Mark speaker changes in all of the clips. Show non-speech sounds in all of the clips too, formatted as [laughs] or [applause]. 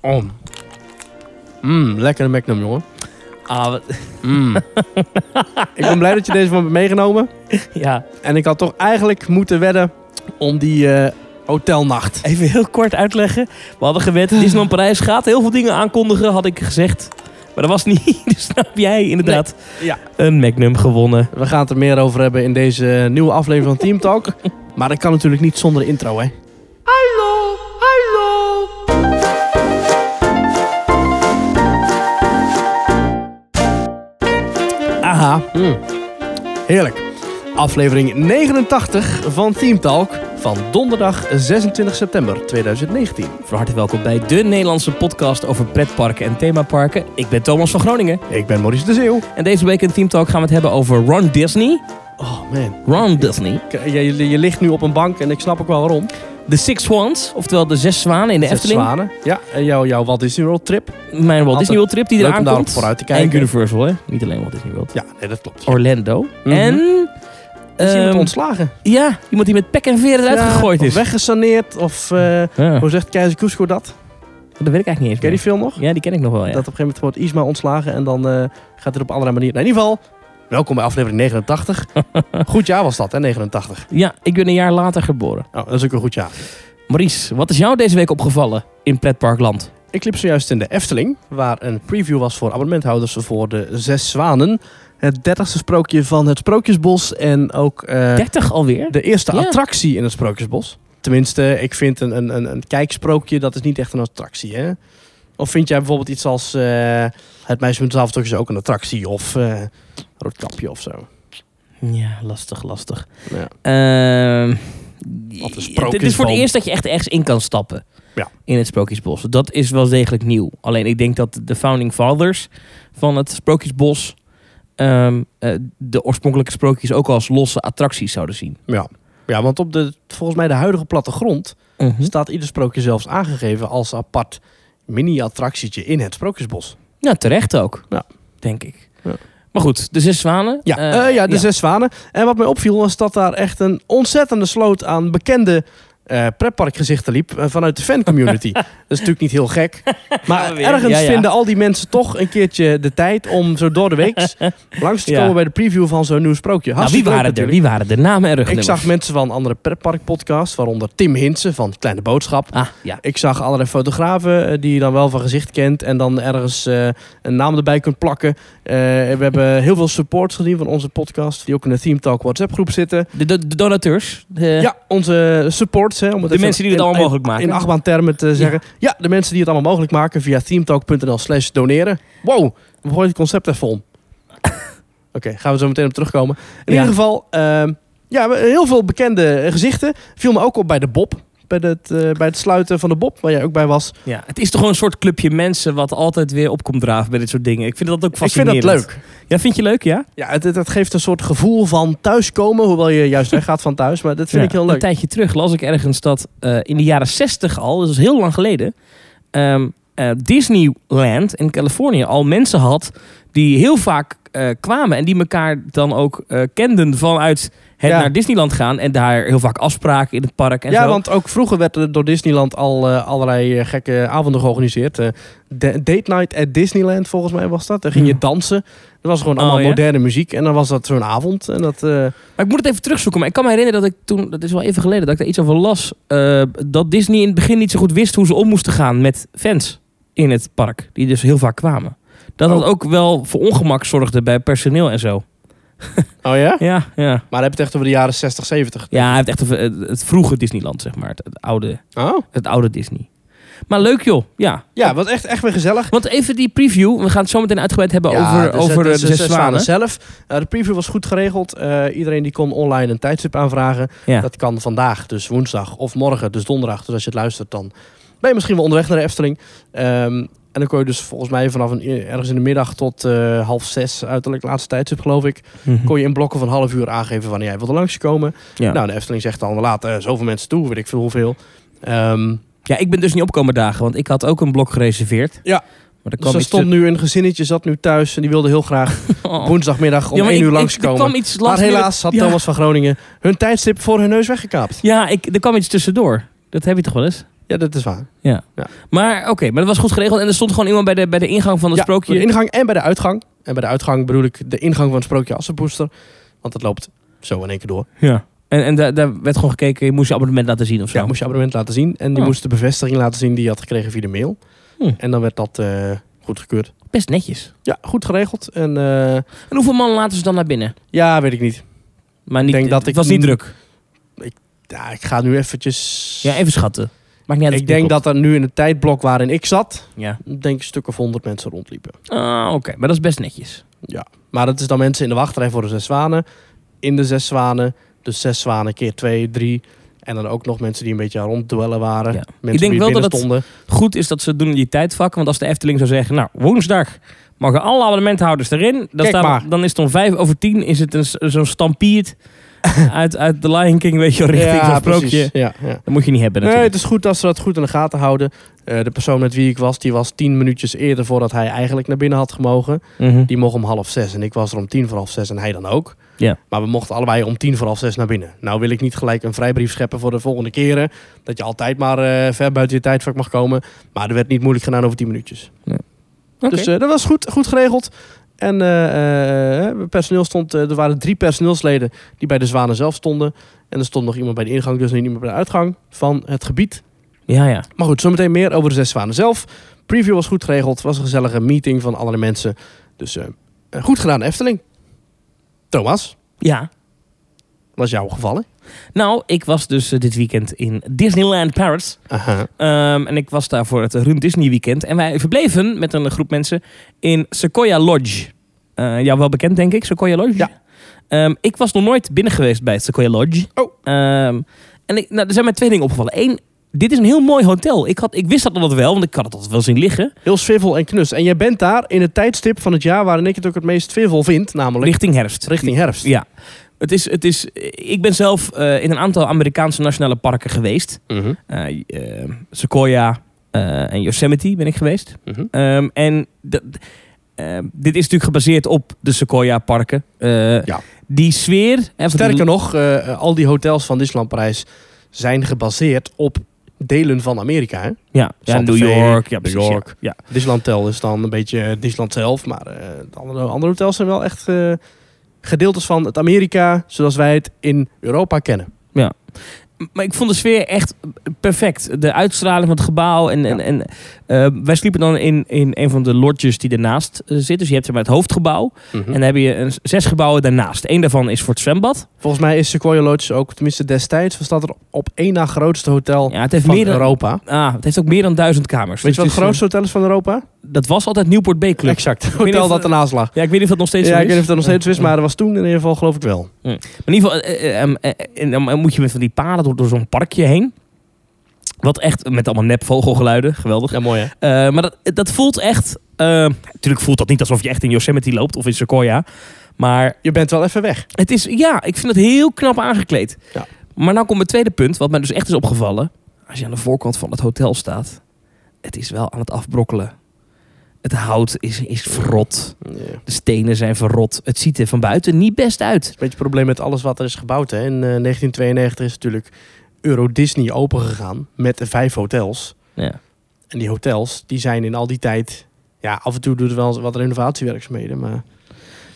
Speaker 1: Oh. Mm, lekkere Magnum, jongen.
Speaker 2: Ah, wat- [laughs]
Speaker 1: Mm. [laughs] ik ben blij dat je deze van me hebt meegenomen.
Speaker 2: ja.
Speaker 1: En ik had toch eigenlijk moeten wedden om die eh, hotelnacht.
Speaker 2: Even heel kort uitleggen. We hadden
Speaker 1: [laughs]
Speaker 2: gewet, Disneyland Parijs gaat heel veel dingen aankondigen, had ik gezegd. Maar dat was niet. [laughs] Dus nou heb jij inderdaad
Speaker 1: Nee, ja.
Speaker 2: een Magnum gewonnen.
Speaker 1: We gaan het er meer over hebben in deze nieuwe aflevering van Team Talk. Maar dat kan natuurlijk niet zonder intro, hè?
Speaker 3: Hallo, hallo.
Speaker 1: Aha. Mm. Heerlijk. Aflevering 89 van Team Talk van donderdag 26 september 2019.
Speaker 2: Van harte welkom bij de Nederlandse podcast over pretparken en themaparken. Ik ben Thomas van Groningen.
Speaker 1: Ik ben Maurice de Zeeuw.
Speaker 2: En deze week in Team Talk gaan we het hebben over Ron Disney.
Speaker 1: Oh man.
Speaker 2: Ron Disney.
Speaker 1: Ik- Je, je, je ligt nu op een bank en ik snap ook wel waarom.
Speaker 2: De Six Swans, oftewel de zes zwanen in de
Speaker 1: Zes
Speaker 2: Efteling.
Speaker 1: zwanen. Ja, en jouw, jouw Walt Disney World trip.
Speaker 2: Mijn Walt Disney
Speaker 1: Altijd
Speaker 2: World trip die
Speaker 1: leuk om
Speaker 2: eraan
Speaker 1: daarop
Speaker 2: komt.
Speaker 1: vooruit te
Speaker 2: En
Speaker 1: kijken.
Speaker 2: Universal, hè? Niet alleen Walt Disney World.
Speaker 1: Ja, Mhm. nee, dat klopt.
Speaker 2: Orlando. En...
Speaker 1: Is iemand
Speaker 2: ehm,
Speaker 1: ontslagen?
Speaker 2: ja, iemand die met pek en veren eruit
Speaker 1: Ja,
Speaker 2: gegooid
Speaker 1: of
Speaker 2: is.
Speaker 1: weggesaneerd of... eh,
Speaker 2: Ja,
Speaker 1: Hoe zegt Keizer Cusco dat?
Speaker 2: dat weet ik eigenlijk niet eens
Speaker 1: Ken je
Speaker 2: meer.
Speaker 1: die film nog?
Speaker 2: Ja, die ken ik nog wel, ja.
Speaker 1: Dat op een gegeven moment wordt Isma ontslagen en dan eh, gaat het op een andere manier. Nou, in ieder geval, welkom bij aflevering
Speaker 2: [laughs]
Speaker 1: 89. goed jaar was dat, hè, 89.
Speaker 2: Ja, ik ben een jaar later geboren.
Speaker 1: Nou, dat is ook een goed jaar.
Speaker 2: Maurice, wat is jou deze week opgevallen in pretparkland?
Speaker 1: Ik liep zojuist in de Efteling, waar een preview was voor abonnementhouders voor de Zes Zwanen. Het dertigste sprookje van het Sprookjesbos en ook eh,
Speaker 2: 30 alweer?
Speaker 1: de eerste
Speaker 2: Ja.
Speaker 1: attractie in het Sprookjesbos. Tenminste, ik vind een, een, een, een kijksprookje, dat is niet echt een attractie, hè? Of vind jij bijvoorbeeld iets als eh, Het Meisje met het Avondtokjes ook een attractie? Of eh Roodkapje of zo?
Speaker 2: Ja, lastig, lastig.
Speaker 1: Ja.
Speaker 2: Ehm,
Speaker 1: Wat een
Speaker 2: het is voor
Speaker 1: sprookjesboom.
Speaker 2: het eerst dat je echt ergens in kan stappen.
Speaker 1: Ja.
Speaker 2: In het Sprookjesbos. Dat is wel degelijk nieuw. Alleen ik denk dat de founding fathers van het Sprookjesbos... ehm, eh, de oorspronkelijke sprookjes ook als losse attracties zouden zien.
Speaker 1: Ja. ja, want op de, volgens mij de huidige plattegrond
Speaker 2: Hm?
Speaker 1: staat ieder sprookje zelfs aangegeven als apart mini-attractietje in het Sprookjesbos.
Speaker 2: Ja, terecht ook.
Speaker 1: Ja.
Speaker 2: Denk ik.
Speaker 1: Ja.
Speaker 2: Maar goed, de zes zwanen.
Speaker 1: Ja,
Speaker 2: Eh,
Speaker 1: eh, ja de Zes Zwanen. En wat mij opviel was dat daar echt een ontzettende sloot aan bekende eh pretparkgezichten liep eh, vanuit de
Speaker 2: [laughs]
Speaker 1: fancommunity. dat is natuurlijk niet heel gek. Maar
Speaker 2: weer.
Speaker 1: ergens
Speaker 2: Ja, ja.
Speaker 1: vinden al die mensen toch een keertje de tijd om zo door de
Speaker 2: [laughs]
Speaker 1: week langs te
Speaker 2: Ja.
Speaker 1: komen bij de preview van zo'n nieuw sprookje.
Speaker 2: Nou, wie
Speaker 1: Hartstikke leuk
Speaker 2: waren er?
Speaker 1: natuurlijk.
Speaker 2: Wie waren de namen en
Speaker 1: Ik
Speaker 2: rugnummers?
Speaker 1: zag mensen van andere pretparkpodcasts, waaronder Tim Hinsen van Kleine Boodschap.
Speaker 2: Ah, ja.
Speaker 1: Ik zag allerlei fotografen eh, die je dan wel van gezicht kent en dan ergens eh, een naam erbij kunt plakken. Eh, we hebben heel veel supports gezien van onze podcast, die ook in de Team Talk WhatsApp groep zitten.
Speaker 2: De, de, de donateurs. De,
Speaker 1: Ja, onze supports. Hè, om
Speaker 2: de
Speaker 1: even
Speaker 2: mensen die het
Speaker 1: in-
Speaker 2: allemaal mogelijk
Speaker 1: in-
Speaker 2: maken.
Speaker 1: In achtbaan termen te zeggen. Ja. de mensen die het allemaal mogelijk maken via teamtalk.nl slash doneren. Wow, we gooien het concept even
Speaker 2: [laughs]
Speaker 1: om. Oké, gaan we zo meteen op terugkomen. In
Speaker 2: Ja.
Speaker 1: ieder geval, ehm, ja, we- heel veel bekende eh, gezichten. Viel me ook op bij de Bob. Bij het, eh, bij het sluiten van de Bob, waar jij ook bij was.
Speaker 2: Ja, het is toch gewoon een soort clubje mensen wat altijd weer opkomt draven bij dit soort dingen. Ik vind dat ook
Speaker 1: Ik vind
Speaker 2: fascinerend.
Speaker 1: dat leuk.
Speaker 2: Ja, vind je leuk, ja?
Speaker 1: Ja, het, het, het geeft een soort gevoel van thuiskomen. Hoewel je juist weggaat van thuis. Maar dat vind
Speaker 2: Ja.
Speaker 1: ik heel
Speaker 2: Een
Speaker 1: leuk.
Speaker 2: tijdje terug las ik ergens dat eh, in de jaren 60 al, dus dat is heel lang geleden, ehm, eh, Disneyland in Californië al mensen had die heel vaak eh, kwamen en die elkaar dan ook eh, kenden vanuit het
Speaker 1: Ja.
Speaker 2: naar Disneyland gaan en daar heel vaak afspraken in het park en
Speaker 1: ja,
Speaker 2: zo.
Speaker 1: want ook vroeger werd er door Disneyland al eh, allerlei eh, gekke avonden georganiseerd. Eh, de- date night at Disneyland, volgens mij was dat. Daar ging je
Speaker 2: Hmm.
Speaker 1: dansen. Er was gewoon
Speaker 2: Oh,
Speaker 1: allemaal
Speaker 2: ja?
Speaker 1: moderne muziek. En dan was dat zo'n avond. En dat, eh,
Speaker 2: Maar ik moet het even terugzoeken. Maar ik kan me herinneren dat ik toen, dat is wel even geleden, dat ik daar iets over las. eh, dat Disney in het begin niet zo goed wist hoe ze om moesten gaan met fans in het park. Die dus heel vaak kwamen. Dat dat
Speaker 1: Oh.
Speaker 2: ook wel voor ongemak zorgde bij personeel en zo.
Speaker 1: Oh ja?
Speaker 2: Ja, ja.
Speaker 1: Maar dan heb je het echt over de jaren 60, 70.
Speaker 2: Ja, hij heeft echt over het, het vroege Disneyland, zeg maar. Het, het oude,
Speaker 1: Oh?
Speaker 2: het oude Disney. Maar leuk joh, ja.
Speaker 1: Ja, was echt, echt weer gezellig.
Speaker 2: Want even die preview. We gaan het zo meteen uitgebreid hebben over,
Speaker 1: de zes-
Speaker 2: over eh, de,
Speaker 1: de
Speaker 2: zes zwanen.
Speaker 1: zelf. Eh, de preview was goed geregeld. Eh, iedereen die kon online een tijdstip aanvragen.
Speaker 2: Ja.
Speaker 1: Dat kan vandaag, dus woensdag of morgen, dus donderdag. Dus als je het luistert, dan ben je misschien wel onderweg naar de Efteling. Ehm, en dan kon je dus volgens mij vanaf een, eh, ergens in de middag tot eh, half zes, uiterlijk laatste tijdstip geloof ik,
Speaker 2: Mhm.
Speaker 1: kon je in blokken van een half uur aangeven wanneer jij wilde langskomen.
Speaker 2: Ja.
Speaker 1: Nou, de Efteling zegt dan, we laten eh, zoveel mensen toe, weet ik veel hoeveel. Ehm,
Speaker 2: ja, ik ben dus niet opkomen dagen, want ik had ook een blok gereserveerd.
Speaker 1: Ja.
Speaker 2: Maar dat
Speaker 1: dus
Speaker 2: kwam
Speaker 1: er
Speaker 2: ik
Speaker 1: stond nu een gezinnetje, zat nu thuis en die wilde heel graag
Speaker 2: te- Oh.
Speaker 1: woensdagmiddag om
Speaker 2: maar
Speaker 1: één
Speaker 2: ik-
Speaker 1: uur
Speaker 2: ik-
Speaker 1: langskomen.
Speaker 2: Er kwam iets
Speaker 1: Maar
Speaker 2: last
Speaker 1: helaas had
Speaker 2: ja.
Speaker 1: Thomas van Groningen hun tijdstip voor hun neus weggekaapt.
Speaker 2: Ja, ik, er kwam iets tussendoor. Dat heb je toch wel eens?
Speaker 1: Ja, Ja, dat is waar.
Speaker 2: Maar oké, maar dat was goed geregeld. En er stond gewoon iemand bij de, bij de ingang van het
Speaker 1: ja,
Speaker 2: sprookje.
Speaker 1: Bij de ingang en bij de uitgang. En bij de uitgang bedoel ik de ingang van het sprookje Assenpoester. Want dat loopt zo in één keer door.
Speaker 2: Ja. En, en daar, daar werd gewoon gekeken, je moest je abonnement laten zien of zo.
Speaker 1: Ja, moest je abonnement laten zien. En die
Speaker 2: Oh.
Speaker 1: moest de bevestiging laten zien die je had gekregen via de mail.
Speaker 2: Hm.
Speaker 1: En dan werd dat eh, goedgekeurd.
Speaker 2: Best netjes.
Speaker 1: Ja, goed geregeld. En eh,
Speaker 2: En hoeveel man laten ze dan naar binnen?
Speaker 1: ja, weet ik niet.
Speaker 2: Maar niet,
Speaker 1: Ik denk dat
Speaker 2: het
Speaker 1: ik
Speaker 2: was niet
Speaker 1: n-
Speaker 2: druk.
Speaker 1: Ja, ik ga nu eventjes...
Speaker 2: Ja, even schatten. Maakt niet uit.
Speaker 1: ik denk dat er nu in het tijdblok waarin ik zat...
Speaker 2: Ja.
Speaker 1: denk ik een stuk of honderd mensen rondliepen.
Speaker 2: Ah, oké. Maar dat is best netjes.
Speaker 1: Maar dat is dan mensen in de wachtrij voor de zes zwanen. In de zes zwanen. Dus zes zwanen keer twee, drie. En dan ook nog mensen die een beetje aan het rondduellen waren.
Speaker 2: Ja.
Speaker 1: Mensen
Speaker 2: Ik denk
Speaker 1: die
Speaker 2: wel
Speaker 1: binnen
Speaker 2: dat het-
Speaker 1: stonden.
Speaker 2: Goed is dat ze het doen in die tijdvakken. Want als de Efteling zou zeggen, nou, woensdag mogen alle abonnementhouders erin. Dan,
Speaker 1: Kijk
Speaker 2: staan we-
Speaker 1: maar.
Speaker 2: dan is het om vijf over tien is het een s- zo'n
Speaker 1: [laughs]
Speaker 2: stampiert uit, uit The Lion King, weet je wel, richting
Speaker 1: ja,
Speaker 2: zo'n sprookje.
Speaker 1: precies. Ja, ja.
Speaker 2: Dat moet je niet hebben
Speaker 1: Nee,
Speaker 2: natuurlijk.
Speaker 1: het is goed dat ze dat goed in de gaten houden. Eh, de persoon met wie ik was, die was tien minuutjes eerder voordat hij eigenlijk naar binnen had gemogen.
Speaker 2: Mhm.
Speaker 1: Die mocht om half zes en ik was er om tien voor half zes en hij dan ook.
Speaker 2: Ja.
Speaker 1: Maar we mochten allebei om tien voor half zes naar binnen. Nou wil ik niet gelijk een vrijbrief scheppen voor de volgende keren. Dat je altijd maar eh, ver buiten je tijdvak mag komen. Maar er werd niet moeilijk gedaan over tien minuutjes.
Speaker 2: Oké.
Speaker 1: Dus eh, dat was goed, goed geregeld. En eh, eh, personeel stond, eh, er waren drie personeelsleden die bij de zwanen zelf stonden. En er stond nog iemand bij de ingang, dus niet iemand bij de uitgang van het gebied.
Speaker 2: ja, ja.
Speaker 1: Maar goed, zometeen meer over de zes zwanen zelf. Preview was goed geregeld, was een gezellige meeting van allerlei mensen. Dus eh, eh, goed gedaan, Efteling. Thomas,
Speaker 2: Ja.
Speaker 1: was jouw geval, hè?
Speaker 2: Nou, ik was dus eh, dit weekend in Disneyland Paris.
Speaker 1: Aha.
Speaker 2: Ehm, en ik was daar voor het Run Disney Weekend. En wij verbleven met een groep mensen in Sequoia Lodge. Eh jou wel bekend, denk ik, Sequoia Lodge?
Speaker 1: Ja.
Speaker 2: Ehm, ik was nog nooit binnen geweest bij het Sequoia Lodge.
Speaker 1: Oh.
Speaker 2: Ehm, en ik, nou, er zijn mij twee dingen opgevallen. Eén, dit is een heel mooi hotel. Ik, had, ik wist dat altijd wel, want ik had het altijd wel zien liggen.
Speaker 1: Heel swivel en knus. En jij bent daar in het tijdstip van het jaar waarin ik het ook het meest swivel vind, namelijk
Speaker 2: Richting herfst.
Speaker 1: richting herfst.
Speaker 2: Ja. Het is, het is, ik ben zelf eh, in een aantal Amerikaanse nationale parken geweest.
Speaker 1: Mhm,
Speaker 2: Eh, eh, Sequoia eh, en Yosemite ben ik geweest.
Speaker 1: mhm.
Speaker 2: Ehm, en dat- ehm, dit is natuurlijk gebaseerd op de Sequoia-parken. Eh,
Speaker 1: Ja.
Speaker 2: Die sfeer... en van die-
Speaker 1: Sterker nog, eh, eh, al die hotels van Disneyland Parijs zijn gebaseerd op delen van Amerika. Hè?
Speaker 2: Ja, ja
Speaker 1: Santa
Speaker 2: New
Speaker 1: Fe,
Speaker 2: York. Ja,
Speaker 1: New
Speaker 2: precies,
Speaker 1: York.
Speaker 2: Ja.
Speaker 1: Disneyland Tel is dan een beetje eh, Disneyland zelf, maar eh, de andere, andere hotels zijn wel echt eh, gedeeltes van het Amerika zoals wij het in Europa kennen.
Speaker 2: ja. Maar ik vond de sfeer echt perfect. De uitstraling van het gebouw. En, en,
Speaker 1: Ja.
Speaker 2: en, eh, wij sliepen dan in, in een van de lodges die ernaast eh, zit. Dus je hebt zeg maar, het hoofdgebouw.
Speaker 1: Hm.
Speaker 2: En
Speaker 1: eh,
Speaker 2: dan heb je een, zes gebouwen daarnaast. Eén daarvan is voor het zwembad.
Speaker 1: Volgens mij is Sequoia Lodge ook, tenminste destijds, was dat er op één na grootste hotel
Speaker 2: Ja, het heeft
Speaker 1: Oh, van
Speaker 2: meer dan...
Speaker 1: Europa.
Speaker 2: Ah, het heeft ook meer dan duizend kamers.
Speaker 1: Weet je wat het
Speaker 2: Dus het is,
Speaker 1: grootste hotel is van Europa?
Speaker 2: eh, Dat was altijd Newport Bay Club.
Speaker 1: Exact.
Speaker 2: weet niet
Speaker 1: Hotel
Speaker 2: of-
Speaker 1: dat ernaast lag.
Speaker 2: Ja, ik weet niet of dat nog steeds zo
Speaker 1: Ja,
Speaker 2: is.
Speaker 1: ik weet niet of dat nog steeds
Speaker 2: Ja.
Speaker 1: is, maar dat was toen in ieder geval geloof ik wel.
Speaker 2: Maar in ieder geval, eh, eh, ehm, eh, en dan moet je met van die paden door, door zo'n parkje heen. Wat echt, met allemaal nep vogelgeluiden, geweldig.
Speaker 1: Ja, mooi hè?
Speaker 2: Eh, maar dat, dat voelt echt, eh, natuurlijk voelt dat niet alsof je echt in Yosemite loopt of in Sequoia. Maar
Speaker 1: Je bent wel even weg.
Speaker 2: het is, ja, ik vind het heel knap aangekleed.
Speaker 1: Ja.
Speaker 2: Maar nou komt mijn tweede punt, wat mij dus echt is opgevallen. Als je aan de voorkant van het hotel staat, het is wel aan het afbrokkelen. Het hout is, is verrot.
Speaker 1: Ja.
Speaker 2: De stenen zijn verrot. Het ziet er van buiten niet best uit.
Speaker 1: Het is een beetje het probleem met alles wat er is gebouwd. Hè. In eh, 1992 is natuurlijk Euro Disney opengegaan met vijf hotels.
Speaker 2: Ja.
Speaker 1: En die hotels die zijn in al die tijd... Ja, af en toe doet er wel eens wat renovatiewerkzaamheden. Maar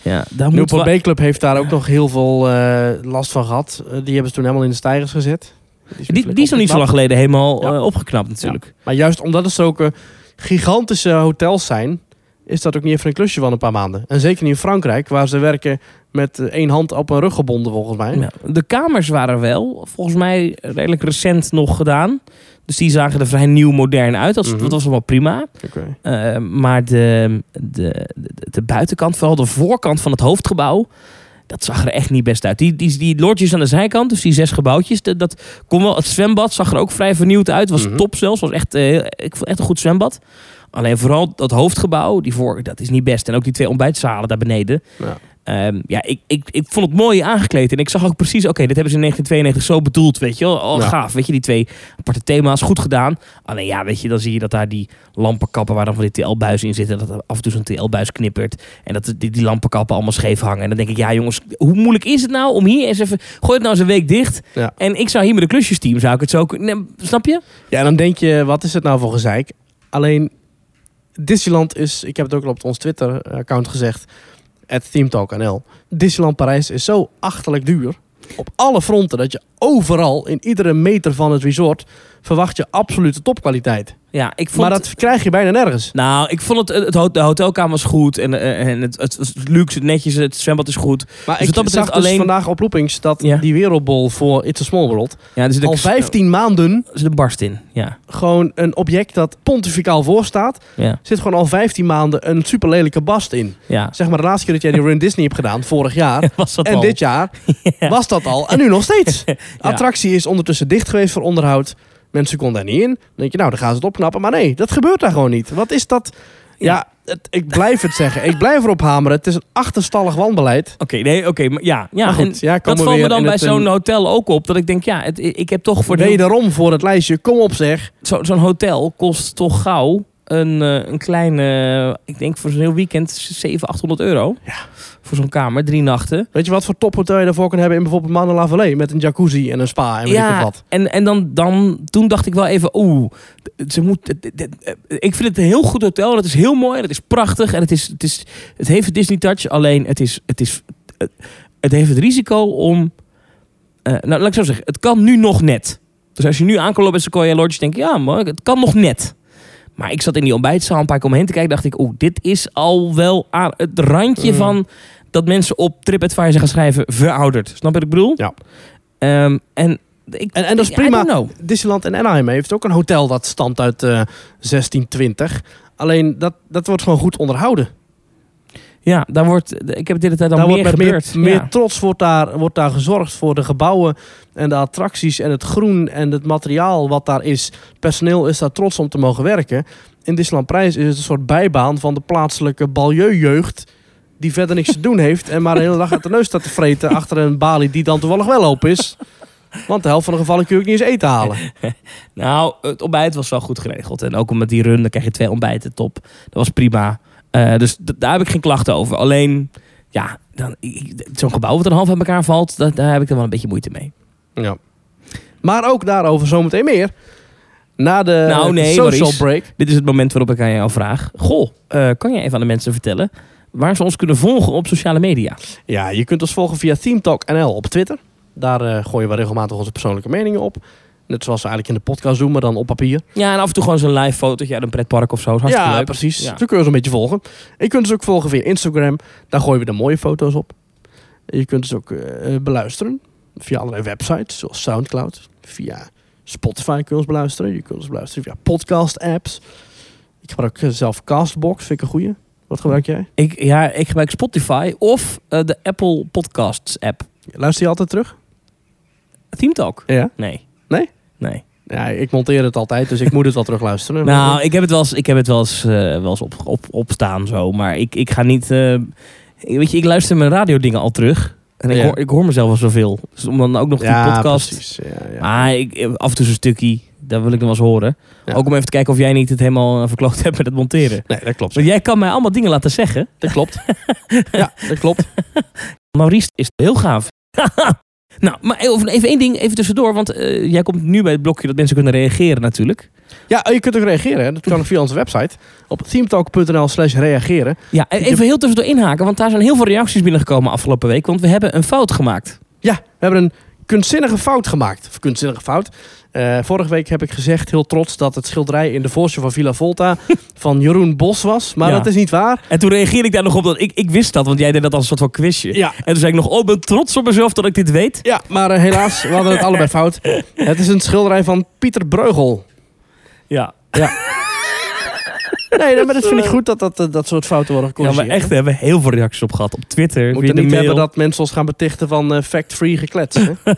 Speaker 2: Ja, daar moet
Speaker 1: Newport
Speaker 2: wel-
Speaker 1: Bay Club heeft daar ook nog heel veel eh, last van gehad. Eh, die hebben ze toen helemaal in de stijgers gezet. Die weer
Speaker 2: Die,
Speaker 1: flink
Speaker 2: die is nog niet zo
Speaker 1: opgeknapt.
Speaker 2: lang geleden helemaal
Speaker 1: Ja.
Speaker 2: eh, opgeknapt natuurlijk.
Speaker 1: Maar juist omdat het zulke gigantische hotels zijn, is dat ook niet even een klusje van een paar maanden. En zeker niet in Frankrijk, waar ze werken met eh, één hand op een rug gebonden, volgens mij.
Speaker 2: Ja. De kamers waren wel, volgens mij, redelijk recent nog gedaan. Dus die zagen er vrij nieuw modern uit. Dat,
Speaker 1: Mhm.
Speaker 2: dat was allemaal prima.
Speaker 1: Oké.
Speaker 2: Eh, maar de, de, de, de buitenkant, vooral de voorkant van het hoofdgebouw... dat zag er echt niet best uit. Die, die, die lodges aan de zijkant, dus die zes gebouwtjes... dat, dat kon wel, het zwembad zag er ook vrij vernieuwd uit. Was
Speaker 1: Mhm.
Speaker 2: top zelfs, was echt, eh, ik vond echt een goed zwembad. Alleen vooral dat hoofdgebouw, die voor, dat is niet best. En ook die twee ontbijtzalen daar beneden...
Speaker 1: Ja.
Speaker 2: Eh, Ehm, ja, ik, ik, ik vond het mooi aangekleed. En ik zag ook precies, oké, dit hebben ze in 1992 zo bedoeld, weet je wel. Oh,
Speaker 1: Ja.
Speaker 2: gaaf, weet je, die twee aparte thema's, goed gedaan. Alleen ja, weet je, dan zie je dat daar die lampenkappen waar dan van die TL-buizen in zitten, dat er af en toe zo'n TL-buis knippert. En dat die, die lampenkappen allemaal scheef hangen. En dan denk ik, ja jongens, hoe moeilijk is het nou om hier eens even, gooi het nou eens een week dicht.
Speaker 1: Ja.
Speaker 2: En ik zou hier met een klusjesteam, zou ik het zo kunnen, nee, snap je?
Speaker 1: Ja, dan denk je, wat is het nou voor gezeik? Alleen, Disneyland is, ik heb het ook al op ons Twitter-account gezegd, het ThemeTalk.nl. Disneyland Parijs is zo achterlijk duur, op alle fronten, dat je overal, in iedere meter van het resort, verwacht je absolute topkwaliteit.
Speaker 2: Ja, ik vond...
Speaker 1: Maar dat krijg je bijna nergens.
Speaker 2: Nou, ik vond het, het, ho- de hotelkamer was goed en, eh, en het, het, het luxe, het netjes, het zwembad is goed.
Speaker 1: Maar
Speaker 2: Dus
Speaker 1: ik
Speaker 2: wat dat
Speaker 1: zag
Speaker 2: betreft
Speaker 1: dus
Speaker 2: alleen-
Speaker 1: vandaag op Loopings dat
Speaker 2: Ja.
Speaker 1: die wereldbol voor It's a Small World
Speaker 2: Ja, er zit een-
Speaker 1: al 15 maanden
Speaker 2: Er zit een barst in, ja.
Speaker 1: gewoon een object dat pontificaal voorstaat,
Speaker 2: ja,
Speaker 1: zit gewoon al 15 maanden een super lelijke bast in. [laughs]
Speaker 2: ja.
Speaker 1: Zeg maar de laatste keer dat jij die Run Disney hebt gedaan, vorig
Speaker 2: [laughs]
Speaker 1: jaar.
Speaker 2: Was dat
Speaker 1: En
Speaker 2: al?
Speaker 1: dit jaar was dat al. En nu nog
Speaker 2: [laughs]
Speaker 1: steeds. De attractie is ondertussen dicht geweest voor onderhoud. Mensen konden daar niet in. Dan denk je, nou, dan gaan ze het opknappen. Maar nee, dat gebeurt daar gewoon niet. Wat is dat? Ja, het- ik blijf het zeggen. Ik blijf erop hameren. Het is een achterstallig wanbeleid.
Speaker 2: Oké, nee, oké, maar ja. ja
Speaker 1: Maar goed,
Speaker 2: en
Speaker 1: ja, komen
Speaker 2: dat
Speaker 1: we
Speaker 2: valt me
Speaker 1: weer
Speaker 2: dan
Speaker 1: in
Speaker 2: bij
Speaker 1: het,
Speaker 2: zo'n
Speaker 1: eh,
Speaker 2: hotel ook op. Dat ik denk, ja, het, ik heb toch voor de-
Speaker 1: Wederom voor het lijstje. Kom op zeg.
Speaker 2: zo- zo'n hotel kost toch gauw een, eh, een kleine, eh, ik denk voor zo'n heel weekend 700, 800 euro.
Speaker 1: Ja.
Speaker 2: Voor zo'n kamer, drie nachten.
Speaker 1: Weet je wat voor tophotel je daarvoor kan hebben in bijvoorbeeld Mandela Valley? Met een jacuzzi en een spa en weet ik
Speaker 2: ja,
Speaker 1: het wat.
Speaker 2: en, en dan, dan, toen dacht ik wel even, oeh, ze moet, dit- dit- dit- eh, ik vind het een heel goed hotel, dat is heel mooi, en het is prachtig en het, is, het, is, het heeft een Disney touch, alleen het, is, het, is, het, het heeft het risico om, eh, nou laat ik zo zeggen, het kan nu nog net. Dus als je nu aankomt lopen bij Sequoia Lodge, denk je, ja man, het kan nog net. Maar ik zat in die ontbijtzaal een paar keer omheen te kijken, dacht ik, oeh, dit is al wel aan het randje
Speaker 1: Mm.
Speaker 2: van dat mensen op TripAdvisor gaan schrijven verouderd. Snap je wat ik bedoel?
Speaker 1: Ja.
Speaker 2: Ehm, en, ik,
Speaker 1: En- en dat is
Speaker 2: I
Speaker 1: prima.
Speaker 2: don't know.
Speaker 1: Disneyland en Anaheim heeft ook een hotel dat stamt uit eh 1620. Alleen dat, dat wordt gewoon goed onderhouden.
Speaker 2: Ja, daar wordt, ik heb het de hele tijd al
Speaker 1: daar
Speaker 2: meer
Speaker 1: wordt met
Speaker 2: gebeurd.
Speaker 1: meer, meer
Speaker 2: ja.
Speaker 1: trots wordt daar, wordt daar gezorgd voor de gebouwen en de attracties en het groen en het materiaal wat daar is. Personeel is daar trots om te mogen werken. In Disneyland Prijs is het een soort bijbaan van de plaatselijke balieurjeugd. Die verder niks te doen heeft en maar de hele dag uit de neus staat te vreten achter een balie die dan toevallig wel open is. Want de helft van de gevallen kun je ook niet eens eten halen.
Speaker 2: Nou, het ontbijt was wel goed geregeld. En ook met die run, dan krijg je twee ontbijten, top. Dat was prima. Eh, dus d- daar heb ik geen klachten over. Alleen, ja, dan, ik- zo'n gebouw wat een half uit elkaar valt, dat, daar heb ik dan wel een beetje moeite mee.
Speaker 1: Ja. Maar ook daarover zometeen meer. Na de
Speaker 2: Nou, nee,
Speaker 1: social
Speaker 2: Maurice.
Speaker 1: break.
Speaker 2: Dit is het moment waarop ik aan jou vraag. Goh, eh, kan jij even aan de mensen vertellen waar ze ons kunnen volgen op sociale media?
Speaker 1: Ja, je kunt ons volgen via ThemeTalk.nl op Twitter. Daar eh, gooien we regelmatig onze persoonlijke meningen op. Net zoals we eigenlijk in de podcast doen, maar dan op papier.
Speaker 2: Ja, en af en toe gewoon zo'n live fotootje uit een pretpark of zo. Is hartstikke
Speaker 1: ja,
Speaker 2: leuk.
Speaker 1: precies.
Speaker 2: Ja.
Speaker 1: Zo kun je ons een beetje volgen. Je kunt ons ook volgen via Instagram. Daar gooien we de mooie foto's op. Je kunt ons ook eh, beluisteren via allerlei websites, zoals Soundcloud. Via Spotify kun je ons beluisteren. Je kunt ons beluisteren via podcast-apps. Ik gebruik eh, zelf Castbox, vind ik een goeie. Wat gebruik jij?
Speaker 2: Ik, ja, ik gebruik Spotify of eh, de Apple Podcasts app.
Speaker 1: Luister je altijd terug?
Speaker 2: Team Talk?
Speaker 1: Ja.
Speaker 2: Nee.
Speaker 1: Nee?
Speaker 2: Nee.
Speaker 1: Ja, ik monteer het altijd, dus ik moet het wel terugluisteren.
Speaker 2: Nou, ik heb het wel eens, ik heb het wel eens, eh, wel eens op, op, opstaan zo. Maar ik, ik ga niet... eh, ik- weet je, ik luister mijn radiodingen al terug. En ik,
Speaker 1: Ja.
Speaker 2: hoor, ik hoor mezelf al zoveel. Dus om dan ook nog die podcast...
Speaker 1: Precies. Ja, ja.
Speaker 2: Maar ik, eh, af en toe zo'n stukje, dat wil ik nog wel eens horen.
Speaker 1: Ja.
Speaker 2: Ook om even te kijken of jij niet het helemaal eh, verkloot hebt met het monteren.
Speaker 1: Nee, dat klopt.
Speaker 2: Want jij kan mij allemaal dingen laten zeggen.
Speaker 1: Dat
Speaker 2: [laughs]
Speaker 1: klopt. ja, dat klopt.
Speaker 2: Maurice is heel gaaf. [laughs] nou, maar even, even één ding, even tussendoor. Want eh, jij komt nu bij het blokje dat mensen kunnen reageren natuurlijk.
Speaker 1: Ja, je kunt ook reageren. hè. Dat kan via onze website. Op themetalk.nl slash reageren.
Speaker 2: Ja, en E- even heel tussendoor inhaken, want daar zijn heel veel reacties binnengekomen afgelopen week. Want we hebben een fout gemaakt.
Speaker 1: Ja, we hebben een kunstzinnige fout gemaakt. Of kunstzinnige fout. Eh, vorige week heb ik gezegd, heel trots, dat het schilderij in de voorste van Villa Volta
Speaker 2: [laughs]
Speaker 1: van Jeroen Bos was. Maar
Speaker 2: Ja.
Speaker 1: dat is niet waar.
Speaker 2: En toen reageerde ik daar nog op, dat ik, ik wist dat, want jij deed dat als een soort van quizje.
Speaker 1: Ja.
Speaker 2: En toen zei ik nog, oh, ik ben trots op mezelf dat ik dit weet.
Speaker 1: Ja, maar eh, helaas, we hadden het allebei fout. Het is een schilderij van Pieter Breugel.
Speaker 2: [laughs] Ja,
Speaker 1: Nee, nee, maar dat vind ik goed dat dat, dat, dat soort fouten worden
Speaker 2: ja
Speaker 1: gecorrigeerd.
Speaker 2: maar echt, we hebben heel veel reacties op gehad. Op Twitter,
Speaker 1: We
Speaker 2: via
Speaker 1: moeten
Speaker 2: de
Speaker 1: niet
Speaker 2: mail.
Speaker 1: hebben dat mensen ons gaan betichten van eh, fact-free gekletst. hè.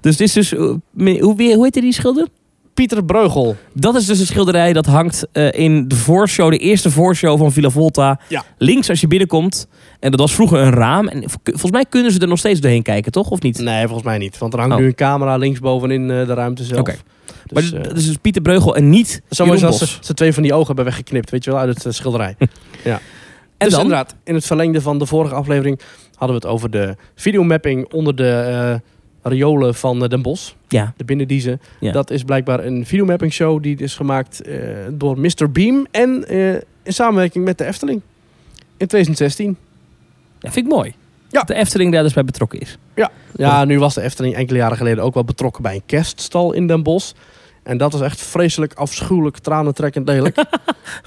Speaker 2: Dus dit is dus, eh, me- hoe, wie- hoe heette die schilder?
Speaker 1: Pieter Breugel.
Speaker 2: Dat is dus een schilderij dat hangt eh, in de voorshow, de eerste voorshow van Villa Volta.
Speaker 1: Ja.
Speaker 2: Links als je binnenkomt. En dat was vroeger een raam. En v- volgens mij kunnen ze er nog steeds doorheen kijken, toch? Of niet?
Speaker 1: Nee, volgens mij niet. Want er hangt
Speaker 2: Oh.
Speaker 1: nu een camera linksbovenin eh de ruimte zelf.
Speaker 2: Oké.
Speaker 1: Oké.
Speaker 2: maar
Speaker 1: Dus,
Speaker 2: d-
Speaker 1: eh,
Speaker 2: dat is dus Pieter Breugel en niet
Speaker 1: Zomaar
Speaker 2: Jeroen
Speaker 1: is dat
Speaker 2: Bos.
Speaker 1: ze, ze twee van die ogen hebben weggeknipt, weet je wel, uit het eh, schilderij. en
Speaker 2: [laughs] En
Speaker 1: dus
Speaker 2: dan?
Speaker 1: inderdaad, in het verlengde van de vorige aflevering hadden we het over de videomapping onder de eh, riolen van eh, Den Bosch.
Speaker 2: Ja.
Speaker 1: De binnendiezen.
Speaker 2: Ja.
Speaker 1: Dat is blijkbaar een videomapping show die is gemaakt eh, door Mr. Beam en eh, in samenwerking met de Efteling. In 2016.
Speaker 2: Ja, vind ik mooi.
Speaker 1: Ja.
Speaker 2: De Efteling daar dus bij betrokken is.
Speaker 1: Ja, nu was de Efteling enkele jaren geleden ook wel betrokken bij een kerststal in Den Bosch. En dat was echt vreselijk, afschuwelijk, tranentrekkend lelijk.
Speaker 2: [laughs]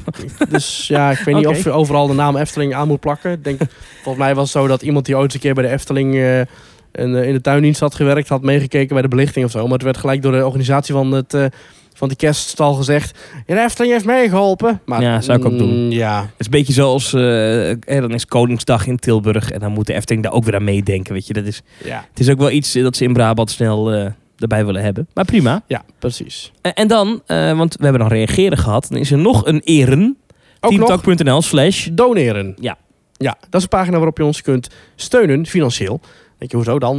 Speaker 1: dus ja, ik weet niet
Speaker 2: Oké.
Speaker 1: of je overal de naam Efteling aan moet plakken. Ik Denk, volgens mij was het zo dat iemand die ooit eens een keer bij de Efteling eh, en, eh, in de tuindienst had gewerkt, had meegekeken bij de belichting of zo. Maar het werd gelijk door de organisatie van, het, eh, van die kerststal gezegd, "Ja, de Efteling heeft meegeholpen. Maar,
Speaker 2: Ja, zou ik ook doen.
Speaker 1: mm, Ja,
Speaker 2: Het is een beetje zoals, eh, eh, dan is Koningsdag in Tilburg. En dan moet de Efteling daar ook weer aan meedenken. Weet je. Dat is,
Speaker 1: ja.
Speaker 2: het is ook wel iets eh, dat ze in Brabant snel eh, erbij willen hebben. Maar prima.
Speaker 1: ja precies.
Speaker 2: En, en dan, eh, want we hebben nog reageren gehad. Dan is er nog een eren.
Speaker 1: Ook nog,
Speaker 2: Teamtalk.nl slash.
Speaker 1: doneren.
Speaker 2: Ja.
Speaker 1: Ja, dat is een pagina waarop je ons kunt steunen financieel. Denk je, hoezo dan?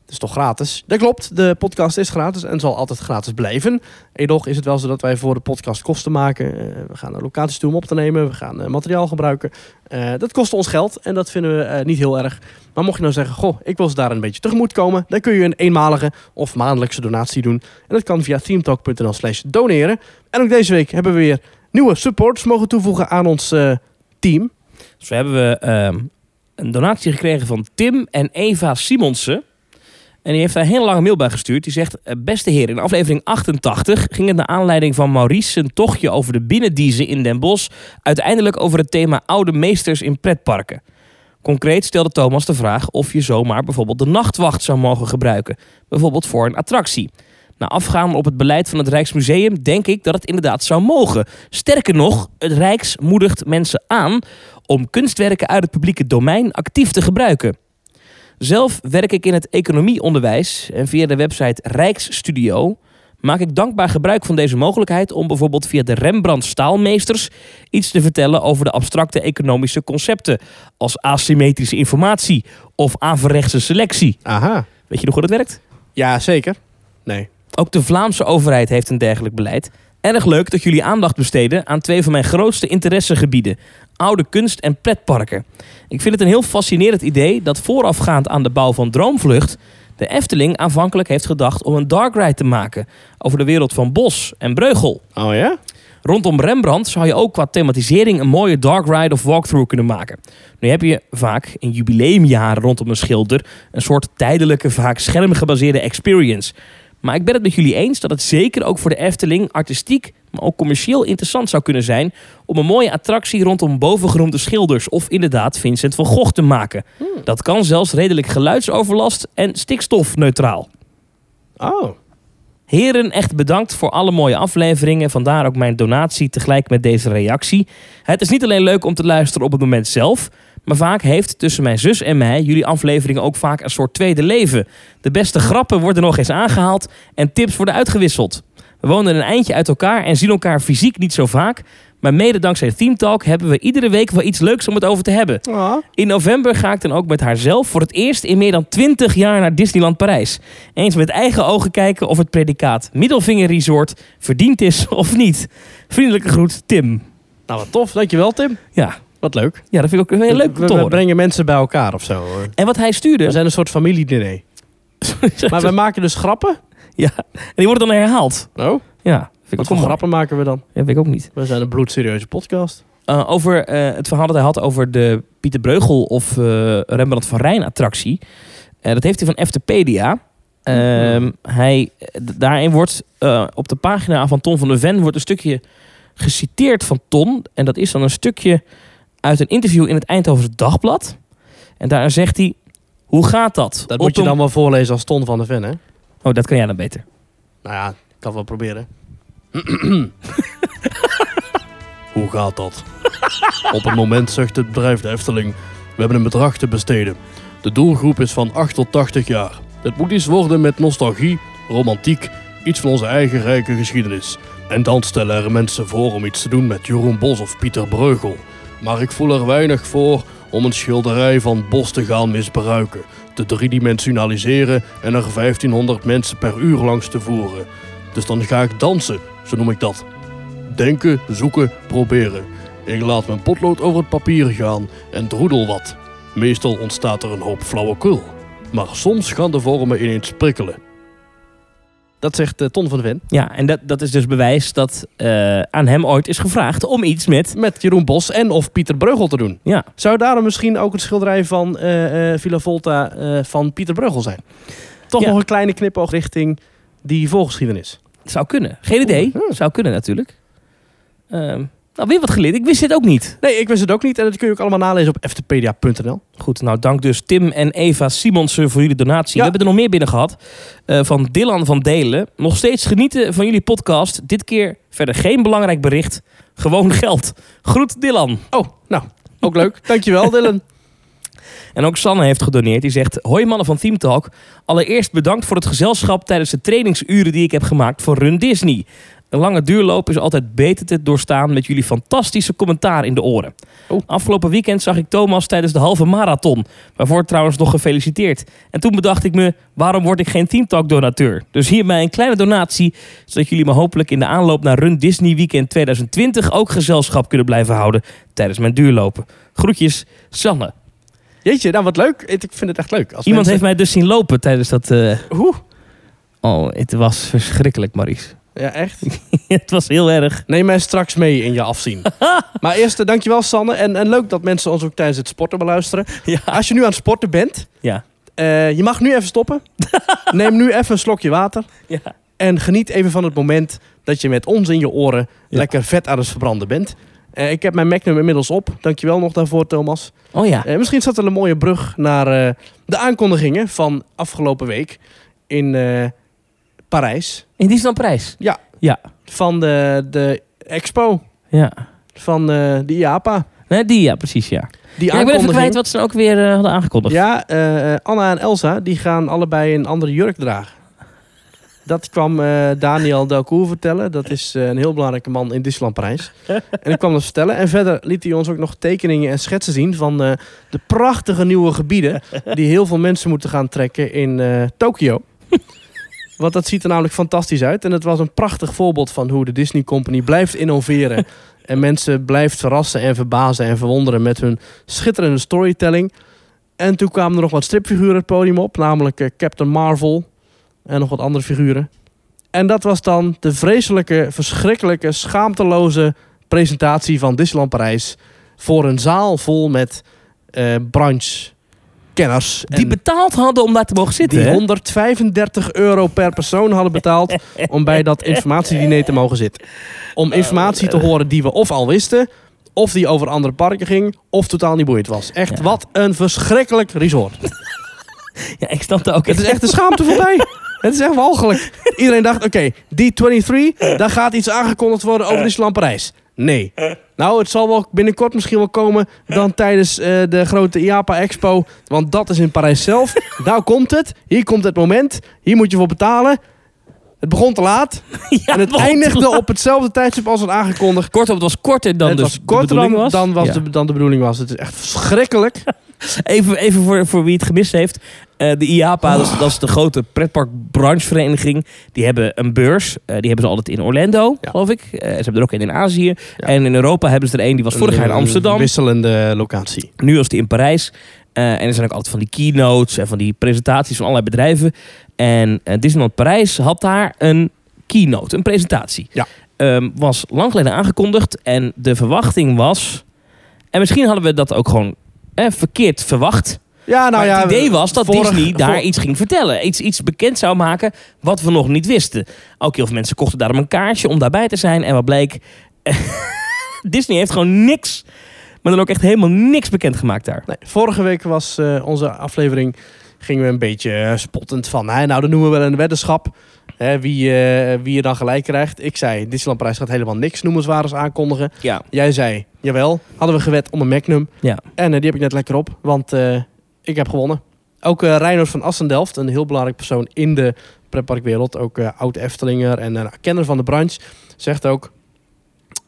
Speaker 1: Het is toch gratis? Dat klopt, de podcast is gratis en zal altijd gratis blijven. Edoch is het wel zo dat wij voor de podcast kosten maken. Eh, we gaan naar locaties toe om op te nemen. We gaan eh, materiaal gebruiken. Eh, dat kost ons geld en dat vinden we eh, niet heel erg. Maar mocht je nou zeggen, goh, ik wil ze daar een beetje tegemoet komen. Dan kun je een eenmalige of maandelijkse donatie doen. En dat kan via teamtalk.nl slash doneren. En ook deze week hebben we weer nieuwe supporters mogen toevoegen aan ons eh, team.
Speaker 2: Zo hebben we ehm, een donatie gekregen van Tim en Eva Simonsen. En die heeft daar een hele lange mail bij gestuurd. Die zegt, eh, beste heren, in aflevering 88 ging het naar aanleiding van Maurice zijn tochtje over de binnendiezen in Den Bosch. Uiteindelijk over het thema oude meesters in pretparken. Concreet stelde Thomas de vraag of je zomaar bijvoorbeeld de nachtwacht zou mogen gebruiken. Bijvoorbeeld voor een attractie. Na afgaan op het beleid van het Rijksmuseum denk ik dat het inderdaad zou mogen. Sterker nog, het Rijks moedigt mensen aan om kunstwerken uit het publieke domein actief te gebruiken. Zelf werk ik in het economieonderwijs en via de website Rijksstudio maak ik dankbaar gebruik van deze mogelijkheid om bijvoorbeeld via de Rembrandt Staalmeesters iets te vertellen over de abstracte economische concepten als asymmetrische informatie of averechtse selectie.
Speaker 1: Aha.
Speaker 2: Weet je nog hoe dat werkt?
Speaker 1: Ja, zeker. Nee.
Speaker 2: Ook de Vlaamse overheid heeft een dergelijk beleid. Erg leuk dat jullie aandacht besteden aan twee van mijn grootste interessegebieden: oude kunst en pretparken. Ik vind het een heel fascinerend idee dat voorafgaand aan de bouw van Droomvlucht de Efteling aanvankelijk heeft gedacht om een dark ride te maken over de wereld van Bos en Breugel.
Speaker 1: Oh ja?
Speaker 2: Rondom Rembrandt zou je ook qua thematisering een mooie dark ride of walkthrough kunnen maken. Nu heb je vaak in jubileumjaren rondom een schilder een soort tijdelijke, vaak schermgebaseerde experience. Maar ik ben het met jullie eens dat het zeker ook voor de Efteling artistiek, maar ook commercieel interessant zou kunnen zijn om een mooie attractie rondom bovengenoemde schilders of inderdaad Vincent van Gogh te maken. Dat kan zelfs redelijk geluidsoverlast en stikstofneutraal.
Speaker 1: Oh.
Speaker 2: Heren, echt bedankt voor alle mooie afleveringen. Vandaar ook mijn donatie tegelijk met deze reactie. Het is niet alleen leuk om te luisteren op het moment zelf. Maar vaak heeft tussen mijn zus en mij jullie afleveringen ook vaak een soort tweede leven. De beste grappen worden nog eens aangehaald en tips worden uitgewisseld. We wonen een eindje uit elkaar en zien elkaar fysiek niet zo vaak. Maar mede dankzij Team Talk hebben we iedere week wel iets leuks om het over te hebben. In november ga ik dan ook met haar zelf voor het eerst in meer dan 20 jaar naar Disneyland Parijs. Eens met eigen ogen kijken of het predicaat Middelvinger Resort verdiend is [laughs] of niet. Vriendelijke groet, Tim.
Speaker 1: Nou, wat tof. Dankjewel, Tim.
Speaker 2: Ja,
Speaker 1: Wat leuk.
Speaker 2: ja dat vind ik ook heel leuk om
Speaker 1: we,
Speaker 2: te
Speaker 1: we
Speaker 2: horen.
Speaker 1: brengen mensen bij elkaar of zo. hoor.
Speaker 2: En wat hij
Speaker 1: [laughs] We
Speaker 2: stuurde,
Speaker 1: zijn een soort
Speaker 2: [laughs]
Speaker 1: familiediner. Maar we maken dus grappen.
Speaker 2: en die worden dan herhaald.
Speaker 1: Oh,
Speaker 2: Ja, vind
Speaker 1: wat
Speaker 2: ik ook
Speaker 1: voor
Speaker 2: wel
Speaker 1: grappen maken we dan?
Speaker 2: mooi. Ja, weet ik ook niet.
Speaker 1: We zijn een bloedserieuze podcast.
Speaker 2: Eh, over eh, het verhaal dat hij had over de Pieter Breugel of eh, Rembrandt van Rijn attractie. Eh, dat heeft hij van Eftepedia. Ehm, hij, d- daarin wordt eh, op de pagina van Ton van de Ven wordt een stukje geciteerd van Ton. En dat is dan een stukje uit een interview in het Eindhovense Dagblad. En daarin zegt hij, hoe gaat dat?
Speaker 1: Dat
Speaker 2: Op
Speaker 1: moet je
Speaker 2: een-
Speaker 1: dan wel voorlezen als Ton van de Ven, hè?
Speaker 2: Oh, dat kan jij dan beter.
Speaker 1: Nou ja, ik kan het wel proberen. Hoe gaat dat? Op het moment zegt het bedrijf de Efteling: We hebben een bedrag te besteden. De doelgroep is van 8 tot 80 jaar. Het moet iets worden met nostalgie, romantiek iets van onze eigen rijke geschiedenis. En dan stellen er mensen voor om iets te doen met Jeroen Bos of Pieter Breugel. Maar ik voel er weinig voor om een schilderij van Bos te gaan misbruiken, te driedimensionaliseren en er 1500 mensen per uur langs te voeren. Dus dan ga ik dansen, zo noem ik dat. Denken, zoeken, proberen. Ik laat mijn potlood over het papier gaan en droedel wat. Meestal ontstaat er een hoop flauwekul. Maar soms gaan de vormen ineens prikkelen. Dat zegt eh, Ton van Ven.
Speaker 2: Ja, en dat, dat is dus bewijs dat eh, aan hem ooit is gevraagd om iets met...
Speaker 1: Met Jeroen Bos en of Pieter Breugel te doen.
Speaker 2: Ja,
Speaker 1: Zou daarom misschien ook het schilderij van eh, eh, Villa Volta eh, van Pieter Breugel zijn? Toch
Speaker 2: Ja.
Speaker 1: nog een kleine knipoog richting die voorgeschiedenis.
Speaker 2: zou kunnen. Geen idee.
Speaker 1: Oeh, ja.
Speaker 2: Zou kunnen natuurlijk. Ehm, nou, weer wat geleerd. Ik wist dit ook niet.
Speaker 1: Nee, ik wist het ook niet. En dat kun je ook allemaal nalezen op ftpedia.nl.
Speaker 2: Goed, nou dank dus Tim en Eva Simonsen voor jullie donatie.
Speaker 1: Ja.
Speaker 2: We hebben er nog meer binnen gehad. Eh, van Dylan van Delen. Nog steeds genieten van jullie podcast. Dit keer verder geen belangrijk bericht. Gewoon geld. Groet Dylan.
Speaker 1: Oh, nou, ook leuk. [laughs] Dankjewel, Dylan.
Speaker 2: En ook Sanne heeft gedoneerd. Die zegt: Hoi mannen van Team Talk. Allereerst bedankt voor het gezelschap tijdens de trainingsuren die ik heb gemaakt voor Run Disney. Een lange duurloop is altijd beter te doorstaan met jullie fantastische commentaar in de oren.
Speaker 1: Oh.
Speaker 2: Afgelopen weekend zag ik Thomas tijdens de halve marathon. Waarvoor trouwens nog gefeliciteerd. En toen bedacht ik me, waarom word ik geen Team Talk donateur? Dus hierbij een kleine donatie, zodat jullie me hopelijk in de aanloop naar Run Disney Weekend 2020 ook gezelschap kunnen blijven houden tijdens mijn duurlopen. Groetjes, Sanne.
Speaker 1: Jeetje, nou wat leuk. Ik ik vind het echt leuk. Als
Speaker 2: Iemand heeft
Speaker 1: mensen-
Speaker 2: mij dus zien lopen tijdens dat. eh,
Speaker 1: Oeh.
Speaker 2: Oh, het was verschrikkelijk, Maries.
Speaker 1: Ja, echt.
Speaker 2: [laughs] het was heel erg.
Speaker 1: Neem mij straks mee in je [laughs] afzien. maar eerst, eh, dankjewel Sanne. En, en leuk dat mensen ons ook tijdens het sporten beluisteren.
Speaker 2: Ja.
Speaker 1: Als je nu aan het sporten bent,
Speaker 2: Ja.
Speaker 1: eh, je mag nu even
Speaker 2: [laughs]
Speaker 1: stoppen. Neem nu even een slokje water.
Speaker 2: ja.
Speaker 1: En geniet even van het moment dat je met ons in je oren
Speaker 2: Ja.
Speaker 1: lekker vet aan het verbranden bent. Eh, ik heb mijn Magnum inmiddels op. Dankjewel nog daarvoor, Thomas.
Speaker 2: Oh ja.
Speaker 1: Eh, misschien zat er een mooie brug naar eh, de aankondigingen van afgelopen week in eh, Parijs.
Speaker 2: In die is dan prijs.
Speaker 1: Van de, de expo
Speaker 2: Ja.
Speaker 1: van eh, de IAPA.
Speaker 2: Nee, die ja, precies ja.
Speaker 1: Die
Speaker 2: ja ik ben even kwijt
Speaker 1: aankondiging.
Speaker 2: wat ze nou ook weer eh, hadden aangekondigd.
Speaker 1: Ja, eh, eh, Anna en Elsa die gaan allebei een andere jurk dragen. Dat kwam eh, Daniel Delcourt vertellen. Dat is eh, een heel belangrijke man in Disneyland Parijs. En ik kwam dat vertellen. En verder liet hij ons ook nog tekeningen en schetsen zien van eh, de prachtige nieuwe gebieden. Die heel veel mensen moeten gaan trekken in eh, Tokio. Want dat ziet er namelijk fantastisch uit. En het was een prachtig voorbeeld van hoe de Disney Company blijft innoveren. En mensen blijft verrassen en verbazen en verwonderen met hun schitterende storytelling. En toen kwamen er nog wat stripfiguren het podium op, namelijk eh, Captain Marvel en nog wat andere figuren. En dat was dan de vreselijke, verschrikkelijke, schaamteloze presentatie van Disneyland Parijs voor een zaal vol met eh branchekenners.
Speaker 2: Die
Speaker 1: en-
Speaker 2: betaald hadden om daar te mogen zitten.
Speaker 1: die
Speaker 2: hè?
Speaker 1: 135 euro per persoon hadden
Speaker 2: [laughs]
Speaker 1: betaald om bij dat informatiediner te mogen zitten. Om
Speaker 2: Nou,
Speaker 1: informatie
Speaker 2: eh,
Speaker 1: te horen die we of al wisten, of die over andere parken ging, of totaal niet boeiend was. Echt,
Speaker 2: Ja.
Speaker 1: wat een verschrikkelijk resort.
Speaker 2: Ja, ik snapte ook.
Speaker 1: Het is echt de schaamte
Speaker 2: [laughs]
Speaker 1: voorbij. Het is echt walgelijk. Iedereen dacht, oké, die 23, daar gaat iets aangekondigd worden over Disneyland Parijs. Nee. Nou, het zal wel binnenkort misschien wel komen dan tijdens eh, de grote IAPA Expo. Want dat is in Parijs
Speaker 2: [laughs]
Speaker 1: zelf. Daar komt het. Hier komt het moment. Hier moet je voor betalen. Het begon te laat.
Speaker 2: [laughs] Ja,
Speaker 1: en het
Speaker 2: want-
Speaker 1: eindigde op hetzelfde tijdstip als het aangekondigd.
Speaker 2: Kortom, het was korter dan
Speaker 1: het
Speaker 2: dus
Speaker 1: was korter
Speaker 2: de
Speaker 1: dan,
Speaker 2: bedoeling was.
Speaker 1: Dan, was
Speaker 2: Ja.
Speaker 1: de, dan de bedoeling was. Het is echt verschrikkelijk.
Speaker 2: Even, even voor, voor wie het gemist heeft. Eh, de IAPA, dat,
Speaker 1: Oh.
Speaker 2: is, dat is de grote pretparkbranchevereniging. Die hebben een beurs. Eh, die hebben ze altijd in Orlando,
Speaker 1: Ja.
Speaker 2: geloof ik. Eh, ze hebben er ook een in Azië.
Speaker 1: Ja. Eh,
Speaker 2: En in Europa hebben ze er een. Die was vorig jaar in Amsterdam.
Speaker 1: Wisselende locatie.
Speaker 2: Nu was die in Parijs. Eh, en er zijn ook altijd van die keynotes en van die presentaties van allerlei bedrijven. En eh, Disneyland Parijs had daar een keynote, een presentatie.
Speaker 1: Ja.
Speaker 2: Ehm, was lang geleden aangekondigd. En de verwachting was... En misschien hadden we dat ook gewoon eh, verkeerd verwacht.
Speaker 1: Ja, nou
Speaker 2: Maar
Speaker 1: ja.
Speaker 2: het idee was dat
Speaker 1: vorig-
Speaker 2: Disney daar
Speaker 1: vor-
Speaker 2: iets ging vertellen. Iets, iets bekend zou maken wat we nog niet wisten. Ook heel veel mensen kochten daarom een kaartje om daarbij te zijn. En wat bleek? [laughs] Disney heeft gewoon niks, maar dan ook echt helemaal niks bekend gemaakt daar.
Speaker 1: Nee, vorige week was eh, onze aflevering. Gingen we een beetje eh, spottend van. Hè, nou, dan noemen we wel een weddenschap. Hè, wie, eh, wie je dan gelijk krijgt. Ik zei: Disneyland Parijs gaat helemaal niks noemenswaardigs aankondigen.
Speaker 2: Ja.
Speaker 1: Jij zei: Jawel. Hadden we gewed om een Magnum.
Speaker 2: Ja.
Speaker 1: En eh, die heb ik net lekker op, want eh, ik heb gewonnen. Ook eh Reinoud van Assendelft, een heel belangrijk persoon in de pretparkwereld, ook eh, oud-Eftelinger en een kenner van de branche, zegt ook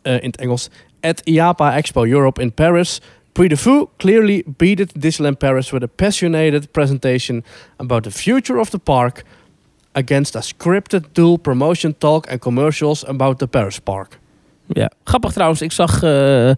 Speaker 1: eh, in het Engels... At IAPA Expo Europe in Paris, Prix de Fou clearly beat Disneyland Paris with a passionate presentation about the future of the park against a scripted dual promotion talk and commercials about the Paris park.
Speaker 2: Ja. Grappig trouwens, ik zag eh,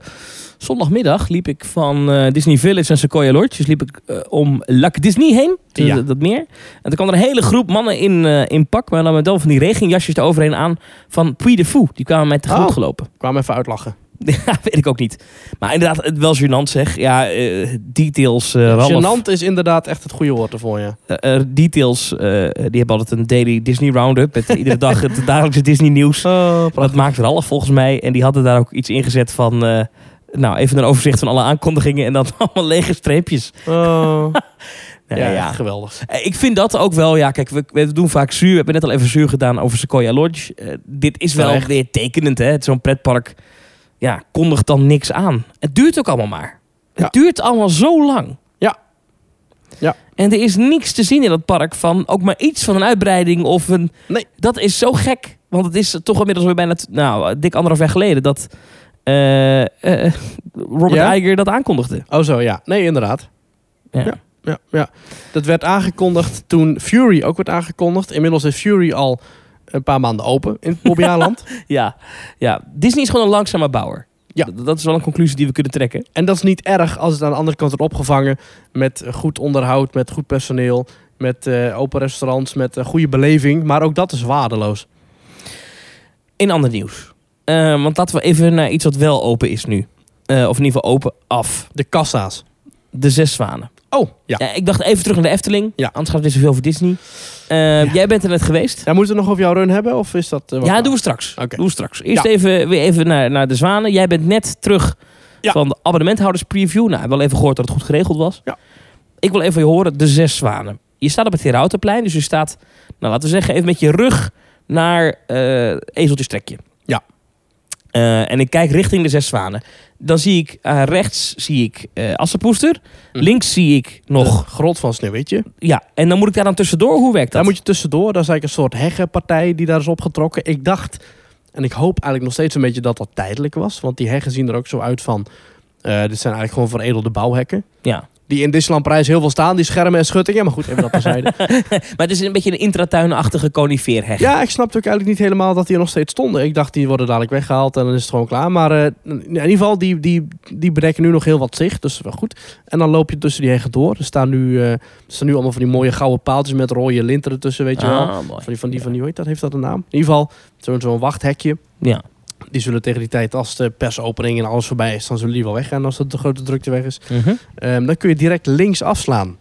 Speaker 2: zondagmiddag liep ik van eh, Disney Village en Sequoia Lodge. Dus liep ik eh, om Lac Disney heen, dus
Speaker 1: Ja.
Speaker 2: dat, dat meer. En toen kwam er een hele groep mannen in, eh, in pak, maar dan met wel van die regenjasjes eroverheen aan van Puy de Fou. Die kwamen mij tegemoet
Speaker 1: Oh.
Speaker 2: gelopen.
Speaker 1: Ik kwam even uitlachen.
Speaker 2: [laughs] Ja, weet ik ook niet. Maar inderdaad, het wel gênant zeg. Ja, eh, details, eh Ralf.
Speaker 1: Genant is inderdaad echt het goede woord ervoor, ja.
Speaker 2: Eh, eh, details, eh, die hebben altijd een daily Disney roundup. Met eh, iedere dag het dagelijkse Disney nieuws. dat maakt Ralf volgens mij. En die hadden daar ook iets ingezet van... eh, nou, even een overzicht van alle aankondigingen en dan [laughs] allemaal lege streepjes.
Speaker 1: Oh. [laughs]
Speaker 2: Ja,
Speaker 1: ja,
Speaker 2: ja.
Speaker 1: echt geweldig.
Speaker 2: Eh, Ik vind dat ook wel, ja, kijk, we, we doen vaak zuur. We hebben net al even zuur gedaan over Sequoia Lodge. Eh, dit is wel
Speaker 1: Terecht.
Speaker 2: weer tekenend, hè. Zo'n pretpark, ja, kondigt dan niks aan. Het duurt ook allemaal maar.
Speaker 1: Ja.
Speaker 2: Het duurt allemaal zo lang.
Speaker 1: Ja. Ja.
Speaker 2: En er is niks te zien in dat park van ook maar iets van een uitbreiding of een...
Speaker 1: Nee.
Speaker 2: Dat is zo gek. Want het is toch inmiddels weer bijna, t- nou, dik anderhalf jaar geleden dat eh, eh, Robert
Speaker 1: Ja?
Speaker 2: Iger dat aankondigde.
Speaker 1: Oh zo, ja. Nee, inderdaad.
Speaker 2: Ja.
Speaker 1: Ja. Ja, ja. Dat werd aangekondigd toen Fury ook werd aangekondigd. Inmiddels is Fury al een paar maanden open in het Bobbejaanland.
Speaker 2: Ja, ja. Disney is gewoon een langzame bouwer.
Speaker 1: Ja.
Speaker 2: D- Dat is wel een conclusie die we kunnen trekken.
Speaker 1: en dat is niet erg als het aan de andere kant wordt opgevangen met goed onderhoud, met goed personeel, met eh, open restaurants, met een goede beleving. Maar ook dat is waardeloos.
Speaker 2: In ander nieuws. Eh, want laten we even naar iets wat wel open is nu. Eh, of in ieder geval open af.
Speaker 1: De kassa's.
Speaker 2: De Zes Zwanen.
Speaker 1: Oh, ja.
Speaker 2: Ja, ik dacht even terug naar de Efteling.
Speaker 1: Ja.
Speaker 2: Anders gaat het weer zoveel over Disney. Eh, Jij bent er net geweest.
Speaker 1: Ja, moeten we het nog over jouw run hebben? Of is dat... eh, wat
Speaker 2: Ja,
Speaker 1: nou?
Speaker 2: doen we straks.
Speaker 1: Oké.
Speaker 2: Doen we straks. Eerst
Speaker 1: Ja.
Speaker 2: even, weer even naar, naar de Zwanen. Jij bent net terug
Speaker 1: Ja.
Speaker 2: van de abonnementhouders preview. Nou, wel even gehoord dat het goed geregeld was.
Speaker 1: Ja.
Speaker 2: Ik wil even van je horen, de Zes Zwanen. Je staat op het Herautenplein, dus je staat, nou laten we zeggen, even met je rug naar eh Ezeltjes Trekje.
Speaker 1: Ja.
Speaker 2: Eh, en ik kijk richting de Zes Zwanen. Dan zie ik, eh, rechts zie ik eh Assepoester.
Speaker 1: Hm. Eh.
Speaker 2: Links zie ik nog,
Speaker 1: De grot van Sneeuwwitje.
Speaker 2: ja. En dan moet ik daar dan tussendoor. Hoe werkt dat?
Speaker 1: Daar moet je tussendoor. Daar is eigenlijk een soort heggenpartij die daar is opgetrokken. Ik dacht, en ik hoop eigenlijk nog steeds een beetje dat dat tijdelijk was. Want die heggen zien er ook zo uit van... eh, dit zijn eigenlijk gewoon veredelde bouwhekken.
Speaker 2: Ja.
Speaker 1: Die in Disneyland Parijs heel veel staan. Die schermen en schuttingen. Maar goed, even dat
Speaker 2: [laughs]
Speaker 1: terzijde.
Speaker 2: Maar het is een beetje een intratuinachtige conifeerheg.
Speaker 1: ja, ik snapte ook eigenlijk niet helemaal dat die er nog steeds stonden. Ik dacht, die worden dadelijk weggehaald en dan is het gewoon klaar. Maar eh, in ieder geval, die, die, die bedekken nu nog heel wat zicht. Dus wel goed. En dan loop je tussen die heggen door. Er staan nu, eh, er staan nu allemaal van die mooie gouden paaltjes met rode linten ertussen, weet je wel.
Speaker 2: Ah,
Speaker 1: Van
Speaker 2: mooi.
Speaker 1: die, van die, van die, hoe heet dat? Heeft dat een naam? In ieder geval, zo'n zo'n wachthekje.
Speaker 2: Ja.
Speaker 1: Die zullen tegen die tijd, als de persopening en alles voorbij is, dan zullen die wel weggaan als het de grote drukte weg is. Ehm, dan kun je direct links afslaan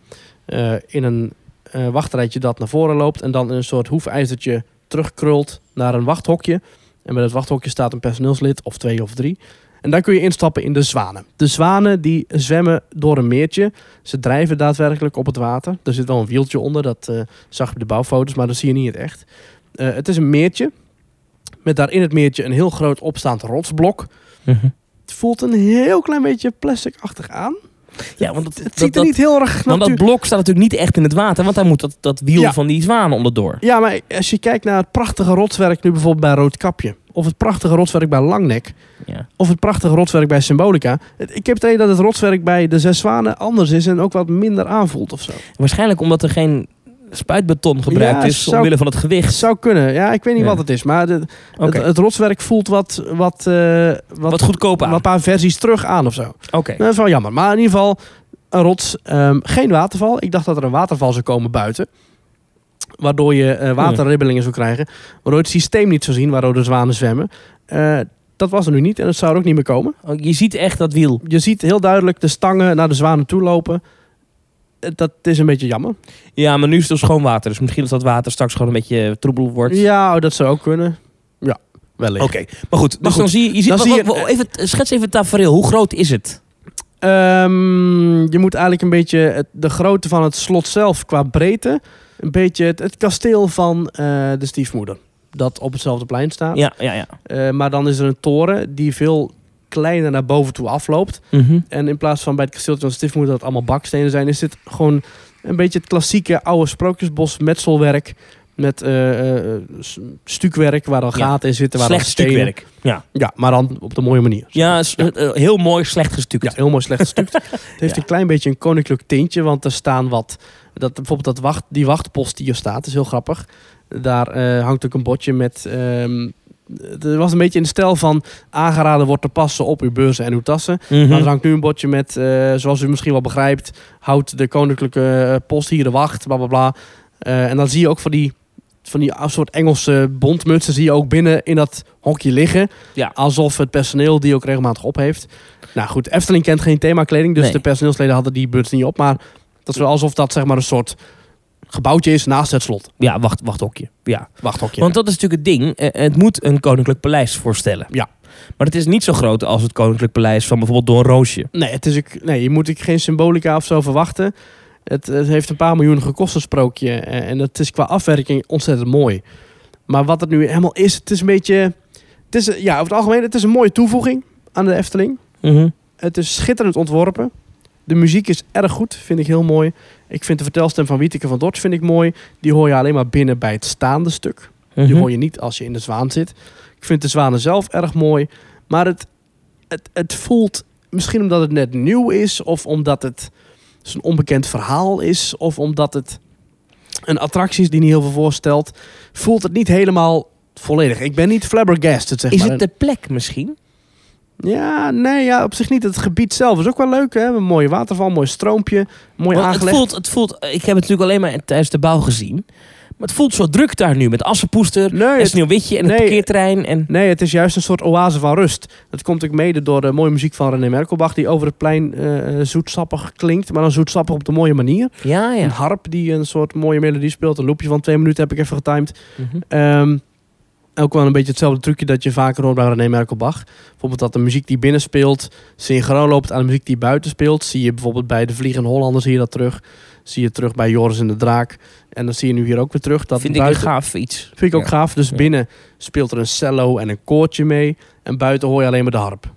Speaker 1: eh, in een eh, wachtrijtje dat naar voren loopt. En dan in een soort hoefijzertje terugkrult naar een wachthokje. En bij dat wachthokje staat een personeelslid of twee of drie. En daar kun je instappen in de zwanen. De zwanen die zwemmen door een meertje. Ze drijven daadwerkelijk op het water. Er zit wel een wieltje onder, dat eh, zag je op de bouwfoto's, maar dat zie je niet in het echt. Eh, het is een meertje. Met daar in het meertje een heel groot opstaand rotsblok.
Speaker 2: Mhm.
Speaker 1: Het voelt een heel klein beetje plasticachtig aan.
Speaker 2: Ja, want het,
Speaker 1: Het ziet er niet heel erg
Speaker 2: Want dat
Speaker 1: natuurlijk...
Speaker 2: blok staat natuurlijk niet echt in het water, want daar moet dat, dat wiel
Speaker 1: Ja.
Speaker 2: van die zwanen onderdoor.
Speaker 1: Ja, maar als je kijkt naar het prachtige rotswerk nu bijvoorbeeld bij Roodkapje. Of het prachtige rotswerk bij Langnek.
Speaker 2: Ja.
Speaker 1: Of het prachtige rotswerk bij Symbolica. Het- Ik heb het idee dat het rotswerk bij de Zes Zwanen anders is en ook wat minder aanvoelt of zo.
Speaker 2: Waarschijnlijk omdat er geen spuitbeton gebruikt
Speaker 1: Ja,
Speaker 2: is
Speaker 1: zou-
Speaker 2: omwille van het gewicht.
Speaker 1: zou kunnen. Ja, ik weet niet
Speaker 2: Ja.
Speaker 1: wat het is. Maar de-
Speaker 2: Oké.
Speaker 1: het, het rotswerk voelt wat, wat, eh, wat,
Speaker 2: Wat goedkoop aan.
Speaker 1: een paar versies terug aan of zo.
Speaker 2: Oké.
Speaker 1: Nou, Dat is wel jammer. Maar in ieder geval, een rots. ehm, geen waterval. Ik dacht dat er een waterval zou komen buiten. Waardoor je eh, waterribbelingen zou krijgen. Waardoor het systeem niet zou zien waardoor de zwanen zwemmen. Eh, dat was er nu niet en het zou er ook niet meer komen.
Speaker 2: Oh, Je ziet echt dat wiel.
Speaker 1: Je ziet heel duidelijk de stangen naar de zwanen toe lopen. Eh, Dat is een beetje jammer.
Speaker 2: Ja, maar nu is het dus schoon water. Dus misschien dat dat water straks gewoon een beetje troebel wordt.
Speaker 1: Ja, oh, dat zou ook kunnen. Ja, wellicht.
Speaker 2: Oké. Maar goed. Dus
Speaker 1: Maar goed,
Speaker 2: dan zie je... je, ziet,
Speaker 1: dan
Speaker 2: wat-
Speaker 1: zie je-
Speaker 2: wat- wat- even, schets even het tafereel. Hoe groot is het?
Speaker 1: Ehm, je moet eigenlijk een beetje het- de grootte van het slot zelf qua breedte. Een beetje het, het kasteel van eh, de stiefmoeder. Dat op hetzelfde plein staat.
Speaker 2: Ja, ja, ja.
Speaker 1: Eh, maar dan is er een toren die veel kleiner naar boven toe afloopt. En in plaats van bij het kasteeltje van de stiefmoeder dat allemaal bakstenen zijn, is dit gewoon een beetje het klassieke oude sprookjesbos metselwerk. Met eh, eh, s- stukwerk waar dan
Speaker 2: Ja.
Speaker 1: gaten in zitten. Waar dan
Speaker 2: Slecht
Speaker 1: stenen-
Speaker 2: stukwerk. Ja,
Speaker 1: Ja, maar dan op de mooie manier.
Speaker 2: ja, is, eh, eh, heel mooi slecht gestuukt.
Speaker 1: Ja, heel mooi slecht gestuukt. Het heeft
Speaker 2: Ja.
Speaker 1: een klein beetje een koninklijk tintje, want er staan wat... Dat, bijvoorbeeld dat wacht, die wachtpost die er staat, is heel grappig. Daar eh, hangt ook een bordje met... ehm, er was een beetje in de stijl van aangeraden wordt te passen op uw beurzen en uw tassen.
Speaker 2: Mhm.
Speaker 1: Maar Nou, er hangt nu een bordje met, eh, zoals u misschien wel begrijpt, houdt de koninklijke eh, post hier de wacht, bla bla bla. Eh, en dan zie je ook van die, van die ah, soort Engelse bondmutsen, zie je ook binnen in dat hokje liggen.
Speaker 2: Ja.
Speaker 1: Alsof het personeel die ook regelmatig op heeft. Nou goed, Efteling kent geen themakleding, dus
Speaker 2: Nee.
Speaker 1: de personeelsleden hadden die buts niet op. Maar dat is wel alsof dat zeg maar een soort gebouwtje is naast het slot.
Speaker 2: ja wacht, wacht hokje. Ja.
Speaker 1: Wachthokje.
Speaker 2: Want dat is natuurlijk het ding. Eh, Het moet een koninklijk paleis voorstellen.
Speaker 1: Ja.
Speaker 2: Maar het is niet zo groot als het koninklijk paleis van bijvoorbeeld Don Roosje.
Speaker 1: Nee, het is ook, nee, je moet ook geen symbolica of zo verwachten. Het, het heeft een paar miljoen gekost, een sprookje. Eh, En dat is qua afwerking ontzettend mooi. Maar wat het nu helemaal is, het is een beetje... Het is, ja, over het algemeen, het is een mooie toevoeging aan de Efteling. Het is schitterend ontworpen. De muziek is erg goed, vind ik heel mooi. Ik vind de vertelstem van Wieteke van Dort vind ik mooi. Die hoor je alleen maar binnen bij het staande stuk.
Speaker 2: Mhm.
Speaker 1: Die hoor je niet als je in de zwaan zit. Ik vind de zwanen zelf erg mooi. Maar het, het, het voelt misschien omdat het net nieuw is. Of omdat het zo'n onbekend verhaal is. Of omdat het een attractie is die niet heel veel voorstelt. Voelt het niet helemaal volledig. Ik ben niet flabbergasted, zeg
Speaker 2: Is
Speaker 1: maar.
Speaker 2: het de plek misschien?
Speaker 1: Ja, nee, ja, op zich niet. Het gebied zelf is ook wel leuk. Hè? Een mooie waterval, mooi stroompje. Mooi
Speaker 2: Want Oh, het
Speaker 1: aangelegd.
Speaker 2: voelt, het voelt, ik heb het natuurlijk alleen maar tijdens de bouw gezien. Maar het voelt zo druk daar nu. Met Assenpoester
Speaker 1: Nee,
Speaker 2: en
Speaker 1: het-
Speaker 2: Sneeuwwitje en het
Speaker 1: nee.
Speaker 2: parkeerterrein. En...
Speaker 1: Nee, het is juist een soort oase van rust. Dat komt ook mede door de mooie muziek van René Merkelbach... die over het plein eh, zoetsappig klinkt. Maar dan zoetsappig op de mooie manier.
Speaker 2: Ja,
Speaker 1: Een
Speaker 2: ja.
Speaker 1: harp die een soort mooie melodie speelt. Een loopje van twee minuten heb ik even getimed.
Speaker 2: Mhm.
Speaker 1: Ehm, ook wel een beetje hetzelfde trucje dat je vaker hoort bij René Merkelbach. Bijvoorbeeld dat de muziek die binnen speelt... synchroon loopt aan de muziek die buiten speelt. Zie je bijvoorbeeld bij De Vliegende Hollander zie je dat terug. Zie je terug bij Joris en de Draak. En dan zie je nu hier ook weer terug. Dat
Speaker 2: Vind
Speaker 1: buiten...
Speaker 2: ik een gaaf iets.
Speaker 1: Vind ik ook
Speaker 2: Ja.
Speaker 1: gaaf. Dus
Speaker 2: Ja.
Speaker 1: binnen speelt er een cello en een koortje mee. En buiten hoor je alleen maar de harp.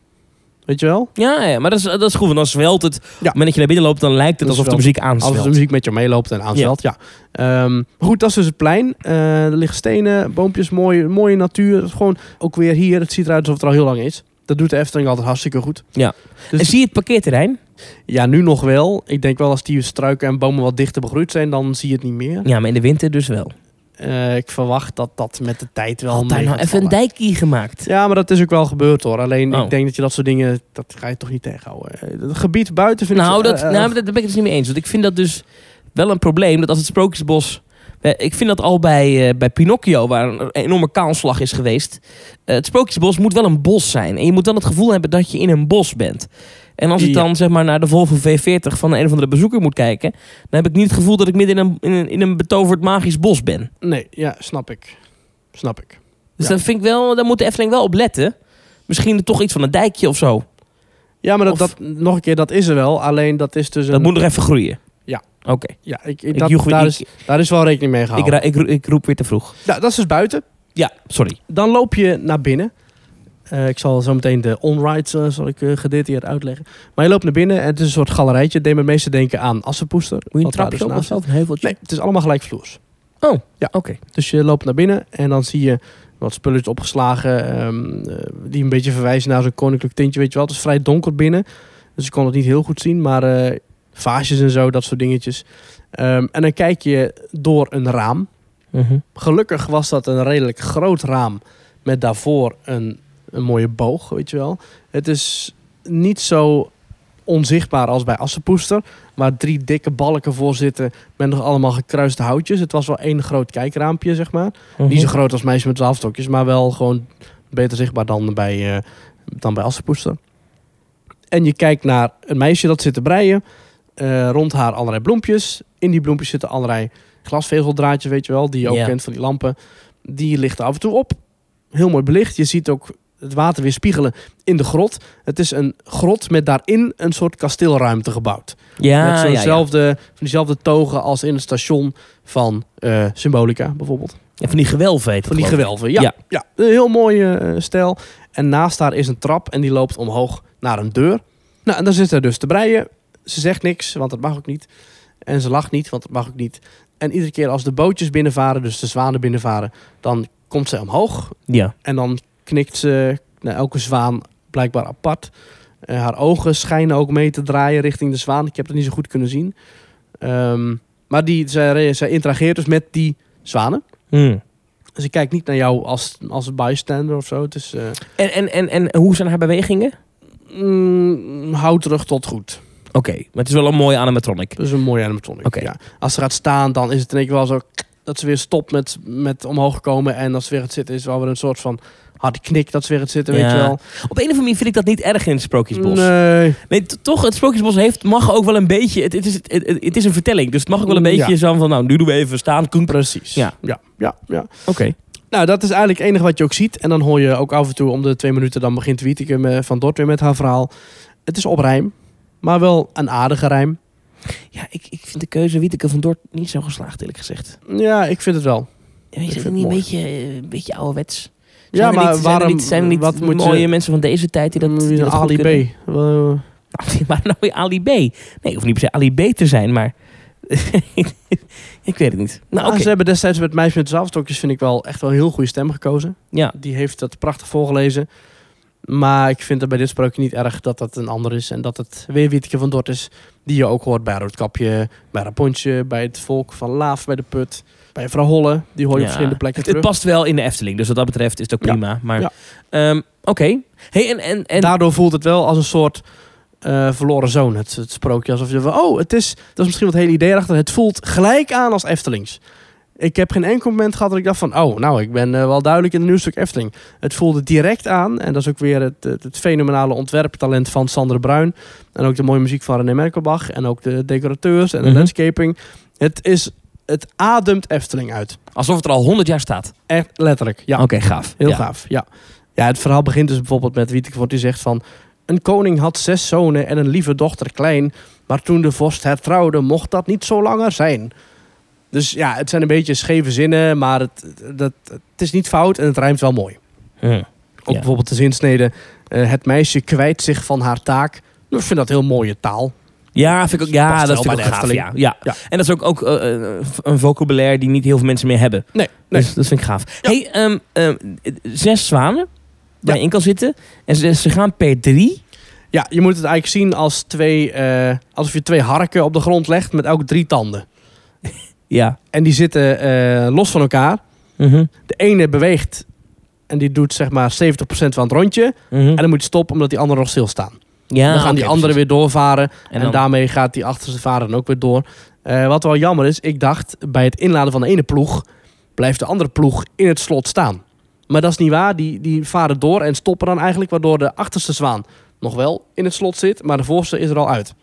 Speaker 1: Weet je wel?
Speaker 2: Ja, ja, maar dat is, dat is goed. Want dan zwelt het. Op het moment dat je naar binnen loopt, dan lijkt
Speaker 1: Dat
Speaker 2: het
Speaker 1: is
Speaker 2: alsof de
Speaker 1: wel-
Speaker 2: muziek aanzwelt.
Speaker 1: Als de muziek met je meeloopt en aanzwelt, ja. Ehm, maar goed, dat is dus het plein. Eh, er liggen stenen, boompjes, mooie, mooie natuur. Het is gewoon ook weer hier. Het ziet eruit alsof het er al heel lang is. Dat doet de Efteling altijd hartstikke goed.
Speaker 2: Ja.
Speaker 1: Dus
Speaker 2: En zie je het parkeerterrein?
Speaker 1: ja, nu nog wel. Ik denk wel als die struiken en bomen wat dichter begroeid zijn, dan zie je het niet meer.
Speaker 2: Ja, maar in de winter dus wel.
Speaker 1: Eh, ik verwacht dat dat met de tijd wel
Speaker 2: Had daar
Speaker 1: mee
Speaker 2: nou
Speaker 1: gaat
Speaker 2: even een
Speaker 1: vallen.
Speaker 2: dijkie gemaakt?
Speaker 1: Ja, maar dat is ook wel gebeurd hoor. Alleen
Speaker 2: Oh.
Speaker 1: ik denk dat je dat soort dingen, dat ga je toch niet tegenhouden. Eh, Het gebied buiten vind
Speaker 2: Nou,
Speaker 1: ik...
Speaker 2: dat,
Speaker 1: eh,
Speaker 2: nou, dat daar ben ik het dus niet mee eens. Want ik vind dat dus wel een probleem. Dat als het Sprookjesbos... eh, Ik vind dat al bij, eh, bij Pinocchio, waar een enorme kaalslag is geweest. eh, Het Sprookjesbos moet wel een bos zijn. En je moet dan het gevoel hebben dat je in een bos bent. En als ik
Speaker 1: Ja.
Speaker 2: dan zeg maar naar de Volvo V40 van een of andere bezoeker moet kijken... dan heb ik niet het gevoel dat ik midden in een, in een, in een betoverd magisch bos ben.
Speaker 1: nee, ja, snap ik. Snap ik.
Speaker 2: Dus
Speaker 1: Ja.
Speaker 2: dat vind ik wel, daar moet de Efteling wel op letten. Misschien toch iets van een dijkje of zo.
Speaker 1: Ja, maar dat,
Speaker 2: Of-
Speaker 1: dat, nog een keer, dat is er wel. Alleen dat is dus een...
Speaker 2: Dat moet nog even groeien.
Speaker 1: Ja.
Speaker 2: Oké.
Speaker 1: Ja, ik, ik-
Speaker 2: Ik,
Speaker 1: dat,
Speaker 2: joeg weer-
Speaker 1: daar,
Speaker 2: ik-
Speaker 1: is, daar is wel rekening mee
Speaker 2: ik,
Speaker 1: gehouden.
Speaker 2: ra- ik, roe- ik roep weer te vroeg.
Speaker 1: Nou, dat is dus buiten.
Speaker 2: Ja, sorry.
Speaker 1: Dan loop je naar binnen. Eh, ik zal zo meteen de on-rides eh, zal ik eh, gedetailleerd uitleggen. Maar je loopt naar binnen en het is een soort galerijtje. Het deed me het meeste denken aan Assenpoester.
Speaker 2: Moet je een
Speaker 1: wat daar
Speaker 2: trapje op
Speaker 1: dus naast
Speaker 2: of zo? Of een heuveltje?
Speaker 1: Nee, het is allemaal gelijkvloers.
Speaker 2: Oké.
Speaker 1: Dus je loopt naar binnen en dan zie je wat spulletjes opgeslagen. ehm, eh, die een beetje verwijzen naar zo'n koninklijk tintje. Weet je wel, het is vrij donker binnen. Dus ik kon het niet heel goed zien. Maar eh vaasjes en zo, dat soort dingetjes. Ehm, en dan kijk je door een raam.
Speaker 2: Mhm.
Speaker 1: Gelukkig was dat een redelijk groot raam. Met daarvoor een, een mooie boog, weet je wel. Het is niet zo onzichtbaar als bij Assenpoester. Waar drie dikke balken voor zitten met nog allemaal gekruiste houtjes. Het was wel één groot kijkraampje, zeg maar.
Speaker 2: Mhm.
Speaker 1: Niet zo groot als meisje met zwavelstokjes, maar wel gewoon beter zichtbaar dan bij, eh, dan bij Assenpoester. En je kijkt naar een meisje dat zit te breien. Eh, rond haar allerlei bloempjes. In die bloempjes zitten allerlei glasvezeldraadjes, weet je wel. Die je ook
Speaker 2: Ja.
Speaker 1: kent van die lampen. Die lichten af en toe op. Heel mooi belicht. Je ziet ook het water weer spiegelen in de grot. Het is een grot met daarin een soort kasteelruimte gebouwd met
Speaker 2: Ah, Ja, ja, ja.
Speaker 1: zo'nzelfde, van diezelfde togen als in het station van eh, Symbolica bijvoorbeeld.
Speaker 2: En van die gewelven heet het,
Speaker 1: Van die
Speaker 2: geloof ik.
Speaker 1: gewelven, ja. ja. Een heel mooie eh, stijl. En naast haar is een trap en die loopt omhoog naar een deur. Nou, en daar zit zij dus te breien. Ze zegt niks, want dat mag ook niet. En ze lacht niet, want dat mag ook niet. En iedere keer als de bootjes binnenvaren, dus de zwanen binnenvaren, dan komt zij omhoog.
Speaker 2: Ja.
Speaker 1: En dan knikt ze naar elke zwaan blijkbaar apart. Eh, haar ogen schijnen ook mee te draaien richting de zwaan. Ik heb dat niet zo goed kunnen zien. Ehm, maar die, zij, re- zij interageert dus met die zwanen.
Speaker 2: Hmm.
Speaker 1: Ze kijkt Dus niet naar jou als, als een bystander of zo. Het is eh,
Speaker 2: En, en, en, en hoe zijn haar bewegingen?
Speaker 1: mm, houterig tot goed.
Speaker 2: Oké, maar het is wel een mooie animatronic.
Speaker 1: Dat is een mooie animatronic.
Speaker 2: Oké.
Speaker 1: Ja. Als ze gaat staan, dan is het in één keer wel zo... dat ze weer stopt met, met omhoog komen. En als ze weer gaat zitten, is het wel weer een soort van harde knik dat ze weer gaat zitten, weet
Speaker 2: Ja.
Speaker 1: je wel.
Speaker 2: Op een of andere manier vind ik dat niet erg in het Sprookjesbos. [laughs]
Speaker 1: Nee.
Speaker 2: Nee, t- toch, het Sprookjesbos heeft, mag ook wel een beetje... Het, het, is, het, het- het is een vertelling, dus het mag ook wel een
Speaker 1: Ja.
Speaker 2: beetje zo van... Nou, nu doen we even staan. Oké.
Speaker 1: Precies.
Speaker 2: Ja.
Speaker 1: Ja, ja, ja. Nou, dat is eigenlijk het enige wat je ook ziet. En dan hoor je ook af en toe om de twee minuten... dan begint Wieteke eh, van Dort weer met haar verhaal. Het is op rijm, maar wel een aardige rijm.
Speaker 2: Ja, ik, ik vind de keuze Wieteke van Dort niet zo geslaagd, eerlijk gezegd.
Speaker 1: Ja, ik vind het wel.
Speaker 2: Ja, is
Speaker 1: vind
Speaker 2: het
Speaker 1: het
Speaker 2: niet een
Speaker 1: mooi.
Speaker 2: beetje, eh, een beetje ouderwets?
Speaker 1: ja,
Speaker 2: er
Speaker 1: maar
Speaker 2: niet,
Speaker 1: waarom...
Speaker 2: Zijn er niet, zijn er niet
Speaker 1: wat moet
Speaker 2: mooie
Speaker 1: je...
Speaker 2: mensen van deze tijd die dat, die dat goed
Speaker 1: Ali B.
Speaker 2: kunnen? [laughs]
Speaker 1: Eh,
Speaker 2: Nou, maar nou weer Ali B. Nee, het hoeft niet per se Ali B te zijn, maar... [laughs] ik weet het niet. Nou,
Speaker 1: ah,
Speaker 2: oké.
Speaker 1: Ze hebben destijds met Meisje met Zaalstokjes... vind ik wel echt wel een heel goede stem gekozen.
Speaker 2: Ja.
Speaker 1: Die heeft dat prachtig voorgelezen. Maar ik vind het bij dit sprookje niet erg dat dat een ander is. En dat het weer Wietke van Dort is. Die je ook hoort bij Roodkapje, bij Rapontje, bij het volk van Laaf, bij de Put. Bij Vrouw Holle, die hoor je op
Speaker 2: Ja.
Speaker 1: verschillende plekken
Speaker 2: Het, het
Speaker 1: terug.
Speaker 2: past wel in de Efteling, dus wat dat betreft is het ook
Speaker 1: Ja.
Speaker 2: prima. Maar,
Speaker 1: Ja.
Speaker 2: ehm, oké. Hey, en, en, en
Speaker 1: Daardoor voelt het wel als een soort eh, verloren zoon, het, het sprookje. Alsof je van, oh, het is, dat is misschien wat het hele idee erachter. Het voelt gelijk aan als Eftelings. Ik heb geen enkel moment gehad dat ik dacht van, oh, nou, ik ben eh, wel duidelijk in een nieuw stuk Efteling. Het voelde direct aan. En dat is ook weer het, het, het fenomenale ontwerptalent van Sander Bruin. En ook de mooie muziek van René Merkelbach. En ook de decorateurs en de
Speaker 2: Mhm.
Speaker 1: landscaping. Het, is, het ademt Efteling uit.
Speaker 2: alsof het er al honderd jaar staat.
Speaker 1: Echt letterlijk, ja.
Speaker 2: Oké, gaaf.
Speaker 1: Heel
Speaker 2: Ja.
Speaker 1: gaaf, ja. Ja, het verhaal begint dus bijvoorbeeld met Wieteke Vond die zegt van... Een koning had zes zonen en een lieve dochter klein... maar toen de vorst hertrouwde mocht dat niet zo langer zijn. Dus ja, het zijn een beetje scheve zinnen... maar het, dat, het is niet fout en het rijmt wel mooi.
Speaker 2: Hm.
Speaker 1: Ook
Speaker 2: Ja.
Speaker 1: bijvoorbeeld de zinsnede... eh, het meisje kwijt zich van haar taak. Nou, ik vind dat heel mooie taal.
Speaker 2: Ja, vind ik ook, ja
Speaker 1: Past
Speaker 2: dat
Speaker 1: wel
Speaker 2: vind ik
Speaker 1: bij
Speaker 2: ook
Speaker 1: de
Speaker 2: gaaf.
Speaker 1: Efteling.
Speaker 2: Ja, ja.
Speaker 1: Ja.
Speaker 2: En dat is ook, ook eh, eh, een vocabulaire die niet heel veel mensen meer hebben.
Speaker 1: Nee, nee.
Speaker 2: Dus dat vind ik gaaf.
Speaker 1: Ja.
Speaker 2: Hey, ehm, ehm, zes zwanen waar je in kan zitten. En ze, ze gaan per drie.
Speaker 1: Ja, je moet het eigenlijk zien als twee... eh, alsof je twee harken op de grond legt met elk drie tanden.
Speaker 2: Ja.
Speaker 1: En die zitten eh, los van elkaar...
Speaker 2: Mhm.
Speaker 1: De ene beweegt en die doet zeg maar 70% van het rondje.
Speaker 2: Mhm.
Speaker 1: En dan moet je stoppen omdat die andere nog stilstaan.
Speaker 2: ja,
Speaker 1: dan gaan die
Speaker 2: Ah, oké,
Speaker 1: anderen
Speaker 2: precies.
Speaker 1: weer doorvaren. En,
Speaker 2: En dan,
Speaker 1: daarmee gaat die achterste vader dan ook weer door. Eh, wat wel jammer is, ik dacht bij het inladen van de ene ploeg... blijft de andere ploeg in het slot staan. Maar dat is niet waar. Die, die varen door en stoppen dan eigenlijk... waardoor de achterste zwaan nog wel in het slot zit... maar de voorste is er al uit.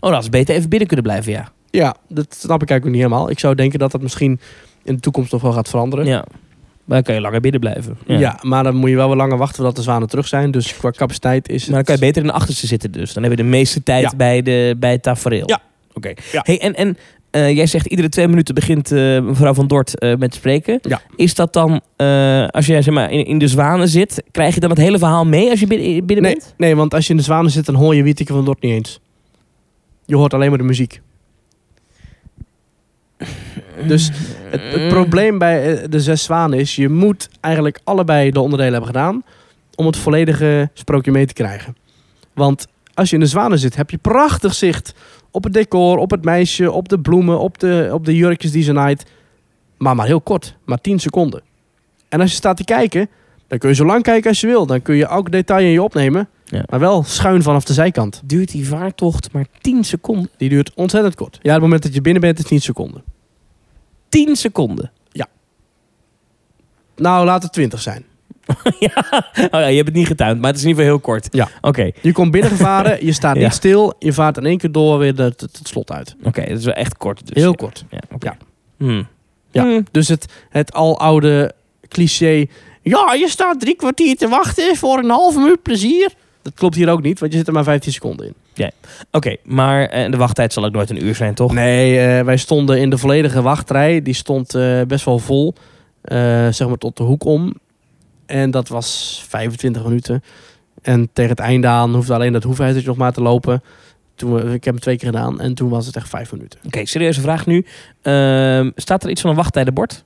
Speaker 2: oh, dat is beter even binnen kunnen blijven, ja.
Speaker 1: Ja, dat snap ik eigenlijk ook niet helemaal. Ik zou denken dat dat misschien in de toekomst nog wel gaat veranderen.
Speaker 2: ja. Maar dan kan je langer binnen blijven.
Speaker 1: Ja. maar dan moet je wel weer langer wachten voordat de zwanen terug zijn. Dus qua capaciteit is het...
Speaker 2: Maar dan kan je beter in de achterste zitten dus. Dan heb je de meeste tijd
Speaker 1: Ja.
Speaker 2: bij, de, bij het tafereel.
Speaker 1: Ja.
Speaker 2: Oké.
Speaker 1: Ja.
Speaker 2: Hey, en en eh, jij zegt iedere twee minuten begint eh, mevrouw Van Dort eh, met spreken.
Speaker 1: Ja.
Speaker 2: Is dat dan, eh, als jij zeg maar, in, in de zwanen zit, krijg je dan het hele verhaal mee als je binnen, binnen
Speaker 1: nee,
Speaker 2: bent?
Speaker 1: nee, want als je in de zwanen zit, dan hoor je Wieteke van Dort niet eens. Je hoort alleen maar de muziek. Dus het, het probleem bij eh, de zes zwanen is... je moet eigenlijk allebei de onderdelen hebben gedaan... om het volledige sprookje mee te krijgen. Want als je in de zwanen zit, heb je prachtig zicht... op het decor, op het meisje, op de bloemen... op de, op de jurkjes die ze naait. Maar maar heel kort, maar 10 seconden. En als je staat te kijken, dan kun je zo lang kijken als je wil. Dan kun je elk detail in je opnemen...
Speaker 2: Ja.
Speaker 1: maar wel schuin vanaf de zijkant.
Speaker 2: Duurt die vaartocht maar 10 seconden?
Speaker 1: Die duurt ontzettend kort. Ja, het moment dat je binnen bent is 10 seconden.
Speaker 2: 10 seconden. [laughs]
Speaker 1: Nou, laat het 20 zijn.
Speaker 2: ja. Oh ja, je hebt het niet getuind, maar het is in ieder geval heel kort.
Speaker 1: Ja.
Speaker 2: Oké,
Speaker 1: Je komt
Speaker 2: [laughs]
Speaker 1: binnengevaren, je staat
Speaker 2: Ja.
Speaker 1: niet stil, je vaart in één keer door weer het, het, het slot uit.
Speaker 2: oké, dat is wel echt kort. Dus.
Speaker 1: Heel kort.
Speaker 2: Ja. oké.
Speaker 1: Ja.
Speaker 2: Hmm.
Speaker 1: Ja.
Speaker 2: Hmm.
Speaker 1: Dus het, het aloude cliché, ja, je staat drie kwartier te wachten voor een half uur plezier. Dat klopt hier ook niet, want je zit er maar 15 seconden in.
Speaker 2: Oké, maar eh, de wachttijd zal ook nooit een uur zijn, toch?
Speaker 1: Nee, eh, wij stonden in de volledige wachtrij. Die stond eh, best wel vol, eh, zeg maar tot de hoek om. En dat was 25 minuten. En tegen het einde aan hoefde alleen dat hoefijzertje nog maar te lopen. Toen we, ik heb hem twee keer gedaan en toen was het echt vijf minuten.
Speaker 2: Oké, serieuze vraag nu. Ehm, staat er iets van een wachttijdenbord?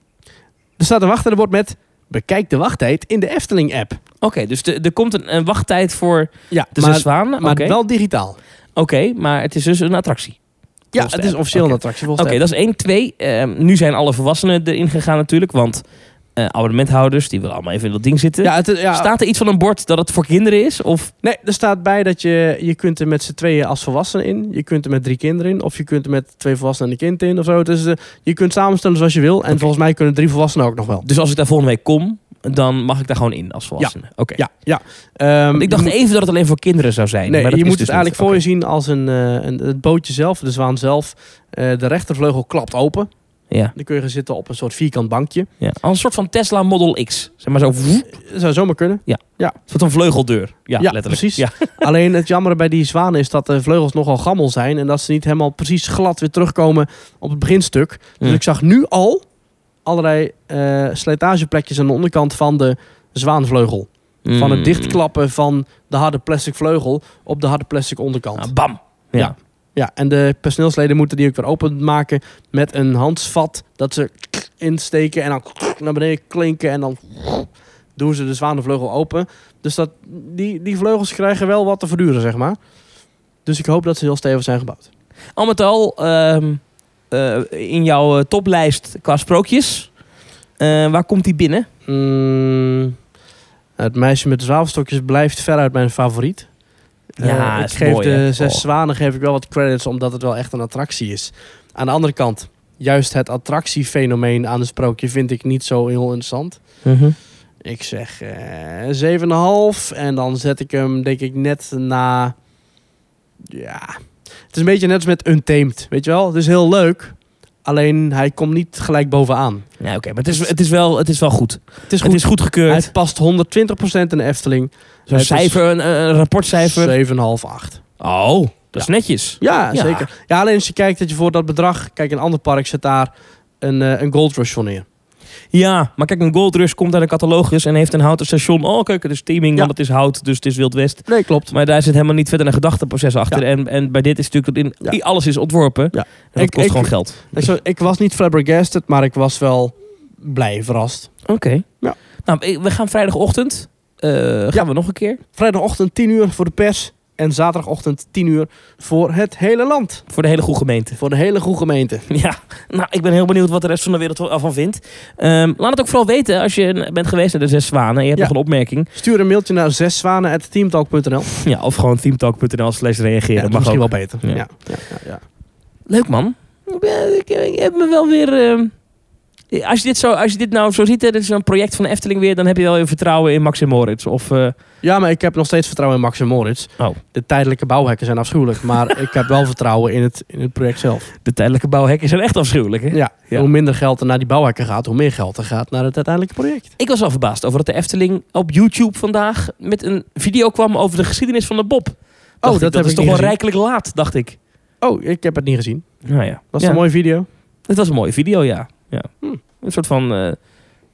Speaker 1: Er staat een wachttijdbord met... Bekijk de wachttijd in de Efteling-app.
Speaker 2: Oké, dus de- er komt een, een wachttijd voor
Speaker 1: Ja,
Speaker 2: de
Speaker 1: maar,
Speaker 2: Zes Zwanen.
Speaker 1: maar
Speaker 2: Oké,
Speaker 1: Dus wel digitaal.
Speaker 2: Oké, maar het is dus een attractie.
Speaker 1: Ja,
Speaker 2: de
Speaker 1: het is
Speaker 2: app.
Speaker 1: officieel
Speaker 2: Oké.
Speaker 1: een attractie volgens
Speaker 2: Oké,
Speaker 1: de app.
Speaker 2: dat is één. Twee, ehm, nu zijn alle volwassenen erin gegaan natuurlijk. Want eh, abonnementhouders, die willen allemaal even in dat ding zitten.
Speaker 1: Ja, het, is- ja,
Speaker 2: Staat er iets van een bord dat het voor kinderen is? Of,
Speaker 1: Nee, er staat bij dat je, je kunt er met z'n tweeën als volwassenen in. Je kunt er met drie kinderen in. Of je kunt er met twee volwassenen en een kind in of zo. Dus eh, je kunt samenstellen zoals je wil. En volgens mij kunnen drie volwassenen ook nog wel.
Speaker 2: dus als ik daar volgende week kom, dan mag ik daar gewoon in als volwassene? Oké.
Speaker 1: Ja, ja. Ehm,
Speaker 2: Want Ik dacht
Speaker 1: je moet-
Speaker 2: even dat het alleen voor kinderen zou zijn.
Speaker 1: Nee,
Speaker 2: maar
Speaker 1: je
Speaker 2: dat
Speaker 1: moet
Speaker 2: is
Speaker 1: het
Speaker 2: dus
Speaker 1: eigenlijk
Speaker 2: niet.
Speaker 1: voor je zien als een, eh, een, het bootje zelf, de zwaan zelf. Eh, de rechtervleugel klapt open.
Speaker 2: Oké. Ja.
Speaker 1: Dan kun je gaan zitten op een soort vierkant bankje.
Speaker 2: ja. Als een soort van Tesla Model X. Zeg maar zo. woep, Een
Speaker 1: Dat zou zomaar kunnen.
Speaker 2: soort van vleugeldeur.
Speaker 1: Ja,
Speaker 2: Ja, letterlijk.
Speaker 1: precies.
Speaker 2: Ja.
Speaker 1: Alleen het jammere bij die zwanen is dat de vleugels nogal gammel zijn. En dat ze niet helemaal precies glad weer terugkomen op het beginstuk. Dus
Speaker 2: Ja.
Speaker 1: ik zag nu al allerlei eh, slijtageplekjes aan de onderkant van de zwaanvleugel. Van het
Speaker 2: Mm.
Speaker 1: dichtklappen van de harde plastic vleugel op de harde plastic onderkant.
Speaker 2: Ah, bam. Ja.
Speaker 1: Ja. Ja, en de personeelsleden moeten die ook weer openmaken met een handsvat. Dat ze insteken en dan naar beneden klinken en dan doen ze de zwanenvleugel open. Dus dat, die, die vleugels krijgen wel wat te verduren, zeg maar. Dus ik hoop dat ze heel stevig zijn gebouwd.
Speaker 2: Al met al, ehm, eh, in jouw eh, toplijst qua sprookjes, eh, waar komt die binnen?
Speaker 1: Mm, het meisje met de zwavelstokjes blijft veruit mijn favoriet.
Speaker 2: Ja,
Speaker 1: Eh, ik
Speaker 2: is
Speaker 1: geef
Speaker 2: mooi,
Speaker 1: de
Speaker 2: hè?
Speaker 1: zes
Speaker 2: Oh.
Speaker 1: zwanen geef ik wel wat credits, omdat het wel echt een attractie is. Aan de andere kant, juist het attractiefenomeen aan het sprookje vind ik niet zo heel interessant.
Speaker 2: Mhm.
Speaker 1: Ik zeg eh 7,5. En dan zet ik hem, denk ik, net na. Ja. Het is een beetje net als met Untamed. Weet je wel? Het is heel leuk. Alleen hij komt niet gelijk bovenaan.
Speaker 2: Ja, oké, maar het is, het, is wel, het is wel goed.
Speaker 1: Het is
Speaker 2: Het
Speaker 1: goed.
Speaker 2: is goedgekeurd.
Speaker 1: hij past 120% in de Efteling.
Speaker 2: Zo'n
Speaker 1: het is-
Speaker 2: cijfer, een, een rapportcijfer.
Speaker 1: 7,5, 8.
Speaker 2: Oh, dat is netjes.
Speaker 1: Ja,
Speaker 2: Ja.
Speaker 1: zeker. Ja, alleen als je kijkt dat je voor dat bedrag. Kijk, een ander park zet daar een, eh, een Gold Rush voor neer.
Speaker 2: Ja, maar kijk, een Gold Rush komt uit de catalogus en heeft een houten station. Oh, kijk, het is teaming,
Speaker 1: Ja.
Speaker 2: want het is hout, dus het is Wild West.
Speaker 1: Nee, klopt.
Speaker 2: Maar daar zit helemaal niet verder een gedachteproces achter.
Speaker 1: Ja.
Speaker 2: En, en bij dit is natuurlijk dat in,
Speaker 1: Ja.
Speaker 2: die alles is ontworpen.
Speaker 1: Ja.
Speaker 2: En dat
Speaker 1: Ik-
Speaker 2: kost
Speaker 1: ik-
Speaker 2: gewoon geld.
Speaker 1: Ik, zou- ik was niet flabbergasted, maar ik was wel blij verrast.
Speaker 2: Oké.
Speaker 1: Ja.
Speaker 2: Nou, ik- we gaan vrijdagochtend. eh, gaan we nog een keer?
Speaker 1: Vrijdagochtend 10 uur voor de pers. En zaterdagochtend 10 uur voor het hele land.
Speaker 2: Voor de hele goede gemeente. [laughs]
Speaker 1: Voor de hele goede gemeente.
Speaker 2: Ja, nou, ik ben heel benieuwd wat de rest van de wereld ervan vindt. Ehm, laat het ook vooral weten als je bent geweest naar de Zes Zwanen en je hebt
Speaker 1: Ja.
Speaker 2: nog een opmerking.
Speaker 1: Stuur een mailtje naar zeszwanen.teamtalk.nl.
Speaker 2: Ja, of gewoon teamtalk.nl slash reageren.
Speaker 1: dat is
Speaker 2: mag
Speaker 1: misschien
Speaker 2: ook.
Speaker 1: wel beter.
Speaker 2: Ja.
Speaker 1: Ja. Ja, ja, ja.
Speaker 2: Leuk man. Ik, ben- ik, ik heb me wel weer... ehm, als, je dit zo, als je dit nou zo ziet, hè, dit is een project van de Efteling weer... dan heb je wel weer vertrouwen in Max en Moritz. Of, eh,
Speaker 1: Ja, maar ik heb nog steeds vertrouwen in Max en Moritz.
Speaker 2: Oh.
Speaker 1: De tijdelijke bouwhekken zijn afschuwelijk. [laughs] Maar ik heb wel vertrouwen in het, in het project zelf.
Speaker 2: de tijdelijke bouwhekken zijn echt afschuwelijk. Hè?
Speaker 1: Ja.
Speaker 2: Ja.
Speaker 1: Hoe minder geld er naar die bouwhekken gaat, hoe meer geld er gaat naar het uiteindelijke project.
Speaker 2: Ik was wel verbaasd over dat de Efteling op YouTube vandaag... met een video kwam over de geschiedenis van de Bob. Dacht ik,
Speaker 1: Oh, dat heb
Speaker 2: is
Speaker 1: ik niet
Speaker 2: toch wel
Speaker 1: gezien.
Speaker 2: rijkelijk laat, dacht ik.
Speaker 1: Oh, ik heb het niet gezien.
Speaker 2: Nou ja.
Speaker 1: Was
Speaker 2: ja.
Speaker 1: een mooie video?
Speaker 2: Het was een mooie video, ja. ja.
Speaker 1: Hm.
Speaker 2: Een soort van eh,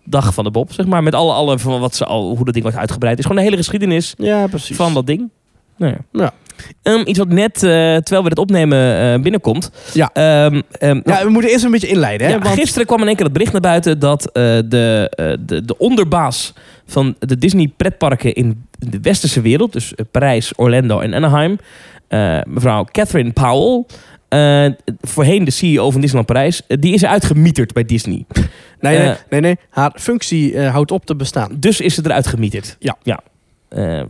Speaker 2: dag van de Bob, zeg maar. Met alle, alle van wat ze al, hoe dat ding was uitgebreid. is gewoon de hele geschiedenis
Speaker 1: Ja, precies.
Speaker 2: van dat ding. Nou ja.
Speaker 1: Ja.
Speaker 2: Ehm, iets wat net, eh, terwijl we dit opnemen, eh, binnenkomt.
Speaker 1: Ja.
Speaker 2: Ehm, ehm, nou,
Speaker 1: Ja, we moeten eerst een beetje inleiden. Hè?
Speaker 2: ja,
Speaker 1: want...
Speaker 2: Gisteren kwam in één keer het bericht naar buiten dat eh, de, eh, de, de onderbaas van de Disney pretparken in de westerse wereld, dus eh, Parijs, Orlando en Anaheim, eh, mevrouw Catherine Powell, eh, voorheen de CEO van Disneyland Parijs, eh, die is uitgemieterd bij Disney.
Speaker 1: Nee, nee,
Speaker 2: Eh.
Speaker 1: nee, nee. Haar functie eh, houdt op te bestaan.
Speaker 2: Dus is ze eruit gemieterd.
Speaker 1: Ja.
Speaker 2: ja. Eh,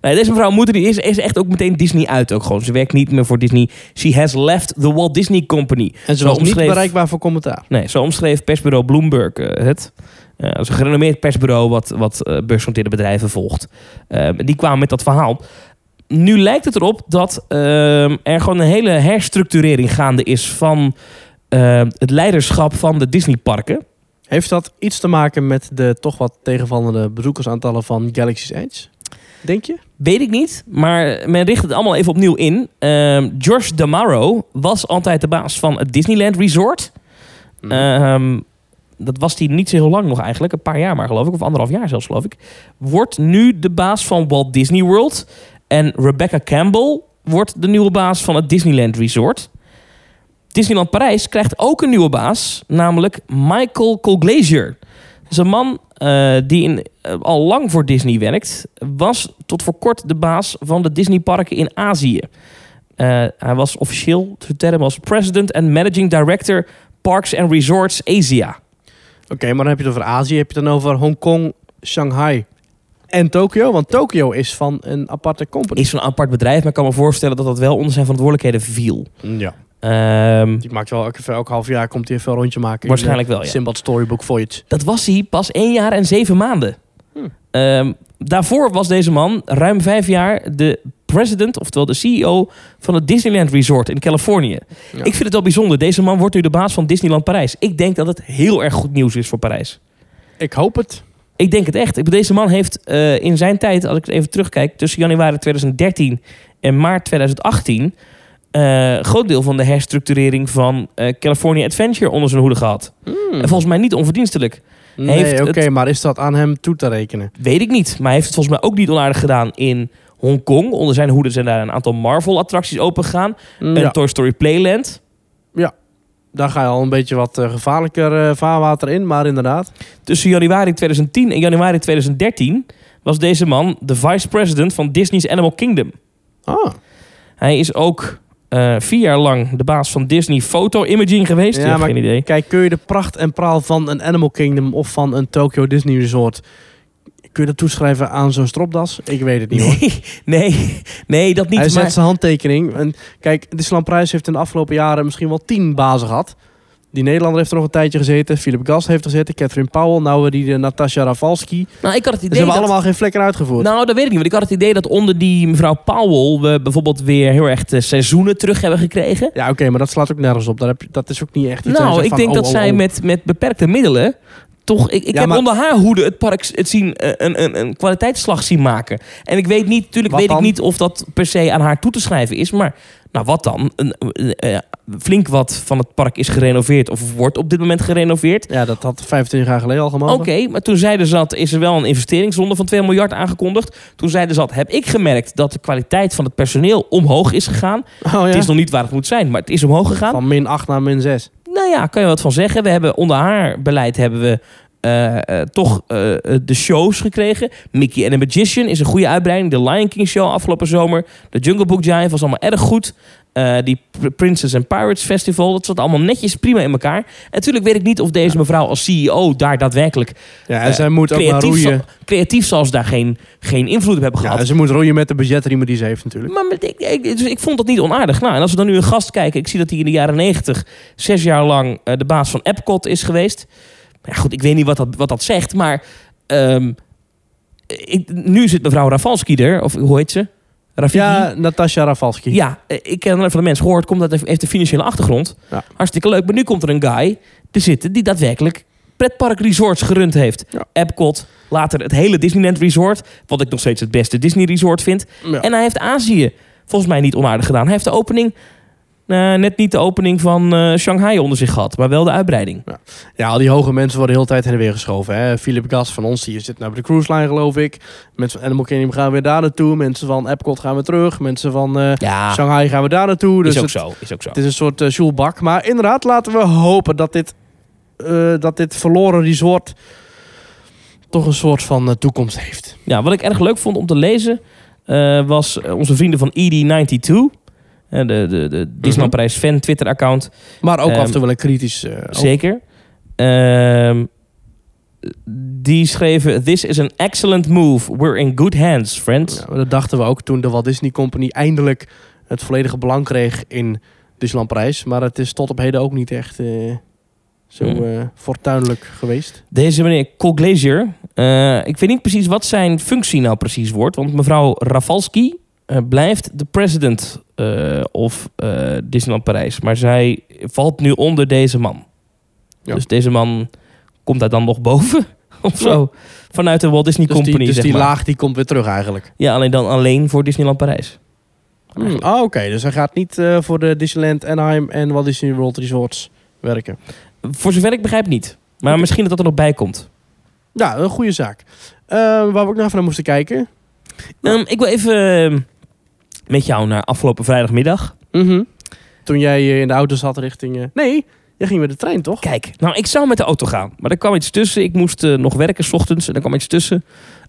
Speaker 2: [laughs] nou, deze mevrouw Moeder die is, is echt ook meteen Disney uit. Ook gewoon. Ze werkt niet meer voor Disney. She has left the Walt Disney Company.
Speaker 1: En ze
Speaker 2: Zo
Speaker 1: was niet
Speaker 2: omschreef-
Speaker 1: bereikbaar voor commentaar.
Speaker 2: Nee, zo omschreef persbureau Bloomberg eh, het. Eh, dat is een gerenommeerd persbureau wat, wat eh, beursgenoteerde bedrijven volgt. Ehm, die kwamen met dat verhaal. Nu lijkt het erop dat ehm, er gewoon een hele herstructurering gaande is van ehm, het leiderschap van de Disney-parken.
Speaker 1: Heeft dat iets te maken met de toch wat tegenvallende bezoekersaantallen van Galaxy's Edge? Denk je?
Speaker 2: Weet ik niet, maar men richt het allemaal even opnieuw in. Ehm George Damaro was altijd de baas van het Disneyland Resort.
Speaker 1: Eh,
Speaker 2: Ehm, dat was hij niet zo heel lang nog eigenlijk. Een paar jaar maar geloof ik. Of anderhalf jaar zelfs geloof ik. Wordt nu de baas van Walt Disney World. En Rebecca Campbell wordt de nieuwe baas van het Disneyland Resort. Disneyland Parijs krijgt ook een nieuwe baas, namelijk Michael Colglazier. Dat is een man eh, die in, eh, al lang voor Disney werkt. Was tot voor kort de baas van de Disneyparken in Azië. Eh, hij was officieel te term als president en managing director Parks and Resorts Asia.
Speaker 1: Oké, maar dan heb je het over Azië. Heb je het dan over Hongkong, Shanghai en Tokio? Want Tokio is van een aparte company.
Speaker 2: Is zo'n apart bedrijf, maar ik kan me voorstellen dat dat wel onder zijn verantwoordelijkheden viel.
Speaker 1: Ja.
Speaker 2: Ehm,
Speaker 1: Die maakt wel elke, elk half jaar komt hij even een rondje maken.
Speaker 2: waarschijnlijk wel,
Speaker 1: in,
Speaker 2: ja.
Speaker 1: eh, Sinbad Storybook Voyage.
Speaker 2: Dat was hij pas één jaar en zeven maanden.
Speaker 1: Hm.
Speaker 2: Ehm, daarvoor was deze man ruim vijf jaar de president, oftewel de CEO van het Disneyland Resort in Californië.
Speaker 1: Ja.
Speaker 2: Ik vind het wel bijzonder. Deze man wordt nu de baas van Disneyland Parijs. Ik denk dat het heel erg goed nieuws is voor Parijs.
Speaker 1: Ik hoop het.
Speaker 2: Ik denk het echt. Ik bedoel, Deze man heeft eh, in zijn tijd, als ik even terugkijk, tussen januari 2013 en maart 2018, eh, een groot deel van de herstructurering van eh, California Adventure onder zijn hoede gehad.
Speaker 1: Mhm.
Speaker 2: En volgens mij niet onverdienstelijk. Hmm. heeft
Speaker 1: Nee, oké,
Speaker 2: het-
Speaker 1: maar is dat aan hem toe te rekenen?
Speaker 2: Weet ik niet. Maar hij heeft het volgens mij ook niet onaardig gedaan in Hongkong. Onder zijn hoede zijn daar een aantal Marvel-attracties opengegaan.
Speaker 1: Ja,
Speaker 2: Een Toy Story Playland.
Speaker 1: daar ga je al een beetje wat eh, gevaarlijker eh, vaarwater in, maar inderdaad.
Speaker 2: Tussen januari 2010 en januari 2013 was deze man de vice-president van Disney's Animal Kingdom.
Speaker 1: Ah,
Speaker 2: Hij is ook eh, vier jaar lang de baas van Disney Photo Imaging geweest.
Speaker 1: Ja,
Speaker 2: Ja,
Speaker 1: maar-
Speaker 2: geen idee.
Speaker 1: kijk, kun je de pracht en praal van een Animal Kingdom of van een Tokyo Disney Resort... Kun je dat toeschrijven aan zo'n stropdas? Ik weet het niet hoor.
Speaker 2: Nee, nee, [laughs] nee, dat niet.
Speaker 1: Hij
Speaker 2: maar-
Speaker 1: zet zijn handtekening. En kijk, Disneyland Prijs heeft in de afgelopen jaren misschien wel tien bazen gehad. Die Nederlander heeft er nog een tijdje gezeten. Philip Gas heeft er gezeten. Catherine Powell. Nou, eh, die eh, Natasha Rafalski.
Speaker 2: nou, ik had het
Speaker 1: Ze
Speaker 2: idee
Speaker 1: hebben
Speaker 2: dat-
Speaker 1: allemaal geen vlekken uitgevoerd.
Speaker 2: Nou, dat weet ik niet. Want ik had het idee dat onder die mevrouw Powell... we bijvoorbeeld weer heel erg de seizoenen terug hebben gekregen.
Speaker 1: ja, oké, maar dat slaat ook nergens op. Daar heb je, dat is ook niet echt iets waar je
Speaker 2: Nou,
Speaker 1: zegt
Speaker 2: ik
Speaker 1: van,
Speaker 2: denk
Speaker 1: oh,
Speaker 2: dat
Speaker 1: oh,
Speaker 2: zij
Speaker 1: oh.
Speaker 2: Met, met beperkte middelen. Toch, ik, ik
Speaker 1: Ja,
Speaker 2: heb
Speaker 1: maar-
Speaker 2: onder haar hoede het park s- het zien, eh, een, een, een kwaliteitsslag zien maken. En ik weet niet, natuurlijk
Speaker 1: Wat
Speaker 2: weet
Speaker 1: dan?
Speaker 2: ik niet of dat per se aan haar toe te schrijven is. Maar nou, wat dan? Een, een- eh, flink wat van het park is gerenoveerd of wordt op dit moment gerenoveerd.
Speaker 1: Ja, dat had 25 jaar geleden al
Speaker 2: Oké,
Speaker 1: gemogen.
Speaker 2: maar toen zij er zat, is er wel een investeringsronde van 2 miljard aangekondigd. Toen zij er zat, heb ik gemerkt dat de kwaliteit van het personeel omhoog is gegaan.
Speaker 1: [laughs] Oh, ja?
Speaker 2: Het is nog niet waar het moet zijn, maar het is omhoog gegaan.
Speaker 1: Van min 8 naar min 6.
Speaker 2: Nou ja, kan je wat van zeggen. We hebben onder haar beleid hebben we eh, eh, toch eh, eh, de shows gekregen. Mickey and the Magician is een goede uitbreiding. De Lion King show afgelopen zomer. De Jungle Book Giant was allemaal erg goed. Eh, die Pr- Princess and Pirates Festival, dat zat allemaal netjes prima in elkaar. En natuurlijk weet ik niet of deze mevrouw als CEO daar daadwerkelijk
Speaker 1: Ja, en
Speaker 2: Eh,
Speaker 1: zij moet ook maar
Speaker 2: creatief, zal,
Speaker 1: roeien.
Speaker 2: creatief zal ze daar geen, geen invloed op hebben
Speaker 1: Ja,
Speaker 2: gehad.
Speaker 1: en ze moet roeien met de budgetriemen die ze heeft natuurlijk.
Speaker 2: Maar met- ik, ik, dus ik vond dat niet onaardig. Nou, en als we dan nu een gast kijken, ik zie dat hij in de jaren 90 zes jaar lang eh, de baas van Epcot is geweest. Maar ja, goed, ik weet niet wat dat, wat dat zegt, maar ehm, ik, nu zit mevrouw Rafalski er, of hoe heet ze? Rafiki?
Speaker 1: Ja, Natasha Rafalski.
Speaker 2: Ja, eh, ik ken alleen van de mensen gehoord, komt dat heeft de financiële achtergrond.
Speaker 1: Ja.
Speaker 2: Hartstikke leuk, maar nu komt er een guy te zitten die daadwerkelijk pretpark resorts gerund heeft.
Speaker 1: Ja.
Speaker 2: Epcot, later het hele Disneyland Resort, wat ik nog steeds het beste Disney Resort vind.
Speaker 1: Ja.
Speaker 2: En hij heeft Azië volgens mij niet onaardig gedaan. Hij heeft de opening, eh, net niet de opening van eh, Shanghai onder zich gehad, maar wel de uitbreiding.
Speaker 1: Ja, al die hoge mensen worden heel de tijd heen en weer geschoven. Hè? Philip Gas van ons, die zit nou bij de cruise line, geloof ik. Mensen van Animal Kingdom gaan weer daar naartoe. Mensen van Epcot gaan weer terug. Mensen van eh,
Speaker 2: Ja,
Speaker 1: Shanghai gaan weer daar naartoe. Dus
Speaker 2: is ook
Speaker 1: het,
Speaker 2: zo. Is ook zo.
Speaker 1: het is een soort uh, joelbak. Maar inderdaad, laten we hopen dat dit, eh, dat dit verloren resort toch een soort van eh, toekomst heeft.
Speaker 2: Ja, wat ik erg leuk vond om te lezen eh, was eh, onze vrienden van ED92. eh, de, de,
Speaker 1: Mhm.
Speaker 2: de Disneyland Parijs fan Twitter-account.
Speaker 1: Maar ook
Speaker 2: Ehm,
Speaker 1: af en toe wel een kritisch... eh, ook-
Speaker 2: Zeker. Ehm, die schreven: This is an excellent move. We're in good hands, friends.
Speaker 1: Ja, maar dat dachten we ook toen de Walt Disney Company eindelijk het volledige belang kreeg in Disneyland Parijs. Maar het is tot op heden ook niet echt eh, zo
Speaker 2: Hmm.
Speaker 1: eh, fortuinlijk geweest.
Speaker 2: Deze meneer Colglazier. eh ik weet niet precies wat zijn functie nou precies wordt. Want mevrouw Rafalski eh, blijft de president eh, of eh, Disneyland Parijs. Maar zij valt nu onder deze man.
Speaker 1: Ja.
Speaker 2: Dus deze man komt daar dan nog boven [laughs] of zo. Vanuit de Walt Disney
Speaker 1: Dus
Speaker 2: Company,
Speaker 1: die, dus
Speaker 2: zeg
Speaker 1: die
Speaker 2: maar.
Speaker 1: laag die komt weer terug eigenlijk.
Speaker 2: Ja, alleen dan alleen voor Disneyland Parijs.
Speaker 1: Hmm, ah, Oké, dus hij gaat niet eh, voor de Disneyland Anaheim en Walt Disney World Resorts werken.
Speaker 2: Voor zover ik begrijp niet. Maar
Speaker 1: Oké.
Speaker 2: misschien dat dat er nog bij komt.
Speaker 1: Ja, een goede zaak. Eh, waar we ook naar van moesten kijken.
Speaker 2: Ehm, ik wil even eh, met jou naar afgelopen vrijdagmiddag.
Speaker 1: Mhm. Toen jij eh, in de auto zat richting... eh, nee, jij ging met de trein, toch?
Speaker 2: Kijk, nou, ik zou met de auto gaan. Maar er kwam iets tussen. Ik moest eh, nog werken 's ochtends en er kwam iets tussen.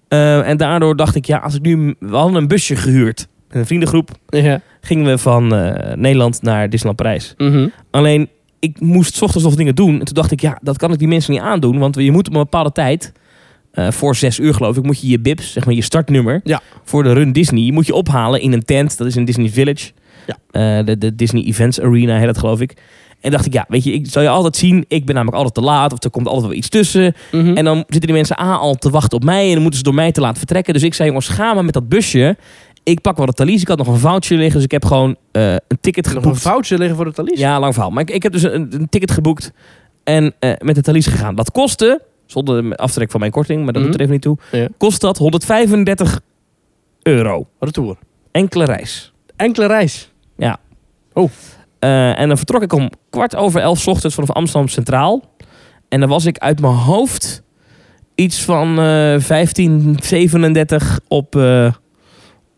Speaker 2: Eh, en daardoor dacht ik, ja, als ik nu... We hadden een busje gehuurd. Met een vriendengroep
Speaker 1: Ja.
Speaker 2: gingen we van eh, Nederland naar Disneyland Parijs.
Speaker 1: Mhm.
Speaker 2: Alleen, ik moest 's ochtends nog dingen doen. En toen dacht ik, ja, dat kan ik die mensen niet aandoen. Want je moet op een bepaalde tijd, eh, voor zes uur geloof ik, moet je je bips, zeg maar je startnummer,
Speaker 1: Ja.
Speaker 2: voor de Run Disney, moet je ophalen in een tent. Dat is in Disney Village.
Speaker 1: Ja.
Speaker 2: Eh, de, de Disney Events Arena heet dat geloof ik. En dacht ik, ja, weet je, ik zal je altijd zien, ik ben namelijk altijd te laat. Of er komt altijd wel iets tussen.
Speaker 1: Mhm.
Speaker 2: En dan zitten die mensen A al te wachten op mij. En dan moeten ze door mij te laten vertrekken. Dus ik zei, jongens, ga maar met dat busje. Ik pak wel de talies. Ik had nog een voucher liggen. Dus ik heb gewoon eh, een ticket
Speaker 1: nog een
Speaker 2: geboekt.
Speaker 1: foutje liggen voor de Thalys.
Speaker 2: Ja, lang verhaal. Maar ik, ik heb dus een, een ticket geboekt en eh, met de Thalys gegaan. Dat kostte, zonder de aftrek van mijn korting, maar dat doet er
Speaker 1: Mhm.
Speaker 2: even niet toe,
Speaker 1: Ja.
Speaker 2: kost dat 135 euro.
Speaker 1: Retour.
Speaker 2: Enkele reis.
Speaker 1: Enkele reis.
Speaker 2: Eh, en dan vertrok ik om kwart over elf 's ochtends vanaf Amsterdam Centraal. En dan was ik uit mijn hoofd iets van eh 1537 op, eh,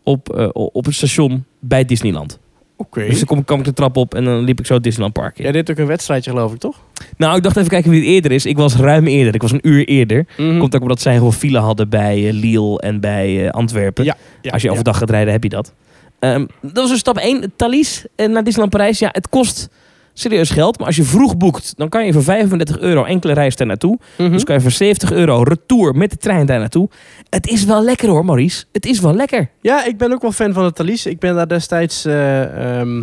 Speaker 2: op, eh, op het station bij Disneyland.
Speaker 1: Oké.
Speaker 2: Dus dan kom- kwam ik de trap op en dan liep ik zo het Disneyland Park in.
Speaker 1: Jij deed ook een wedstrijdje, geloof ik, toch?
Speaker 2: Nou, ik dacht even kijken wie het eerder is. Ik was ruim eerder. Ik was een uur eerder.
Speaker 1: Hm.
Speaker 2: Komt ook omdat zij heel veel file hadden bij eh, Lille en bij eh, Antwerpen.
Speaker 1: Ja,
Speaker 2: Als je
Speaker 1: ja.
Speaker 2: overdag gaat rijden, heb je dat. Ehm, dat was dus stap 1. Thalys eh, naar Disneyland Parijs. Ja, het kost serieus geld. Maar als je vroeg boekt, dan kan je voor 35 euro enkele reis daar naartoe.
Speaker 1: Mhm.
Speaker 2: Dus kan je voor 70 euro retour met de trein daar naartoe. Het is wel lekker hoor, Maurice. Het is wel lekker.
Speaker 1: Ja, ik ben ook wel fan van de Thalys. Ik ben daar destijds, eh, ehm,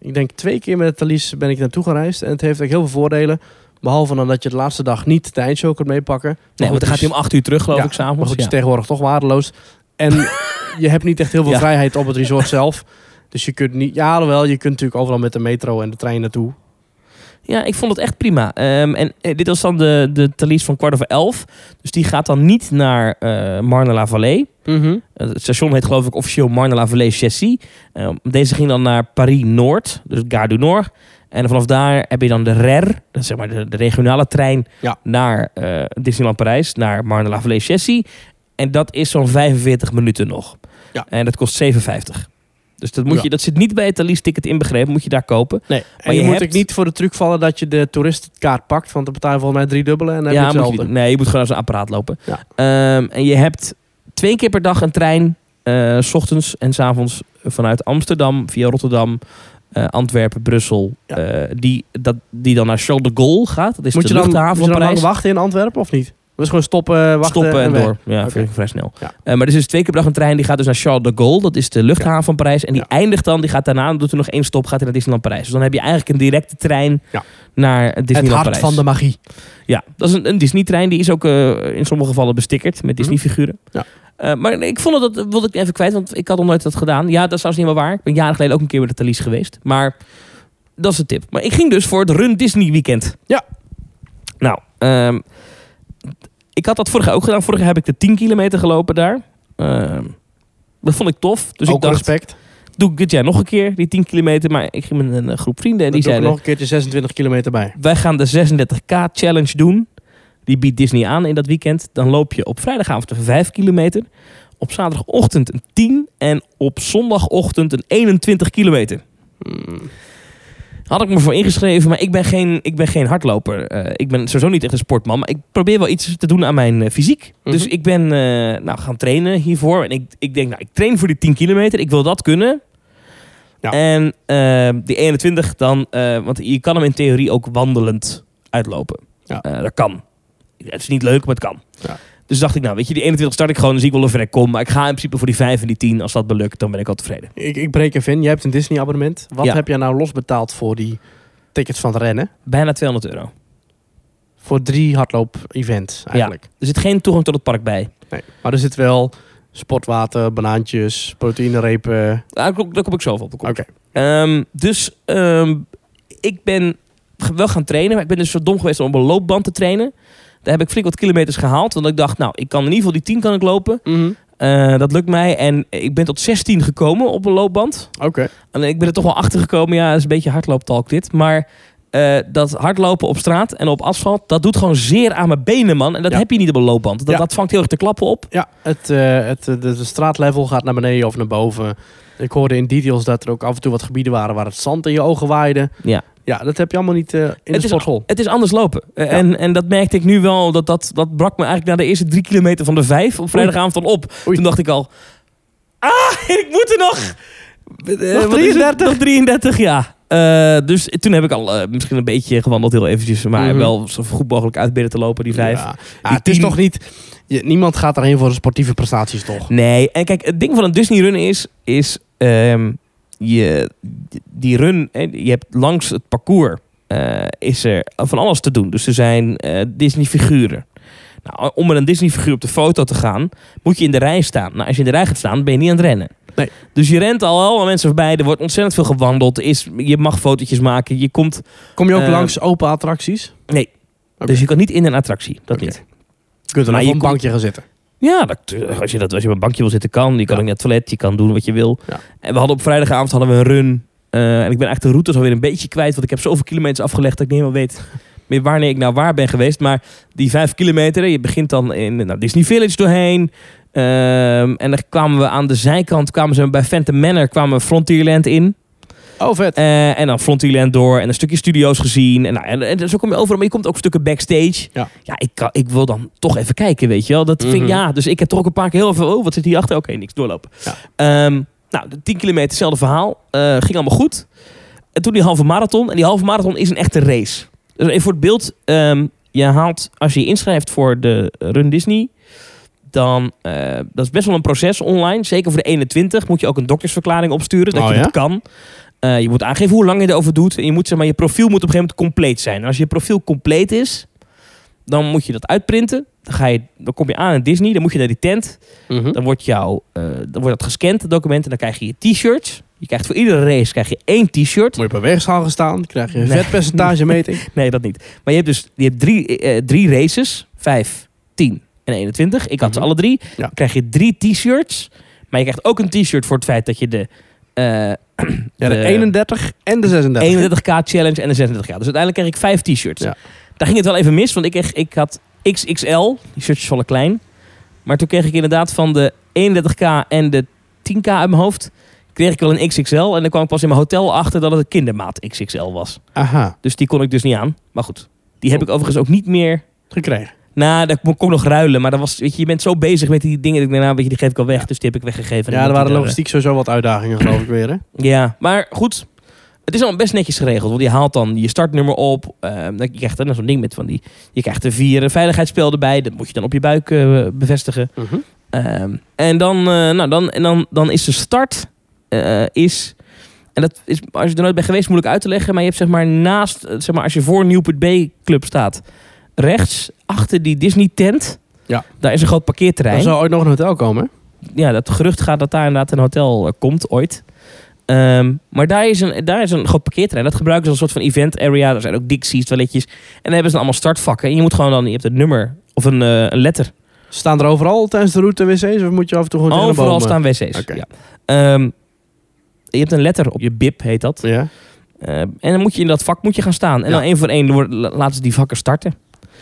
Speaker 1: ik denk twee keer met de Thalys ben ik naartoe gereisd. En het heeft ook heel veel voordelen. Behalve dan dat je de laatste dag niet de eindshow kunt meepakken. Maar
Speaker 2: Nee,
Speaker 1: goed,
Speaker 2: want dan gaat
Speaker 1: Oh, het
Speaker 2: hij
Speaker 1: is-
Speaker 2: om 8 uur terug, geloof
Speaker 1: Ja,
Speaker 2: ik, s'avonds.
Speaker 1: Maar goed, het is
Speaker 2: Ja.
Speaker 1: tegenwoordig toch waardeloos.
Speaker 2: [laughs]
Speaker 1: En je hebt niet echt heel veel
Speaker 2: Ja.
Speaker 1: vrijheid op het resort zelf. Dus je kunt niet... Ja, alhoewel, je kunt natuurlijk overal met de metro en de trein naartoe.
Speaker 2: Ja, ik vond het echt prima. Ehm, en eh, dit was dan de, de Thalys van kwart over elf. Dus die gaat dan niet naar eh Marne-la-Vallée. Eh, het station heet geloof ik officieel Marne-la-Vallée Chessy. Ehm, deze ging dan naar Paris-Noord, dus Gare du Nord. En vanaf daar heb je dan de RER, dat is zeg maar de, de regionale trein...
Speaker 1: Ja.
Speaker 2: naar eh, Disneyland Parijs, naar Marne-la-Vallée Chessy. En dat is zo'n 45 minuten nog.
Speaker 1: Ja.
Speaker 2: En dat kost 57. Dus dat, moet
Speaker 1: Ja.
Speaker 2: je, dat zit niet bij het Thalys-ticket inbegrepen, moet je daar kopen.
Speaker 1: Nee, en
Speaker 2: Maar
Speaker 1: je,
Speaker 2: je
Speaker 1: moet
Speaker 2: hebt-
Speaker 1: ook niet voor de truc vallen dat je de toeristenkaart pakt. Want dan betaal je volgens mij drie dubbele en dan heb
Speaker 2: ja,
Speaker 1: je
Speaker 2: moet je
Speaker 1: hetzelfde.
Speaker 2: doen. nee, je moet gewoon naar zo'n apparaat lopen.
Speaker 1: Ja.
Speaker 2: Ehm, en je hebt twee keer per dag een trein. eh, s ochtends en s avonds vanuit Amsterdam via Rotterdam, eh, Antwerpen, Brussel.
Speaker 1: Ja.
Speaker 2: eh, die, dat, die dan naar Charles de Gaulle gaat. Dat is
Speaker 1: moet
Speaker 2: de
Speaker 1: je dan, moet
Speaker 2: luchthaven
Speaker 1: je
Speaker 2: van
Speaker 1: dan lang
Speaker 2: Parijs.
Speaker 1: wachten in Antwerpen of niet? Dus gewoon stoppen, wachten
Speaker 2: Stoppen en
Speaker 1: weg.
Speaker 2: door. Ja,
Speaker 1: Oké.
Speaker 2: vind ik vrij snel.
Speaker 1: Ja.
Speaker 2: Eh, maar er is dus twee keer per dag een trein. Die gaat dus naar Charles de Gaulle. Dat is de luchthaven van Parijs. En die eindigt dan. Die gaat daarna, doet er nog één stop, gaat hij naar Disneyland Parijs. Dus dan heb je eigenlijk een directe trein
Speaker 1: Ja.
Speaker 2: naar Disneyland
Speaker 1: Het hart
Speaker 2: Parijs.
Speaker 1: van de magie.
Speaker 2: Ja, dat is een, een Disney-trein. Die is ook eh, in sommige gevallen bestickerd met Disney-figuren.
Speaker 1: Mhm. Ja.
Speaker 2: Eh, maar ik vond dat, dat wilde ik even kwijt, want ik had nog nooit dat gedaan. Ja, dat is trouwens niet meer waar. Ik ben jaren geleden ook een keer met de Thalys geweest. Maar dat is de tip. Maar ik ging dus voor het Run Disney weekend.
Speaker 1: Ja.
Speaker 2: Nou, ehm, ik had dat vorig jaar ook gedaan. Vorig jaar heb ik de 10 kilometer gelopen daar. Ehm, dat vond ik tof. Dus
Speaker 1: Dus ook
Speaker 2: ik dacht,
Speaker 1: respect.
Speaker 2: doe ik dit jaar nog een keer, die 10 kilometer. Maar ik ging met een eh, groep vrienden en
Speaker 1: En die zijn
Speaker 2: die zeiden...
Speaker 1: nog een keertje 26 kilometer bij.
Speaker 2: Wij gaan de 36K Challenge doen. Die biedt Disney aan in dat weekend. Dan loop je op vrijdagavond een 5 kilometer. Op zaterdagochtend een 10. En op zondagochtend een 21 kilometer. Mm. Had ik me voor ingeschreven, maar ik ben geen, ik ben geen hardloper. Eh, ik ben sowieso niet echt een sportman. Maar ik probeer wel iets te doen aan mijn eh, fysiek. Dus
Speaker 1: Mhm.
Speaker 2: ik ben eh, nou, gaan trainen hiervoor. En ik, ik denk, nou, ik train voor die 10 kilometer. Ik wil dat kunnen.
Speaker 1: Ja.
Speaker 2: En eh, die 21 dan... eh, want je kan hem in theorie ook wandelend uitlopen.
Speaker 1: Ja.
Speaker 2: Eh, dat kan. Het is niet leuk, maar het kan.
Speaker 1: Ja.
Speaker 2: Dus dacht ik, nou weet je, die 21 start ik gewoon. Dan zie ik wel of ik kom. Maar ik ga in principe voor die 5 en die 10. Als dat me lukt, dan ben ik al tevreden.
Speaker 1: Ik, ik breek even in. Jij hebt een Disney abonnement. Wat
Speaker 2: Ja.
Speaker 1: heb jij nou losbetaald voor die tickets van het rennen?
Speaker 2: Bijna 200 euro.
Speaker 1: Voor drie hardloop-events eigenlijk.
Speaker 2: Er zit geen toegang tot het park bij.
Speaker 1: Nee. Maar er zit wel sportwater, banaantjes, proteïnerepen.
Speaker 2: Daar kom, daar kom ik zoveel op. Daar kom ik
Speaker 1: Oké.
Speaker 2: Ehm, dus ehm, ik ben ge- wel gaan trainen, maar ik ben dus zo dom geweest om op een loopband te trainen. Daar heb ik flink wat kilometers gehaald, want ik dacht, nou, ik kan in ieder geval die 10 kan ik lopen.
Speaker 1: Mhm.
Speaker 2: Eh, dat lukt mij en ik ben tot 16 gekomen op een loopband.
Speaker 1: Oké.
Speaker 2: Alleen ik ben er toch wel achter gekomen, ja, dat is een beetje hardlooptalk dit, maar eh, dat hardlopen op straat en op asfalt, dat doet gewoon zeer aan mijn benen, man. En dat
Speaker 1: Ja.
Speaker 2: heb je niet op een loopband. Dat,
Speaker 1: Ja.
Speaker 2: dat vangt heel erg de klappen op.
Speaker 1: Ja, het, eh, het, eh, de, de straatlevel gaat naar beneden of naar boven. Ik hoorde in details dat er ook af en toe wat gebieden waren waar het zand in je ogen waaide.
Speaker 2: Ja.
Speaker 1: Ja, dat heb je allemaal niet eh, in
Speaker 2: Het
Speaker 1: de
Speaker 2: is-
Speaker 1: sportschool.
Speaker 2: Het is anders lopen. Eh, En, en dat merkte ik nu wel. Dat, dat, dat brak me eigenlijk na de eerste drie kilometer van de vijf op vrijdagavond al op.
Speaker 1: Oei.
Speaker 2: Toen dacht ik al, ah, [laughs] ik moet er nog. Eh, wat is het?
Speaker 1: 33?
Speaker 2: Nog 33, ja. Eh, dus toen heb ik al eh, misschien een beetje gewandeld, heel eventjes. Maar
Speaker 1: Mhm.
Speaker 2: wel zo goed mogelijk uitbidden te lopen, die vijf.
Speaker 1: Ja. Ah, het is
Speaker 2: tien-
Speaker 1: toch niet... je- niemand gaat daarheen voor de sportieve prestaties, toch?
Speaker 2: Nee, en kijk, het ding van een Disney run is, is ehm, je, die run, hè, je hebt langs het parcours eh, is er van alles te doen. Dus er zijn eh, Disney figuren. Nou, om met een Disney figuur op de foto te gaan, moet je in de rij staan. Nou, als je in de rij gaat staan, ben je niet aan het rennen.
Speaker 1: Nee.
Speaker 2: Dus je rent al allemaal mensen voorbij, er wordt ontzettend veel gewandeld. Is, je mag fotootjes maken, je komt...
Speaker 1: Kom je ook
Speaker 2: Eh,
Speaker 1: langs open attracties?
Speaker 2: Nee,
Speaker 1: Oké.
Speaker 2: dus je kan niet in een attractie, dat
Speaker 1: Oké.
Speaker 2: niet.
Speaker 1: Je kunt er
Speaker 2: maar
Speaker 1: nog
Speaker 2: je
Speaker 1: op een
Speaker 2: komt-
Speaker 1: bankje gaan zitten.
Speaker 2: Ja, dat, eh, als, je dat, als je op een bankje wil zitten, kan. Je kan
Speaker 1: Ja.
Speaker 2: ook naar het toilet, je kan doen wat je wil.
Speaker 1: Ja.
Speaker 2: En we hadden op vrijdagavond hadden we een run. Eh, en ik ben eigenlijk de routes alweer een beetje kwijt. Want ik heb zoveel kilometers afgelegd dat ik niet helemaal weet meer wanneer ik nou waar ben geweest. Maar die vijf kilometer, je begint dan in nou, Disney Village doorheen. Ehm, en dan kwamen we aan de zijkant, kwamen ze bij Phantom Manor, kwamen we Frontierland in.
Speaker 1: Oh, vet.
Speaker 2: Eh, en dan Frontierland door en een stukje studio's gezien. En, nou, en, en zo kom je overal, maar je komt ook stukken backstage.
Speaker 1: Ja.
Speaker 2: ik, kan, ik wil dan toch even kijken, weet je wel. Dat vind
Speaker 1: Mhm.
Speaker 2: ik, ja, dus ik heb toch ook een paar keer heel veel, oh, wat zit hier achter? Oké, niks, doorlopen.
Speaker 1: Ja.
Speaker 2: Ehm, nou, de 10 kilometer, hetzelfde verhaal. Eh, ging allemaal goed. En toen die halve marathon. En die halve marathon is een echte race. Dus even voor het beeld. ehm, je haalt, als je je inschrijft voor de Run Disney... Dan, eh, dat is best wel een proces online. Zeker voor de 21 moet je ook een doktersverklaring opsturen. Dat
Speaker 1: Oh,
Speaker 2: je
Speaker 1: ja?
Speaker 2: dat kan. Eh, je moet aangeven hoe lang je erover doet. En je, moet, zeg maar, je profiel moet op een gegeven moment compleet zijn. En als je profiel compleet is, dan moet je dat uitprinten. Dan, ga je, dan kom je aan in Disney. Dan moet je naar die tent.
Speaker 1: Mhm.
Speaker 2: Dan wordt, jou, eh, dan wordt dat gescand, het document. En dan krijg je je t-shirts. Je krijgt voor iedere race krijg je één t-shirt.
Speaker 1: Moet je per weegschaal gaan staan, krijg je een
Speaker 2: Nee.
Speaker 1: vetpercentagemeting.
Speaker 2: Nee, dat niet. Maar je hebt dus je hebt drie, eh, drie races. Vijf, tien en 21. Ik had ze
Speaker 1: Mhm.
Speaker 2: alle drie.
Speaker 1: Ja.
Speaker 2: Dan krijg je drie t-shirts. Maar je krijgt ook een t-shirt voor het feit dat je de... eh,
Speaker 1: Ja, de
Speaker 2: De-
Speaker 1: 31 en de 36.
Speaker 2: 31k challenge en de 36k. Dus uiteindelijk kreeg ik vijf t-shirts.
Speaker 1: Ja.
Speaker 2: Daar ging het wel even mis, want ik, kreeg- ik had XXL. Die shirtjes vallen klein. Maar toen kreeg ik inderdaad van de 31k en de 10k uit mijn hoofd... kreeg ik wel een XXL. En dan kwam ik pas in mijn hotel achter dat het een kindermaat XXL was.
Speaker 1: Aha,
Speaker 2: Dus die kon ik dus niet aan. Maar goed, die heb ik overigens ook niet meer...
Speaker 1: gekregen.
Speaker 2: Nou, daar kon ik ook nog ruilen. Maar dat was, weet je, je bent zo bezig met die dingen. Dat ik daarna, weet je, die geef ik al weg.
Speaker 1: Ja.
Speaker 2: Dus die heb ik weggegeven.
Speaker 1: Ja,
Speaker 2: En
Speaker 1: er waren
Speaker 2: die- eh,
Speaker 1: logistiek sowieso wat uitdagingen, geloof ik weer. Hè?
Speaker 2: ja, maar goed. Het is al best netjes geregeld. Want je haalt dan je startnummer op. ehm, dan- je krijgt dan zo'n ding met van die... Je krijgt er vier veiligheidsspel erbij. Dat moet je dan op je buik eh, bevestigen.
Speaker 1: Mhm.
Speaker 2: Ehm, en dan, eh, nou, dan, en dan, dan is de start... eh, is, en dat is, als je er nooit bent geweest, moeilijk uit te leggen. Maar je hebt zeg maar naast... eh, Zeg maar, als je voor Newport Bay Club staat... Rechts, achter die Disney tent...
Speaker 1: Ja.
Speaker 2: Daar is een groot parkeerterrein
Speaker 1: Er zou ooit nog een hotel komen. hè?
Speaker 2: ja, dat gerucht gaat dat daar inderdaad een hotel eh, komt ooit. Ehm, maar daar is, een, daar is een groot parkeerterrein. Dat gebruiken ze als een soort van event area. Er zijn ook dixies, toiletjes. En daar hebben ze dan allemaal startvakken. En je moet gewoon dan, je hebt een nummer of een, eh, een letter.
Speaker 1: Staan er overal tijdens de route wc's of moet je af en toe gewoon tegen de
Speaker 2: Overal
Speaker 1: bomen?
Speaker 2: staan wc's.
Speaker 1: Oké.
Speaker 2: Ja. Ehm, je hebt een letter op je bib, heet dat.
Speaker 1: Ja.
Speaker 2: Ehm, en dan moet je in dat vak moet je gaan staan. En
Speaker 1: Ja.
Speaker 2: dan één voor één door- la- laten ze die vakken starten.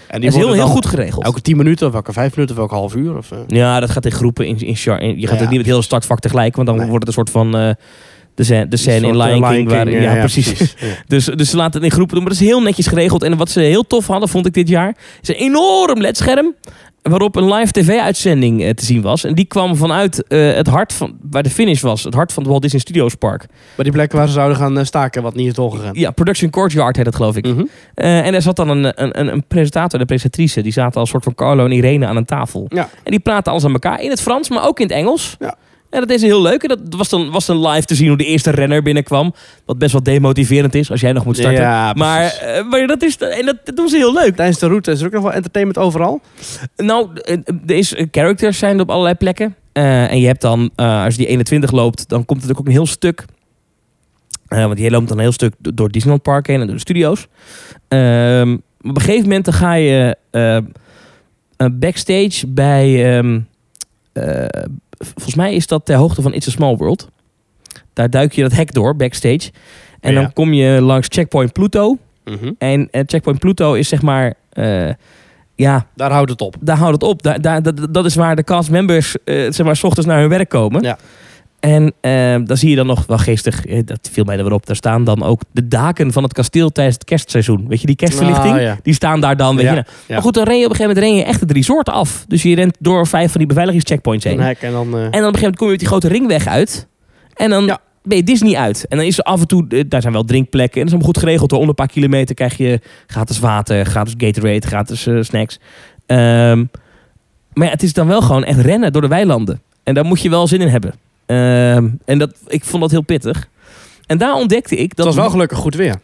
Speaker 1: En
Speaker 2: dat is heel,
Speaker 1: worden
Speaker 2: heel
Speaker 1: dan
Speaker 2: goed geregeld.
Speaker 1: Elke 10 minuten of elke 5 minuten of elke half uur? Of, eh?
Speaker 2: Ja, dat gaat in groepen. In, in, char- in- je gaat
Speaker 1: Ja.
Speaker 2: ook niet met heel het startvak tegelijk. Want dan
Speaker 1: Nee.
Speaker 2: wordt het een soort van... eh, de scène, de scène
Speaker 1: Een
Speaker 2: in
Speaker 1: soort, eh,
Speaker 2: Lion King. waar,
Speaker 1: eh,
Speaker 2: ja, precies.
Speaker 1: Ja.
Speaker 2: Dus, dus ze laten het in groepen doen. Maar dat is heel netjes geregeld. En wat ze heel tof hadden, vond ik dit jaar, is een enorm ledscherm. Waarop een live tv-uitzending eh, te zien was. En die kwam vanuit eh, het hart van, waar de finish was. Het hart van het Walt Disney Studios Park.
Speaker 1: Maar die plekken waar ze zouden gaan eh, staken, wat niet is doorgegaan.
Speaker 2: Ja, Production Courtyard heet dat geloof ik.
Speaker 1: Mhm.
Speaker 2: Eh, en er zat dan een, een, een, een presentator en een presentatrice. Die zaten als soort van Carlo en Irene aan een tafel.
Speaker 1: Ja.
Speaker 2: En die praten alles aan elkaar. In het Frans, maar ook in het Engels.
Speaker 1: Ja.
Speaker 2: En dat is heel leuk. En dat was dan, was dan live te zien hoe de eerste renner binnenkwam. Wat best wel demotiverend is als jij nog moet starten.
Speaker 1: Ja, precies.
Speaker 2: maar, eh, maar dat is... En dat, dat doen ze heel leuk.
Speaker 1: Tijdens de route is er ook nog wel entertainment overal.
Speaker 2: Nou, eh, er is eh, characters zijn er op allerlei plekken. Eh, en je hebt dan, eh, als je die 21 loopt, dan komt het ook een heel stuk. Eh, want je loopt dan een heel stuk do- door Disneyland Park heen en door de studio's. Ehm, maar op een gegeven moment dan ga je eh, eh, backstage bij... ehm, eh, v- volgens mij is dat ter hoogte van It's a Small World. Daar duik je dat hek door, backstage. En
Speaker 1: Oh Ja.
Speaker 2: dan kom je langs Checkpoint Pluto.
Speaker 1: Mhm.
Speaker 2: En eh, Checkpoint Pluto is zeg maar... eh, ja,
Speaker 1: Daar houdt het op.
Speaker 2: daar houdt het op. Daar, daar, dat, dat is waar de castmembers eh zeg maar, s ochtends naar hun werk komen.
Speaker 1: Ja.
Speaker 2: En eh, dan zie je dan nog wel geestig, eh, dat viel mij er weer op, daar staan dan ook de daken van het kasteel tijdens het kerstseizoen. Weet je, die kerstverlichting,
Speaker 1: Ah, ja.
Speaker 2: die staan daar dan. Weet
Speaker 1: Ja,
Speaker 2: je. nou.
Speaker 1: ja.
Speaker 2: Maar goed, dan ren je op een gegeven moment ren je echt de resort af. Dus je rent door vijf van die beveiligingscheckpoints heen.
Speaker 1: Een hek en dan... eh,
Speaker 2: En dan op een gegeven moment kom je op die grote ringweg uit. En dan
Speaker 1: Ja.
Speaker 2: ben je Disney uit. En dan is er af en toe, eh, daar zijn wel drinkplekken. En dat is allemaal goed geregeld. Hoor. Onder een paar kilometer krijg je gratis water, gratis Gatorade, gratis eh, snacks. Ehm, maar ja, het is dan wel gewoon echt rennen door de weilanden. En daar moet je wel zin in hebben. Ehm, en dat, ik vond dat heel pittig. En daar ontdekte ik... Dat
Speaker 1: [laughs] het was wel gelukkig goed weer.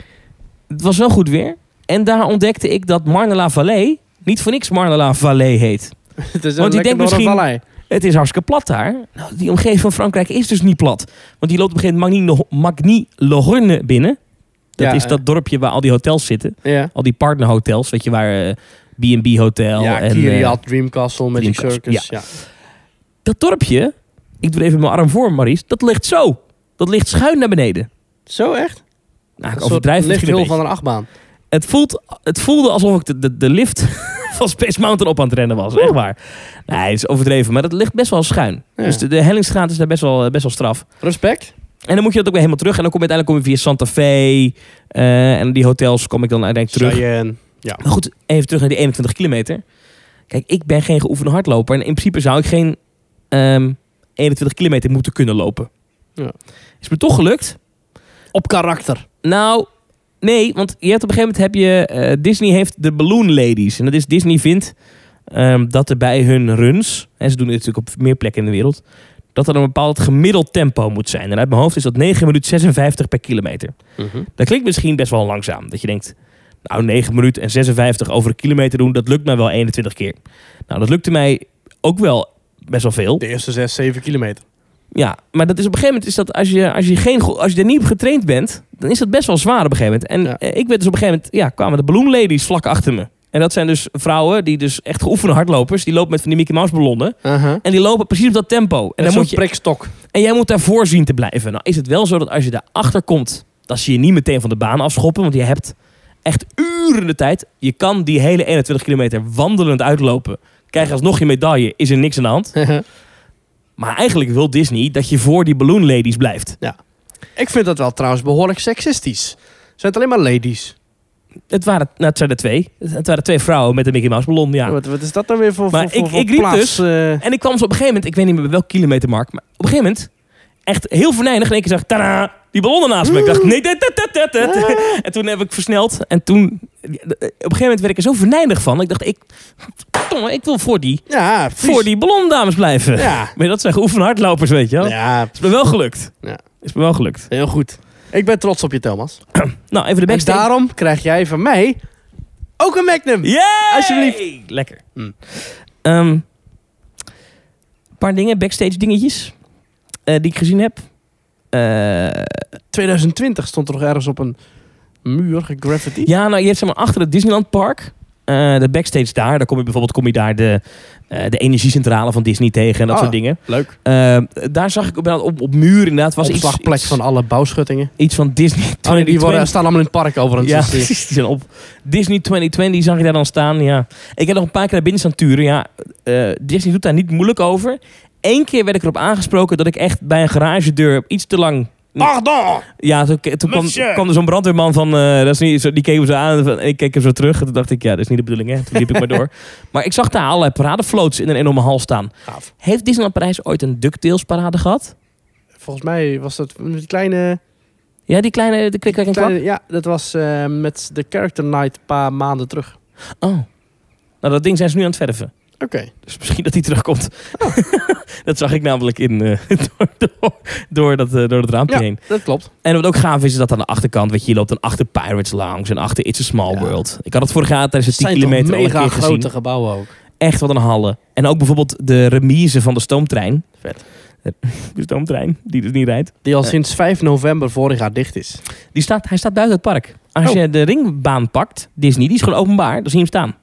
Speaker 2: het was wel goed weer. En daar ontdekte ik dat Marnela Valley niet voor niks Marnela Valley heet.
Speaker 1: het is een
Speaker 2: Want
Speaker 1: Want
Speaker 2: die
Speaker 1: lekker
Speaker 2: denkt
Speaker 1: dorre
Speaker 2: misschien-
Speaker 1: vallei.
Speaker 2: Het is hartstikke plat daar. Nou, die omgeving van Frankrijk is dus niet plat. Want die loopt op een gegeven moment Magny-Lorne binnen. Dat
Speaker 1: Ja,
Speaker 2: is
Speaker 1: eh.
Speaker 2: dat dorpje waar al die hotels zitten.
Speaker 1: Ja.
Speaker 2: Al die partnerhotels, weet je, waar eh, B&B Hotel
Speaker 1: ja,
Speaker 2: en... eh,
Speaker 1: Kiriat, Dreamcastle, Magic
Speaker 2: Dreamcastle,
Speaker 1: Circus. Ja.
Speaker 2: dat dorpje, ik doe even mijn arm voor, Maries, dat ligt zo. Dat ligt schuin naar beneden.
Speaker 1: Zo echt?
Speaker 2: Nou, ik
Speaker 1: Een soort
Speaker 2: overdrijf het misschien een
Speaker 1: lifthill
Speaker 2: beetje.
Speaker 1: van een achtbaan.
Speaker 2: Het, voelt, het voelde alsof ik de, de, de lift [laughs] van Space Mountain op aan het rennen was. Echt waar. Nee, het is overdreven, maar dat ligt best wel schuin.
Speaker 1: Ja.
Speaker 2: Dus de, de hellingsgraad is daar best wel, eh, best wel straf.
Speaker 1: Respect.
Speaker 2: En dan moet je dat ook weer helemaal terug. En dan kom je uiteindelijk kom je via Santa Fe. eh, en die hotels kom ik dan uiteindelijk terug.
Speaker 1: Cheyenne.
Speaker 2: Maar goed, even terug naar die 21 kilometer. Kijk, ik ben geen geoefende hardloper. En in principe zou ik geen ehm, 21 kilometer moeten kunnen lopen.
Speaker 1: Ja.
Speaker 2: Is me toch gelukt?
Speaker 1: Op karakter.
Speaker 2: Nou, nee. Want je hebt op een gegeven moment heb je... eh, Disney heeft de Balloon Ladies. En dat is Disney vindt ehm, dat er bij hun runs... En ze doen dit natuurlijk op meer plekken in de wereld... Dat er een bepaald gemiddeld tempo moet zijn. En uit mijn hoofd is dat 9 minuten 56 per kilometer. Dat klinkt misschien best wel langzaam. Dat je denkt, nou 9 minuten en 56 over een kilometer doen, dat lukt mij wel 21 keer. Nou, dat lukte mij ook wel best wel veel.
Speaker 1: De eerste 6, 7 kilometer.
Speaker 2: Ja, maar dat is op een gegeven moment is dat als je, als je, geen, go- als je er niet op getraind bent, dan is dat best wel zwaar op een gegeven moment. En
Speaker 1: Ja.
Speaker 2: eh, ik werd dus op een gegeven moment, ja, kwamen de Balloon Ladies vlak achter me. En dat zijn dus vrouwen die dus echt geoefende hardlopers, die lopen met van die Mickey Mouse ballonnen. Uh-huh. En die lopen precies op dat tempo. En,
Speaker 1: En
Speaker 2: dan
Speaker 1: dan
Speaker 2: moet je,
Speaker 1: prikstok.
Speaker 2: en jij moet daarvoor zien te blijven. Nou is het wel zo dat als je daarachter komt, dat ze je niet meteen van de baan afschoppen. Want je hebt echt uren de tijd. Je kan die hele 21 kilometer wandelend uitlopen. Krijg alsnog je medaille, is er niks aan de hand. Maar eigenlijk wil Disney dat je voor die balloon ladies blijft.
Speaker 1: Ik vind dat wel trouwens behoorlijk seksistisch. Zijn het alleen maar ladies?
Speaker 2: Het waren, nou, het zijn er twee. Het waren twee vrouwen met een Mickey Mouse ballon, ja.
Speaker 1: Wat, wat is dat dan weer voor,
Speaker 2: Maar
Speaker 1: voor, voor,
Speaker 2: ik-
Speaker 1: voor
Speaker 2: ik riep
Speaker 1: plaats,
Speaker 2: dus-
Speaker 1: eh?
Speaker 2: En ik kwam ze op een gegeven moment, ik weet niet meer bij welk kilometermark, maar op een gegeven moment echt heel verneinig in één keer zag ik, tada, die ballonnen naast me. Ik dacht, nee, dat, dat, dat, dat, dat.
Speaker 1: Ah.
Speaker 2: En toen heb ik versneld en toen, eh, op een gegeven moment werd ik er zo verneinig van. Ik dacht, ik, verdomme, ik wil voor die,
Speaker 1: ja, precies.
Speaker 2: voor die ballondames blijven. [laughs]
Speaker 1: Ja.
Speaker 2: Maar dat zijn geoefende hardlopers, weet je wel.
Speaker 1: ja,
Speaker 2: Is me wel gelukt.
Speaker 1: Ja.
Speaker 2: Is me wel gelukt.
Speaker 1: heel goed. Ik ben trots op je, Thomas.
Speaker 2: Nou, even de
Speaker 1: En
Speaker 2: backstage.
Speaker 1: daarom krijg jij van mij ook een Magnum.
Speaker 2: Yay!
Speaker 1: Alsjeblieft.
Speaker 2: Lekker.
Speaker 1: Mm.
Speaker 2: Ehm, Een paar dingen, backstage dingetjes eh, die ik gezien heb. Eh,
Speaker 1: 2020 stond er nog ergens op een muur gegraffiti.
Speaker 2: ja, nou, je hebt zeg maar achter het Disneyland Park. eh, de backstage daar, daar kom je bijvoorbeeld kom je daar de, eh, de energiecentrale van Disney tegen en dat
Speaker 1: Ah.
Speaker 2: soort dingen.
Speaker 1: Leuk.
Speaker 2: Eh, daar zag ik op, op, op muur inderdaad was iets,
Speaker 1: Opslagplek
Speaker 2: iets,
Speaker 1: van alle bouwschuttingen.
Speaker 2: iets van Disney.
Speaker 1: Oh, nee, die
Speaker 2: 2020.
Speaker 1: worden, staan allemaal in het park overigens.
Speaker 2: Ja,
Speaker 1: Dus die-
Speaker 2: [laughs] precies. Die zijn op Disney 2020 zag je daar dan staan. Ja. Ik heb nog een paar keer naar binnen staan turen. Ja, eh, Disney doet daar niet moeilijk over. Eén keer werd ik erop aangesproken dat ik echt bij een garagedeur iets te lang...
Speaker 1: Pardon!
Speaker 2: Ja, toen, toen kwam,
Speaker 1: Monsieur.
Speaker 2: kwam er zo'n brandweerman van... eh, dat is niet, zo- die keek hem zo aan en ik keek hem zo terug. En toen dacht ik, ja, dat is niet de bedoeling. Hè. Toen liep ik maar door. Maar ik zag daar allerlei paradefloats in een enorme hal staan.
Speaker 1: Gaaf.
Speaker 2: Heeft Disneyland Parijs ooit een DuckTales parade gehad?
Speaker 1: Volgens mij was dat met die kleine...
Speaker 2: Ja, die kleine... De klik, klik en klak?
Speaker 1: kleine ja, dat was eh, met de Character Night een paar maanden terug.
Speaker 2: Oh. Nou, dat ding zijn ze nu aan het verven.
Speaker 1: Oké.
Speaker 2: Dus misschien dat hij terugkomt.
Speaker 1: Oh.
Speaker 2: [laughs] dat zag ik namelijk in, eh, [laughs] door, door, door, dat, eh, door dat raampje
Speaker 1: Ja,
Speaker 2: heen.
Speaker 1: dat klopt.
Speaker 2: En wat ook gaaf is, is dat aan de achterkant, weet je, je loopt dan achter Pirates Lounge en achter It's a Small
Speaker 1: Ja.
Speaker 2: World. Ik had het vorig jaar tijdens
Speaker 1: Het
Speaker 2: de 10
Speaker 1: zijn toch
Speaker 2: kilometer al een
Speaker 1: mega
Speaker 2: keer
Speaker 1: grote
Speaker 2: gezien.
Speaker 1: gebouwen ook.
Speaker 2: Echt wat een halle. En ook bijvoorbeeld de remise van de stoomtrein.
Speaker 1: Vet.
Speaker 2: [laughs] De stoomtrein, die dus niet rijdt.
Speaker 1: Die al
Speaker 2: Ja.
Speaker 1: sinds 5 november vorig jaar dicht is.
Speaker 2: Die staat, hij staat buiten het park. Als
Speaker 1: Oh.
Speaker 2: je de ringbaan pakt, Disney, die is gewoon openbaar. Dan zie je hem staan.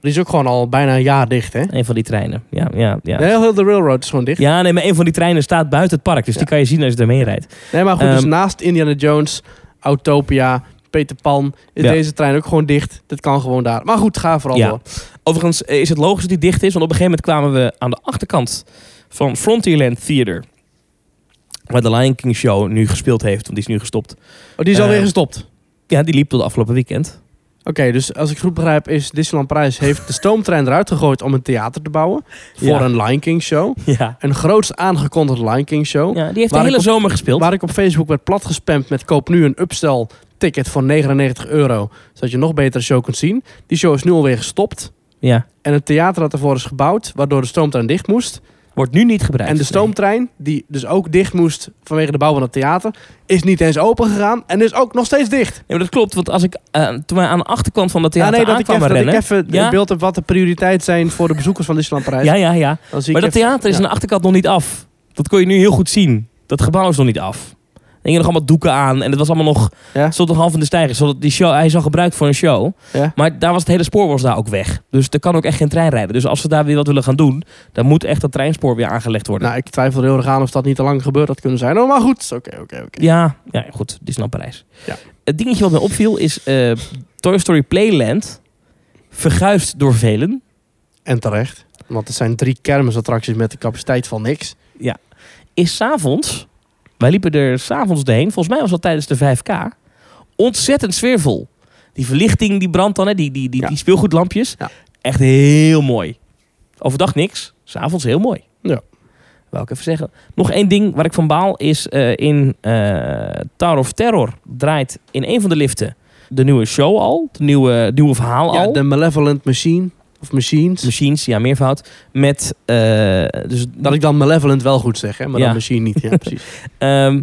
Speaker 1: Die is ook gewoon al bijna een jaar dicht, hè?
Speaker 2: Een van die treinen. Ja, ja, ja.
Speaker 1: Heel, heel de railroad is gewoon dicht.
Speaker 2: Ja, nee, maar een van die treinen staat buiten het park. Dus die
Speaker 1: Ja.
Speaker 2: kan je zien als je ermee rijdt.
Speaker 1: Nee, maar goed, dus
Speaker 2: Ehm,
Speaker 1: naast Indiana Jones, Autopia, Peter Pan. Is
Speaker 2: Ja.
Speaker 1: deze trein ook gewoon dicht? Dat kan gewoon daar. Maar goed, ga vooral
Speaker 2: Ja.
Speaker 1: door.
Speaker 2: Overigens eh, is het logisch dat die dicht is, want op een gegeven moment kwamen we aan de achterkant van Frontierland Theater. Waar de Lion King Show nu gespeeld heeft, want die is nu gestopt.
Speaker 1: Oh, die is alweer
Speaker 2: Eh,
Speaker 1: gestopt.
Speaker 2: Ja, die liep tot afgelopen weekend.
Speaker 1: Oké, dus als ik het goed begrijp is Disneyland Parijs heeft de stoomtrein eruit gegooid om een theater te bouwen. Voor
Speaker 2: Ja.
Speaker 1: een Lion King show.
Speaker 2: Ja.
Speaker 1: Een groots aangekondigde Lion King show.
Speaker 2: ja die heeft
Speaker 1: Waar
Speaker 2: de
Speaker 1: ik
Speaker 2: hele
Speaker 1: op-
Speaker 2: zomer gespeeld.
Speaker 1: Waar ik op Facebook werd platgespamd met koop nu een upstel ticket voor 99 euro. Zodat je nog betere show kunt zien. Die show is nu alweer gestopt.
Speaker 2: Ja.
Speaker 1: En het theater dat ervoor is gebouwd, waardoor de stoomtrein dicht moest.
Speaker 2: Wordt nu niet gebruikt. Dus
Speaker 1: En de stoomtrein, die dus ook dicht moest vanwege de bouw van het theater, is niet eens open gegaan en is ook nog steeds dicht.
Speaker 2: Nee, maar dat klopt, want als ik eh, toen wij aan de achterkant van dat
Speaker 1: Ja,
Speaker 2: theater
Speaker 1: nee, dat ik
Speaker 2: aankwamen
Speaker 1: even, dat ik
Speaker 2: rennen...
Speaker 1: even
Speaker 2: Ja.
Speaker 1: een beeld heb wat de prioriteit zijn voor de bezoekers van Disneyland Parijs.
Speaker 2: ja, ja, ja.
Speaker 1: Dan zie
Speaker 2: Maar
Speaker 1: ik
Speaker 2: dat
Speaker 1: even-
Speaker 2: theater is
Speaker 1: ja.
Speaker 2: aan de achterkant nog niet af. Dat kon je nu heel goed zien. Dat gebouw is nog niet af. Er hingen nog allemaal doeken aan en het was allemaal nog...
Speaker 1: Ja.
Speaker 2: stond nog half in de stijger. Zodat die show, hij is al gebruikt voor een show.
Speaker 1: Ja.
Speaker 2: Maar daar was het hele spoor was daar ook weg. Dus er kan ook echt geen trein rijden. Dus als ze daar weer wat willen gaan doen... dan moet echt dat treinspoor weer aangelegd worden.
Speaker 1: Nou, ik twijfel er heel erg aan of dat niet te lang gebeurd had kunnen zijn. Oh, maar goed. Oké, oké, oké.
Speaker 2: Ja, ja goed, Disneyland Parijs.
Speaker 1: Ja.
Speaker 2: Het dingetje wat mij opviel is eh, Toy Story Playland verguisd door velen.
Speaker 1: En terecht. Want het zijn drie kermisattracties met een capaciteit van niks.
Speaker 2: Is s'avonds, wij liepen er s'avonds heen, volgens mij was dat tijdens de 5K, ontzettend sfeervol. Die verlichting, die brandt dan, hè, die, die, die,
Speaker 1: Ja.
Speaker 2: die speelgoedlampjes.
Speaker 1: Ja.
Speaker 2: Echt heel mooi. Overdag niks, s'avonds heel mooi.
Speaker 1: Ja.
Speaker 2: Wou ik even zeggen. Nog één ding waar ik van baal is eh, in eh, Tower of Terror draait in een van de liften de nieuwe show al, het nieuwe, nieuwe verhaal
Speaker 1: Ja,
Speaker 2: al.
Speaker 1: de Malevolent Machine. Of Machines.
Speaker 2: Machines, ja, meervoud. Met, eh, dus
Speaker 1: Dat ik dan Malevolent wel goed zeg, hè? maar
Speaker 2: Ja.
Speaker 1: dan Machine niet.
Speaker 2: [laughs]
Speaker 1: Ja, precies.
Speaker 2: Ehm,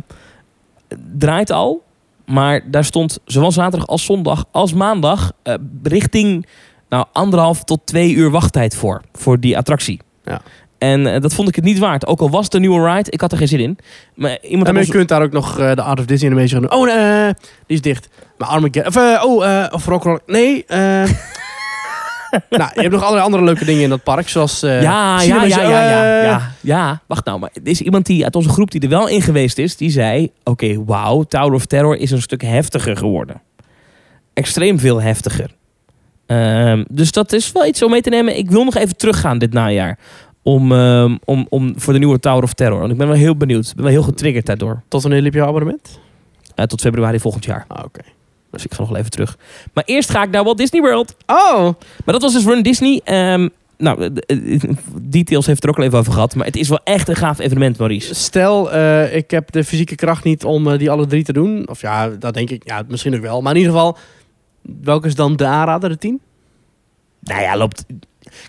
Speaker 2: draait al, maar daar stond zowel zaterdag als zondag als maandag eh, richting nou, anderhalf tot twee uur wachttijd voor, voor die attractie.
Speaker 1: Ja.
Speaker 2: En eh, dat vond ik het niet waard. Ook al was het een nieuwe ride, ik had er geen zin in. Maar iemand
Speaker 1: en
Speaker 2: had
Speaker 1: je
Speaker 2: ons-
Speaker 1: kunt daar ook nog eh, de Art of Disney animation gaan doen. Oh, nee, eh, die is dicht. Maar Armageddon... Of, eh, oh, eh, of Rock Rock... Nee,
Speaker 2: [laughs]
Speaker 1: eh. nou, je hebt nog allerlei andere leuke dingen in dat park, zoals... eh,
Speaker 2: ja, ja,
Speaker 1: Cinema-
Speaker 2: ja, ja, ja,
Speaker 1: eh,
Speaker 2: ja, ja. Wacht nou, maar er is iemand die uit onze groep die er wel in geweest is, die zei: Oké, wauw, Tower of Terror is een stuk heftiger geworden. Extreem veel heftiger. Ehm, dus dat is wel iets om mee te nemen. Ik wil nog even teruggaan dit najaar. Om, ehm, om, om voor de nieuwe Tower of Terror. Want ik ben wel heel benieuwd. Ik ben wel heel getriggerd daardoor.
Speaker 1: Tot wanneer liep je abonnement?
Speaker 2: Eh, tot februari volgend jaar.
Speaker 1: Ah, oké.
Speaker 2: Dus ik ga nog wel even terug. Maar eerst ga ik naar Walt Disney World.
Speaker 1: Oh!
Speaker 2: Maar dat was dus Run Disney. Ehm, nou, de- de- de- details heeft het er ook al even over gehad. Maar het is wel echt een gaaf evenement, Maurice.
Speaker 1: Stel, eh, ik heb de fysieke kracht niet om eh, die alle drie te doen. Of ja, dat denk ik. Ja, misschien ook wel. Maar in ieder geval, welke is dan de aanrader, de 10?
Speaker 2: Nou ja, loopt.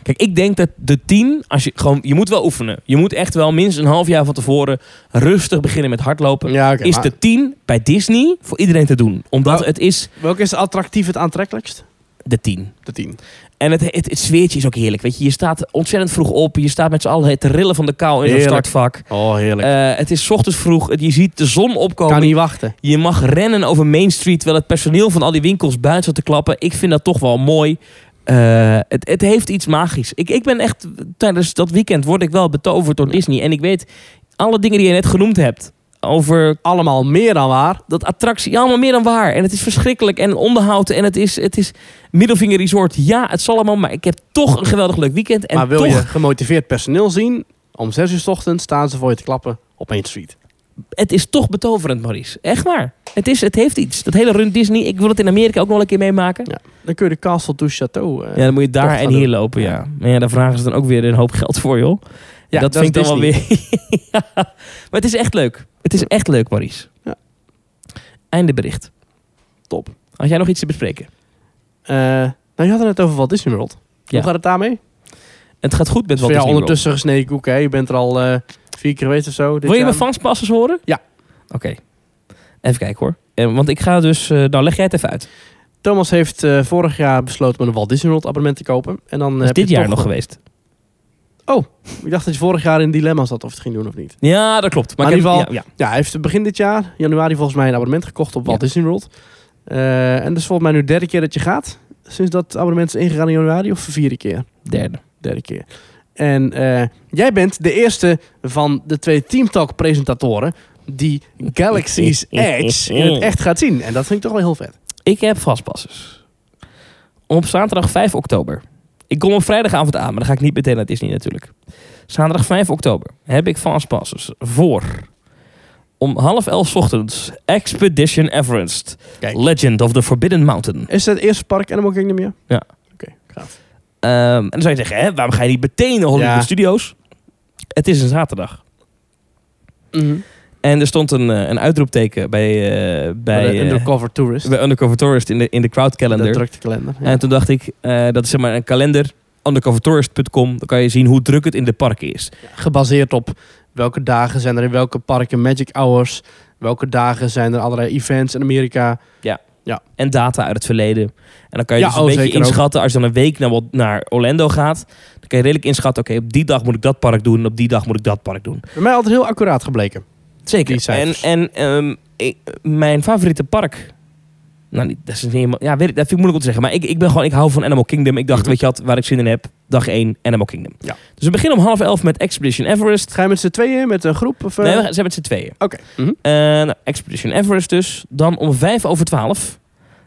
Speaker 2: Kijk, ik denk dat de 10, als je gewoon, je moet wel oefenen. Je moet echt wel minstens een half jaar van tevoren rustig beginnen met hardlopen.
Speaker 1: Ja, oké.
Speaker 2: is de 10 bij Disney voor iedereen te doen? Omdat
Speaker 1: Nou-
Speaker 2: het is
Speaker 1: Welke is attractief het aantrekkelijkst?
Speaker 2: de 10.
Speaker 1: De 10.
Speaker 2: En het, het, het sfeertje is ook heerlijk. Weet je, je staat ontzettend vroeg op. Je staat met z'n allen te rillen van de kou in zo'n
Speaker 1: Heerlijk.
Speaker 2: startvak.
Speaker 1: Oh, heerlijk.
Speaker 2: Eh, het is 's ochtends vroeg. Je ziet de zon opkomen.
Speaker 1: kan niet wachten.
Speaker 2: Je mag rennen over Main Street, terwijl het personeel van al die winkels buiten zat te klappen. Ik vind dat toch wel mooi. Eh, het, het heeft iets magisch. Ik, ik ben echt, tijdens dat weekend word ik wel betoverd door Disney. En ik weet, alle dingen die je net genoemd hebt, over
Speaker 1: Allemaal meer dan waar.
Speaker 2: dat attractie, ja, allemaal meer dan waar. En het is verschrikkelijk en onderhoud en het is, het is middelvinger resort. Ja, het zal allemaal, maar ik heb toch een geweldig leuk weekend. En
Speaker 1: maar wil
Speaker 2: toch,
Speaker 1: je gemotiveerd personeel zien? Om 6 uur 's ochtends staan ze voor je te klappen op Main Street.
Speaker 2: het is toch betoverend, Maurice. Echt waar. Het, is, het heeft iets. Dat hele run Disney, ik wil het in Amerika ook nog wel een keer meemaken.
Speaker 1: Dan kun je de Castle to Chateau. eh,
Speaker 2: Ja, dan moet je daar
Speaker 1: tocht
Speaker 2: en
Speaker 1: gaan
Speaker 2: hier
Speaker 1: doen.
Speaker 2: lopen, ja. Maar ja, daar vragen ze dan ook weer een hoop geld voor, joh.
Speaker 1: Ja,
Speaker 2: dat,
Speaker 1: dat
Speaker 2: vind ik
Speaker 1: is
Speaker 2: dan wel weer... [laughs] Ja. Maar het is echt leuk. Het is echt leuk, Maurice.
Speaker 1: Ja.
Speaker 2: Einde bericht.
Speaker 1: Top.
Speaker 2: Had jij nog iets te bespreken?
Speaker 1: eh, nou, je had het net over Walt Disney World.
Speaker 2: Ja.
Speaker 1: Hoe gaat het daarmee?
Speaker 2: Het gaat goed met
Speaker 1: Voor
Speaker 2: wat
Speaker 1: jou Dus ondertussen gesneden koek, hè? Je bent er al eh, vier keer geweest of zo. dit
Speaker 2: Wil je
Speaker 1: jaar.
Speaker 2: mijn vangstpassers horen?
Speaker 1: Ja.
Speaker 2: Oké. Even kijken hoor. Eh, want ik ga dus... eh, nou, leg jij het even uit.
Speaker 1: Thomas heeft eh, vorig jaar besloten met een Walt Disney World abonnement te kopen. En dan eh,
Speaker 2: Dat
Speaker 1: heb
Speaker 2: is dit
Speaker 1: je
Speaker 2: jaar
Speaker 1: toch-
Speaker 2: nog geweest.
Speaker 1: Ik dacht dat je vorig jaar in dilemma zat of het ging doen of niet.
Speaker 2: Ja, dat klopt.
Speaker 1: Maar in
Speaker 2: ik heb-
Speaker 1: ieder
Speaker 2: ja, ja.
Speaker 1: Ja, hij heeft begin dit jaar, januari volgens mij, een abonnement gekocht op Walt
Speaker 2: Ja.
Speaker 1: Disney World. Eh, en dat is volgens mij nu de derde keer dat je gaat. Sinds dat abonnement is ingegaan in januari of de vierde keer?
Speaker 2: Derde.
Speaker 1: Derde keer. En eh, jij bent de eerste van de twee Team Talk
Speaker 2: [laughs]
Speaker 1: presentatoren die Galaxy's Edge in het echt gaat zien. En dat vind ik toch wel heel vet.
Speaker 2: Ik heb vastpassers. Op zaterdag 5 oktober. Ik kom op vrijdagavond aan, maar dan ga ik niet meteen naar Disney natuurlijk. Zaterdag 5 oktober heb ik vastpassers voor om half elf 's ochtends Expedition Everest,
Speaker 1: Kijk.
Speaker 2: Legend of the Forbidden Mountain.
Speaker 1: Is dat het eerste park Animal Kingdom, ja?
Speaker 2: Ja.
Speaker 1: Oké, gaaf.
Speaker 2: Ehm, en dan zou je zeggen, hè, waarom ga je niet meteen naar Hollywood
Speaker 1: Ja.
Speaker 2: Studios? Het is een zaterdag. Mhm. En er stond een, eh, een uitroepteken bij, eh, bij,
Speaker 1: Bij
Speaker 2: eh,
Speaker 1: Undercover Tourist.
Speaker 2: bij Undercover Tourist in de, in de crowd
Speaker 1: De
Speaker 2: calendar.
Speaker 1: drukte kalender. ja.
Speaker 2: En toen dacht ik, eh, dat is zeg maar een kalender, undercovertourist.com. Dan kan je zien hoe druk het in de parken is.
Speaker 1: Gebaseerd op welke dagen zijn er in welke parken Magic Hours. Welke dagen zijn er allerlei events in Amerika.
Speaker 2: En data uit het verleden. En dan kan je
Speaker 1: Ja,
Speaker 2: dus een
Speaker 1: oh,
Speaker 2: beetje
Speaker 1: zeker ook.
Speaker 2: inschatten, als je dan een week naar, Wal- naar Orlando gaat, dan kan je redelijk inschatten, oké, op die dag moet ik dat park doen, en op die dag moet ik dat park doen.
Speaker 1: Bij mij altijd heel accuraat gebleken.
Speaker 2: Zeker.
Speaker 1: Die
Speaker 2: En,
Speaker 1: cijfers.
Speaker 2: en ehm, ik- mijn favoriete park. Nou, niet, dat is niet helemaal. Ja, weet ik, dat vind ik moeilijk om te zeggen. Maar ik, ik ben gewoon, ik hou van Animal Kingdom. Ik dacht, weet je wat, waar ik zin in heb. Dag 1, Animal Kingdom.
Speaker 1: Mhm. Ja.
Speaker 2: Dus we beginnen om half elf met Expedition Everest.
Speaker 1: Ga je met z'n tweeën, met een groep? Of, eh?
Speaker 2: Nee, we zijn met z'n tweeën.
Speaker 1: Oké. Mhm.
Speaker 2: Eh, nou, Expedition Everest dus. Dan om vijf over twaalf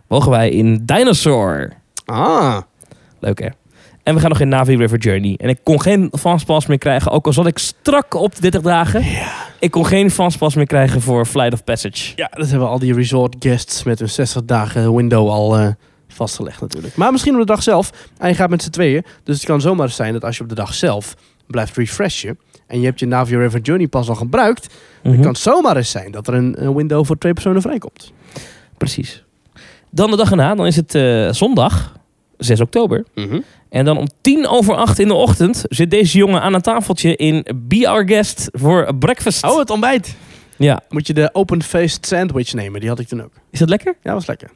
Speaker 2: mogen wij in Dinosaur.
Speaker 1: Ah,
Speaker 2: Leuk hè? En we gaan nog in Navi River Journey. En ik kon geen fastpass meer krijgen, ook al zat ik strak op de 30 dagen. Ik kon geen fastpass meer krijgen voor Flight of Passage.
Speaker 1: ja, dat hebben al die resort guests met hun 60 dagen window al eh, vastgelegd natuurlijk. Maar misschien op de dag zelf. En je gaat met z'n tweeën. Dus het kan zomaar zijn dat als je op de dag zelf blijft refreshen. En je hebt je Navio River Journey pas al gebruikt.
Speaker 2: Mhm.
Speaker 1: kan het zomaar eens zijn dat er een, een window voor twee personen vrijkomt.
Speaker 2: Precies. Dan de dag erna, dan is het eh, zondag, 6 oktober. En dan om tien over acht in de ochtend zit deze jongen aan een tafeltje in Be Our Guest voor breakfast.
Speaker 1: Oh, het ontbijt.
Speaker 2: Ja,
Speaker 1: Moet je de open-faced sandwich nemen. Die had ik toen ook.
Speaker 2: is dat lekker?
Speaker 1: Ja, was lekker.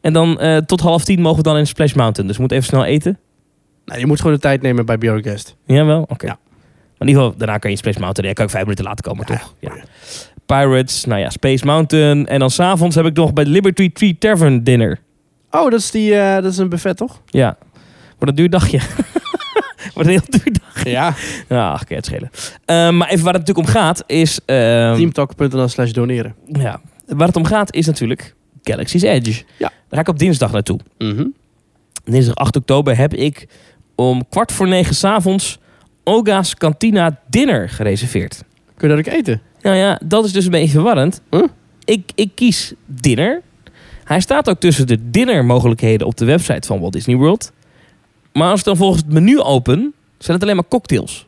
Speaker 2: En dan eh, tot half tien mogen we dan in Splash Mountain. Dus we moeten even snel eten.
Speaker 1: Nou, je moet gewoon de tijd nemen bij Björk Guest.
Speaker 2: Jawel, oké.
Speaker 1: Ja.
Speaker 2: Maar in ieder geval, daarna kan je in Splash Mountain. Ja, kan ik vijf minuten later komen,
Speaker 1: Ja,
Speaker 2: toch? Ja. Pirates, nou ja, Space Mountain. En dan s'avonds heb ik nog bij Liberty Tree Tavern dinner.
Speaker 1: Oh, dat is, die, eh, dat is een buffet, toch?
Speaker 2: Ja, wordt een duur dagje. [laughs] wordt een heel duur dagje.
Speaker 1: [laughs] Ja.
Speaker 2: Ja, ach, kan je het schelen. Ehm, maar even waar het natuurlijk om gaat is... ehm,
Speaker 1: [laughs] Teamtalk.nl slash doneren.
Speaker 2: ja, waar het om gaat is natuurlijk Galaxy's Edge.
Speaker 1: Ja.
Speaker 2: Daar ga ik op dinsdag naartoe.
Speaker 1: Mhm.
Speaker 2: Dinsdag 8 oktober heb ik om kwart voor negen s'avonds... Oga's Cantina Dinner gereserveerd.
Speaker 1: Kun je dat ook eten?
Speaker 2: Nou ja, dat is dus een beetje verwarrend.
Speaker 1: Huh?
Speaker 2: Ik, ik kies dinner. Hij staat ook tussen de dinnermogelijkheden op de website van Walt Disney World. Maar als ik dan volgens het menu open, zijn het alleen maar cocktails.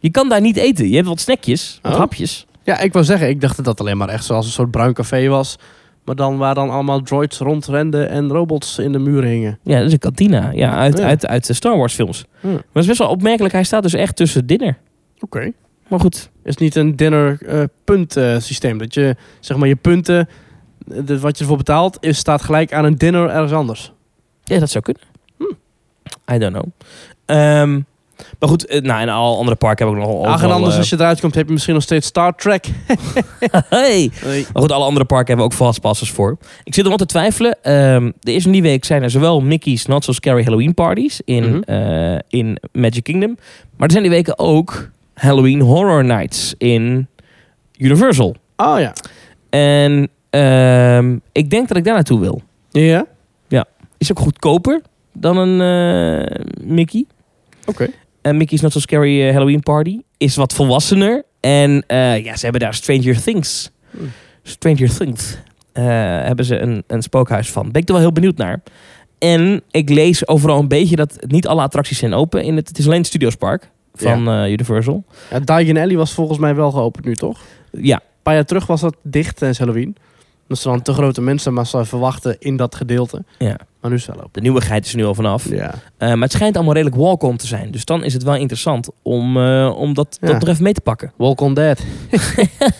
Speaker 2: Je kan daar niet eten. Je hebt wat snackjes, wat
Speaker 1: Oh.
Speaker 2: hapjes.
Speaker 1: Ja, ik wou zeggen, ik dacht dat dat alleen maar echt zoals een soort bruin café was. Maar dan waar dan allemaal droids rondrenden en robots in de muren hingen.
Speaker 2: Ja, dat is een kantina. Ja, uit,
Speaker 1: Oh Ja.
Speaker 2: Uit, uit de Star Wars films.
Speaker 1: Hmm.
Speaker 2: Maar het is best wel opmerkelijk. Hij staat dus echt tussen dinner.
Speaker 1: Oké.
Speaker 2: Maar goed.
Speaker 1: Is het niet een dinner eh, punt eh, systeem? Dat je, zeg maar, je punten, eh, de- wat je ervoor betaalt, is, staat gelijk aan een dinner ergens anders.
Speaker 2: Ja, dat zou kunnen. Hm. I don't know. Ehm, maar goed, eh, nou, in al andere parken heb ik nog...
Speaker 1: Ach, en
Speaker 2: overal,
Speaker 1: anders
Speaker 2: eh,
Speaker 1: als je eruit komt, heb je misschien nog steeds Star Trek.
Speaker 2: [laughs] hey. Maar goed, alle andere parken hebben ook fastpassers voor. Ik zit er nog te twijfelen. Ehm, de eerste die week zijn er zowel Mickey's Not So Scary Halloween parties in,
Speaker 1: Mhm.
Speaker 2: eh, in Magic Kingdom. Maar er zijn die weken ook Halloween Horror Nights in Universal.
Speaker 1: Oh ja.
Speaker 2: En ehm, ik denk dat ik daar naartoe wil.
Speaker 1: Ja?
Speaker 2: Is ook goedkoper dan een eh, Mickey.
Speaker 1: Oké.
Speaker 2: En Mickey's Not So Scary eh, Halloween Party is wat volwassener. En eh, ja, ze hebben daar Stranger Things.
Speaker 1: Hmm.
Speaker 2: Stranger Things. eh, hebben ze een, een spookhuis van. Ben ik er wel heel benieuwd naar. En ik lees overal een beetje dat niet alle attracties zijn open. In het, het is alleen het Studiospark van eh, Universal.
Speaker 1: Ja, Diagon Alley was volgens mij wel geopend nu, toch?
Speaker 2: Ja,
Speaker 1: Een paar jaar terug was dat dicht tijdens Halloween. Dat ze dan te grote mensenmassa verwachten in dat gedeelte.
Speaker 2: Ja.
Speaker 1: Maar nu is het wel open.
Speaker 2: de nieuwigheid is er nu al vanaf.
Speaker 1: Ja.
Speaker 2: Eh, maar het schijnt allemaal redelijk walk-on te zijn. Dus dan is het wel interessant om, eh, om dat,
Speaker 1: Ja.
Speaker 2: dat er even mee te pakken.
Speaker 1: Walk on Dead.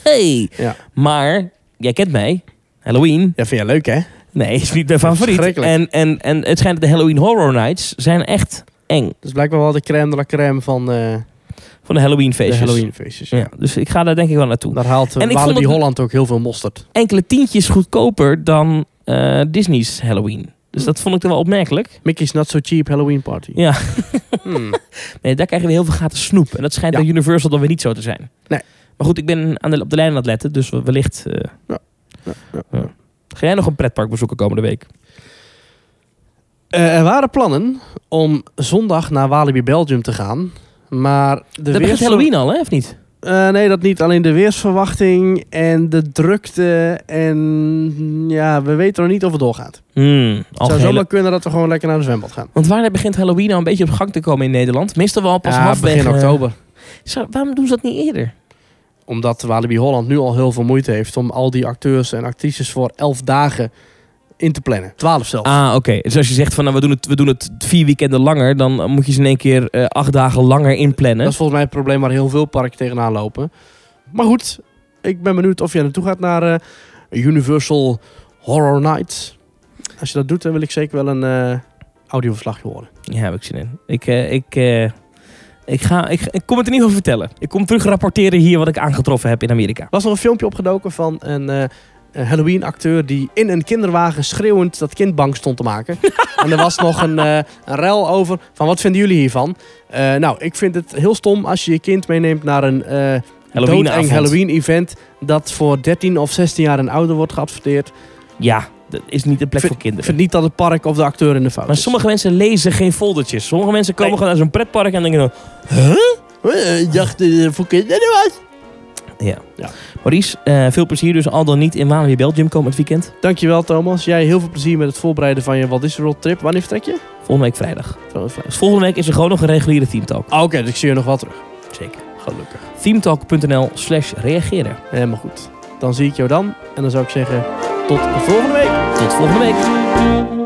Speaker 2: Hey.
Speaker 1: Ja.
Speaker 2: Maar, jij kent mij. Halloween.
Speaker 1: Ja, vind jij leuk, hè?
Speaker 2: Nee, is niet mijn favoriet.
Speaker 1: Verschrikkelijk.
Speaker 2: En, en, en het schijnt dat de Halloween Horror Nights zijn echt eng
Speaker 1: Dus blijkbaar wel de crème de la crème van eh
Speaker 2: van de Halloween
Speaker 1: de
Speaker 2: feestjes.
Speaker 1: Halloween Nou. feestjes.
Speaker 2: Ja, dus ik ga daar denk ik wel naartoe.
Speaker 1: Daar haalt
Speaker 2: En ik
Speaker 1: en
Speaker 2: vond
Speaker 1: die
Speaker 2: het-
Speaker 1: Holland ook heel veel mosterd.
Speaker 2: Enkele tientjes goedkoper dan eh, Disney's Halloween. Dus dat vond ik toch wel opmerkelijk.
Speaker 1: Mickey's Not So Cheap Halloween Party.
Speaker 2: Ja.
Speaker 1: [laughs] Hmm.
Speaker 2: Nee, daar krijgen we heel veel gratis snoep. En dat schijnt
Speaker 1: Ja.
Speaker 2: bij Universal dan weer niet zo te zijn.
Speaker 1: Nee.
Speaker 2: Maar goed, ik ben aan de, op de lijn aan het letten. Dus wellicht eh,
Speaker 1: Ja, ja.
Speaker 2: gaan Ga jij nog een pretpark bezoeken komende week?
Speaker 1: Eh, er waren plannen om zondag naar Walibi Belgium te gaan. Maar de
Speaker 2: dat begint
Speaker 1: weersver-
Speaker 2: Halloween al, hè? Of niet?
Speaker 1: Eh, nee, dat niet. Alleen de weersverwachting en de drukte. En ja, we weten nog niet of het doorgaat.
Speaker 2: Hmm, al
Speaker 1: Het zou
Speaker 2: gehele-
Speaker 1: zomaar kunnen dat we gewoon lekker naar de zwembad gaan.
Speaker 2: Want wanneer begint Halloween al een beetje op gang te komen in Nederland? Meestal wel pas
Speaker 1: Ja,
Speaker 2: halfweg.
Speaker 1: begin
Speaker 2: eh,
Speaker 1: oktober.
Speaker 2: zou- waarom doen ze dat niet eerder?
Speaker 1: Omdat Walibi Holland nu al heel veel moeite heeft om al die acteurs en actrices voor elf dagen in te plannen. Twaalf zelfs.
Speaker 2: Ah, oké. Dus als je zegt van nou, we, doen het, we doen het vier weekenden langer, dan eh, moet je ze in één keer eh, acht dagen langer inplannen.
Speaker 1: Dat is volgens mij het probleem waar heel veel parken tegenaan lopen. Maar goed, ik ben benieuwd of jij naartoe gaat naar eh, Universal Horror Nights. Als je dat doet, dan wil ik zeker wel een eh, audioverslagje horen.
Speaker 2: Ja, heb ik zin in. Ik, eh, ik, eh, ik, ga, ik, ik kom het in ieder geval vertellen. Ik kom terug rapporteren hier wat ik aangetroffen heb in Amerika.
Speaker 1: Er was nog een filmpje opgedoken van een eh, Halloween-acteur die in een kinderwagen schreeuwend dat kind bang stond te [laughs] maken. en er was nog een, eh een rel over van wat vinden jullie hiervan? Eh, nou, ik vind het heel stom als je je kind meeneemt naar een eh
Speaker 2: Halloween
Speaker 1: doodeng Halloween-event dat voor 13 of 16 jaar en ouder wordt geadverteerd.
Speaker 2: Ja, dat is niet de plek voor
Speaker 1: Ik
Speaker 2: kinderen.
Speaker 1: vind niet dat het park of de acteur in de fout
Speaker 2: maar
Speaker 1: is.
Speaker 2: sommige mensen lezen geen foldertjes. Sommige mensen komen
Speaker 1: Nee.
Speaker 2: gewoon naar zo'n pretpark en denken dan...
Speaker 1: Eh, jacht eh, voor kinderen wat?
Speaker 2: Maurice, eh, veel plezier dus al dan niet in Walibi Belgium komend weekend.
Speaker 1: Dankjewel Thomas. Jij heel veel plezier met het voorbereiden van je Walt Disney World trip. Wanneer vertrek je?
Speaker 2: Volgende week vrijdag.
Speaker 1: Trouwens, vrijdag.
Speaker 2: Dus volgende week is er gewoon nog een reguliere teamtalk.
Speaker 1: Ah, Oké, dus ik zie je nog wel terug.
Speaker 2: Zeker.
Speaker 1: Gelukkig.
Speaker 2: Teamtalk.nl slash reageren.
Speaker 1: Helemaal goed. Dan zie ik jou dan. En dan zou ik zeggen, tot volgende week.
Speaker 2: Tot volgende week.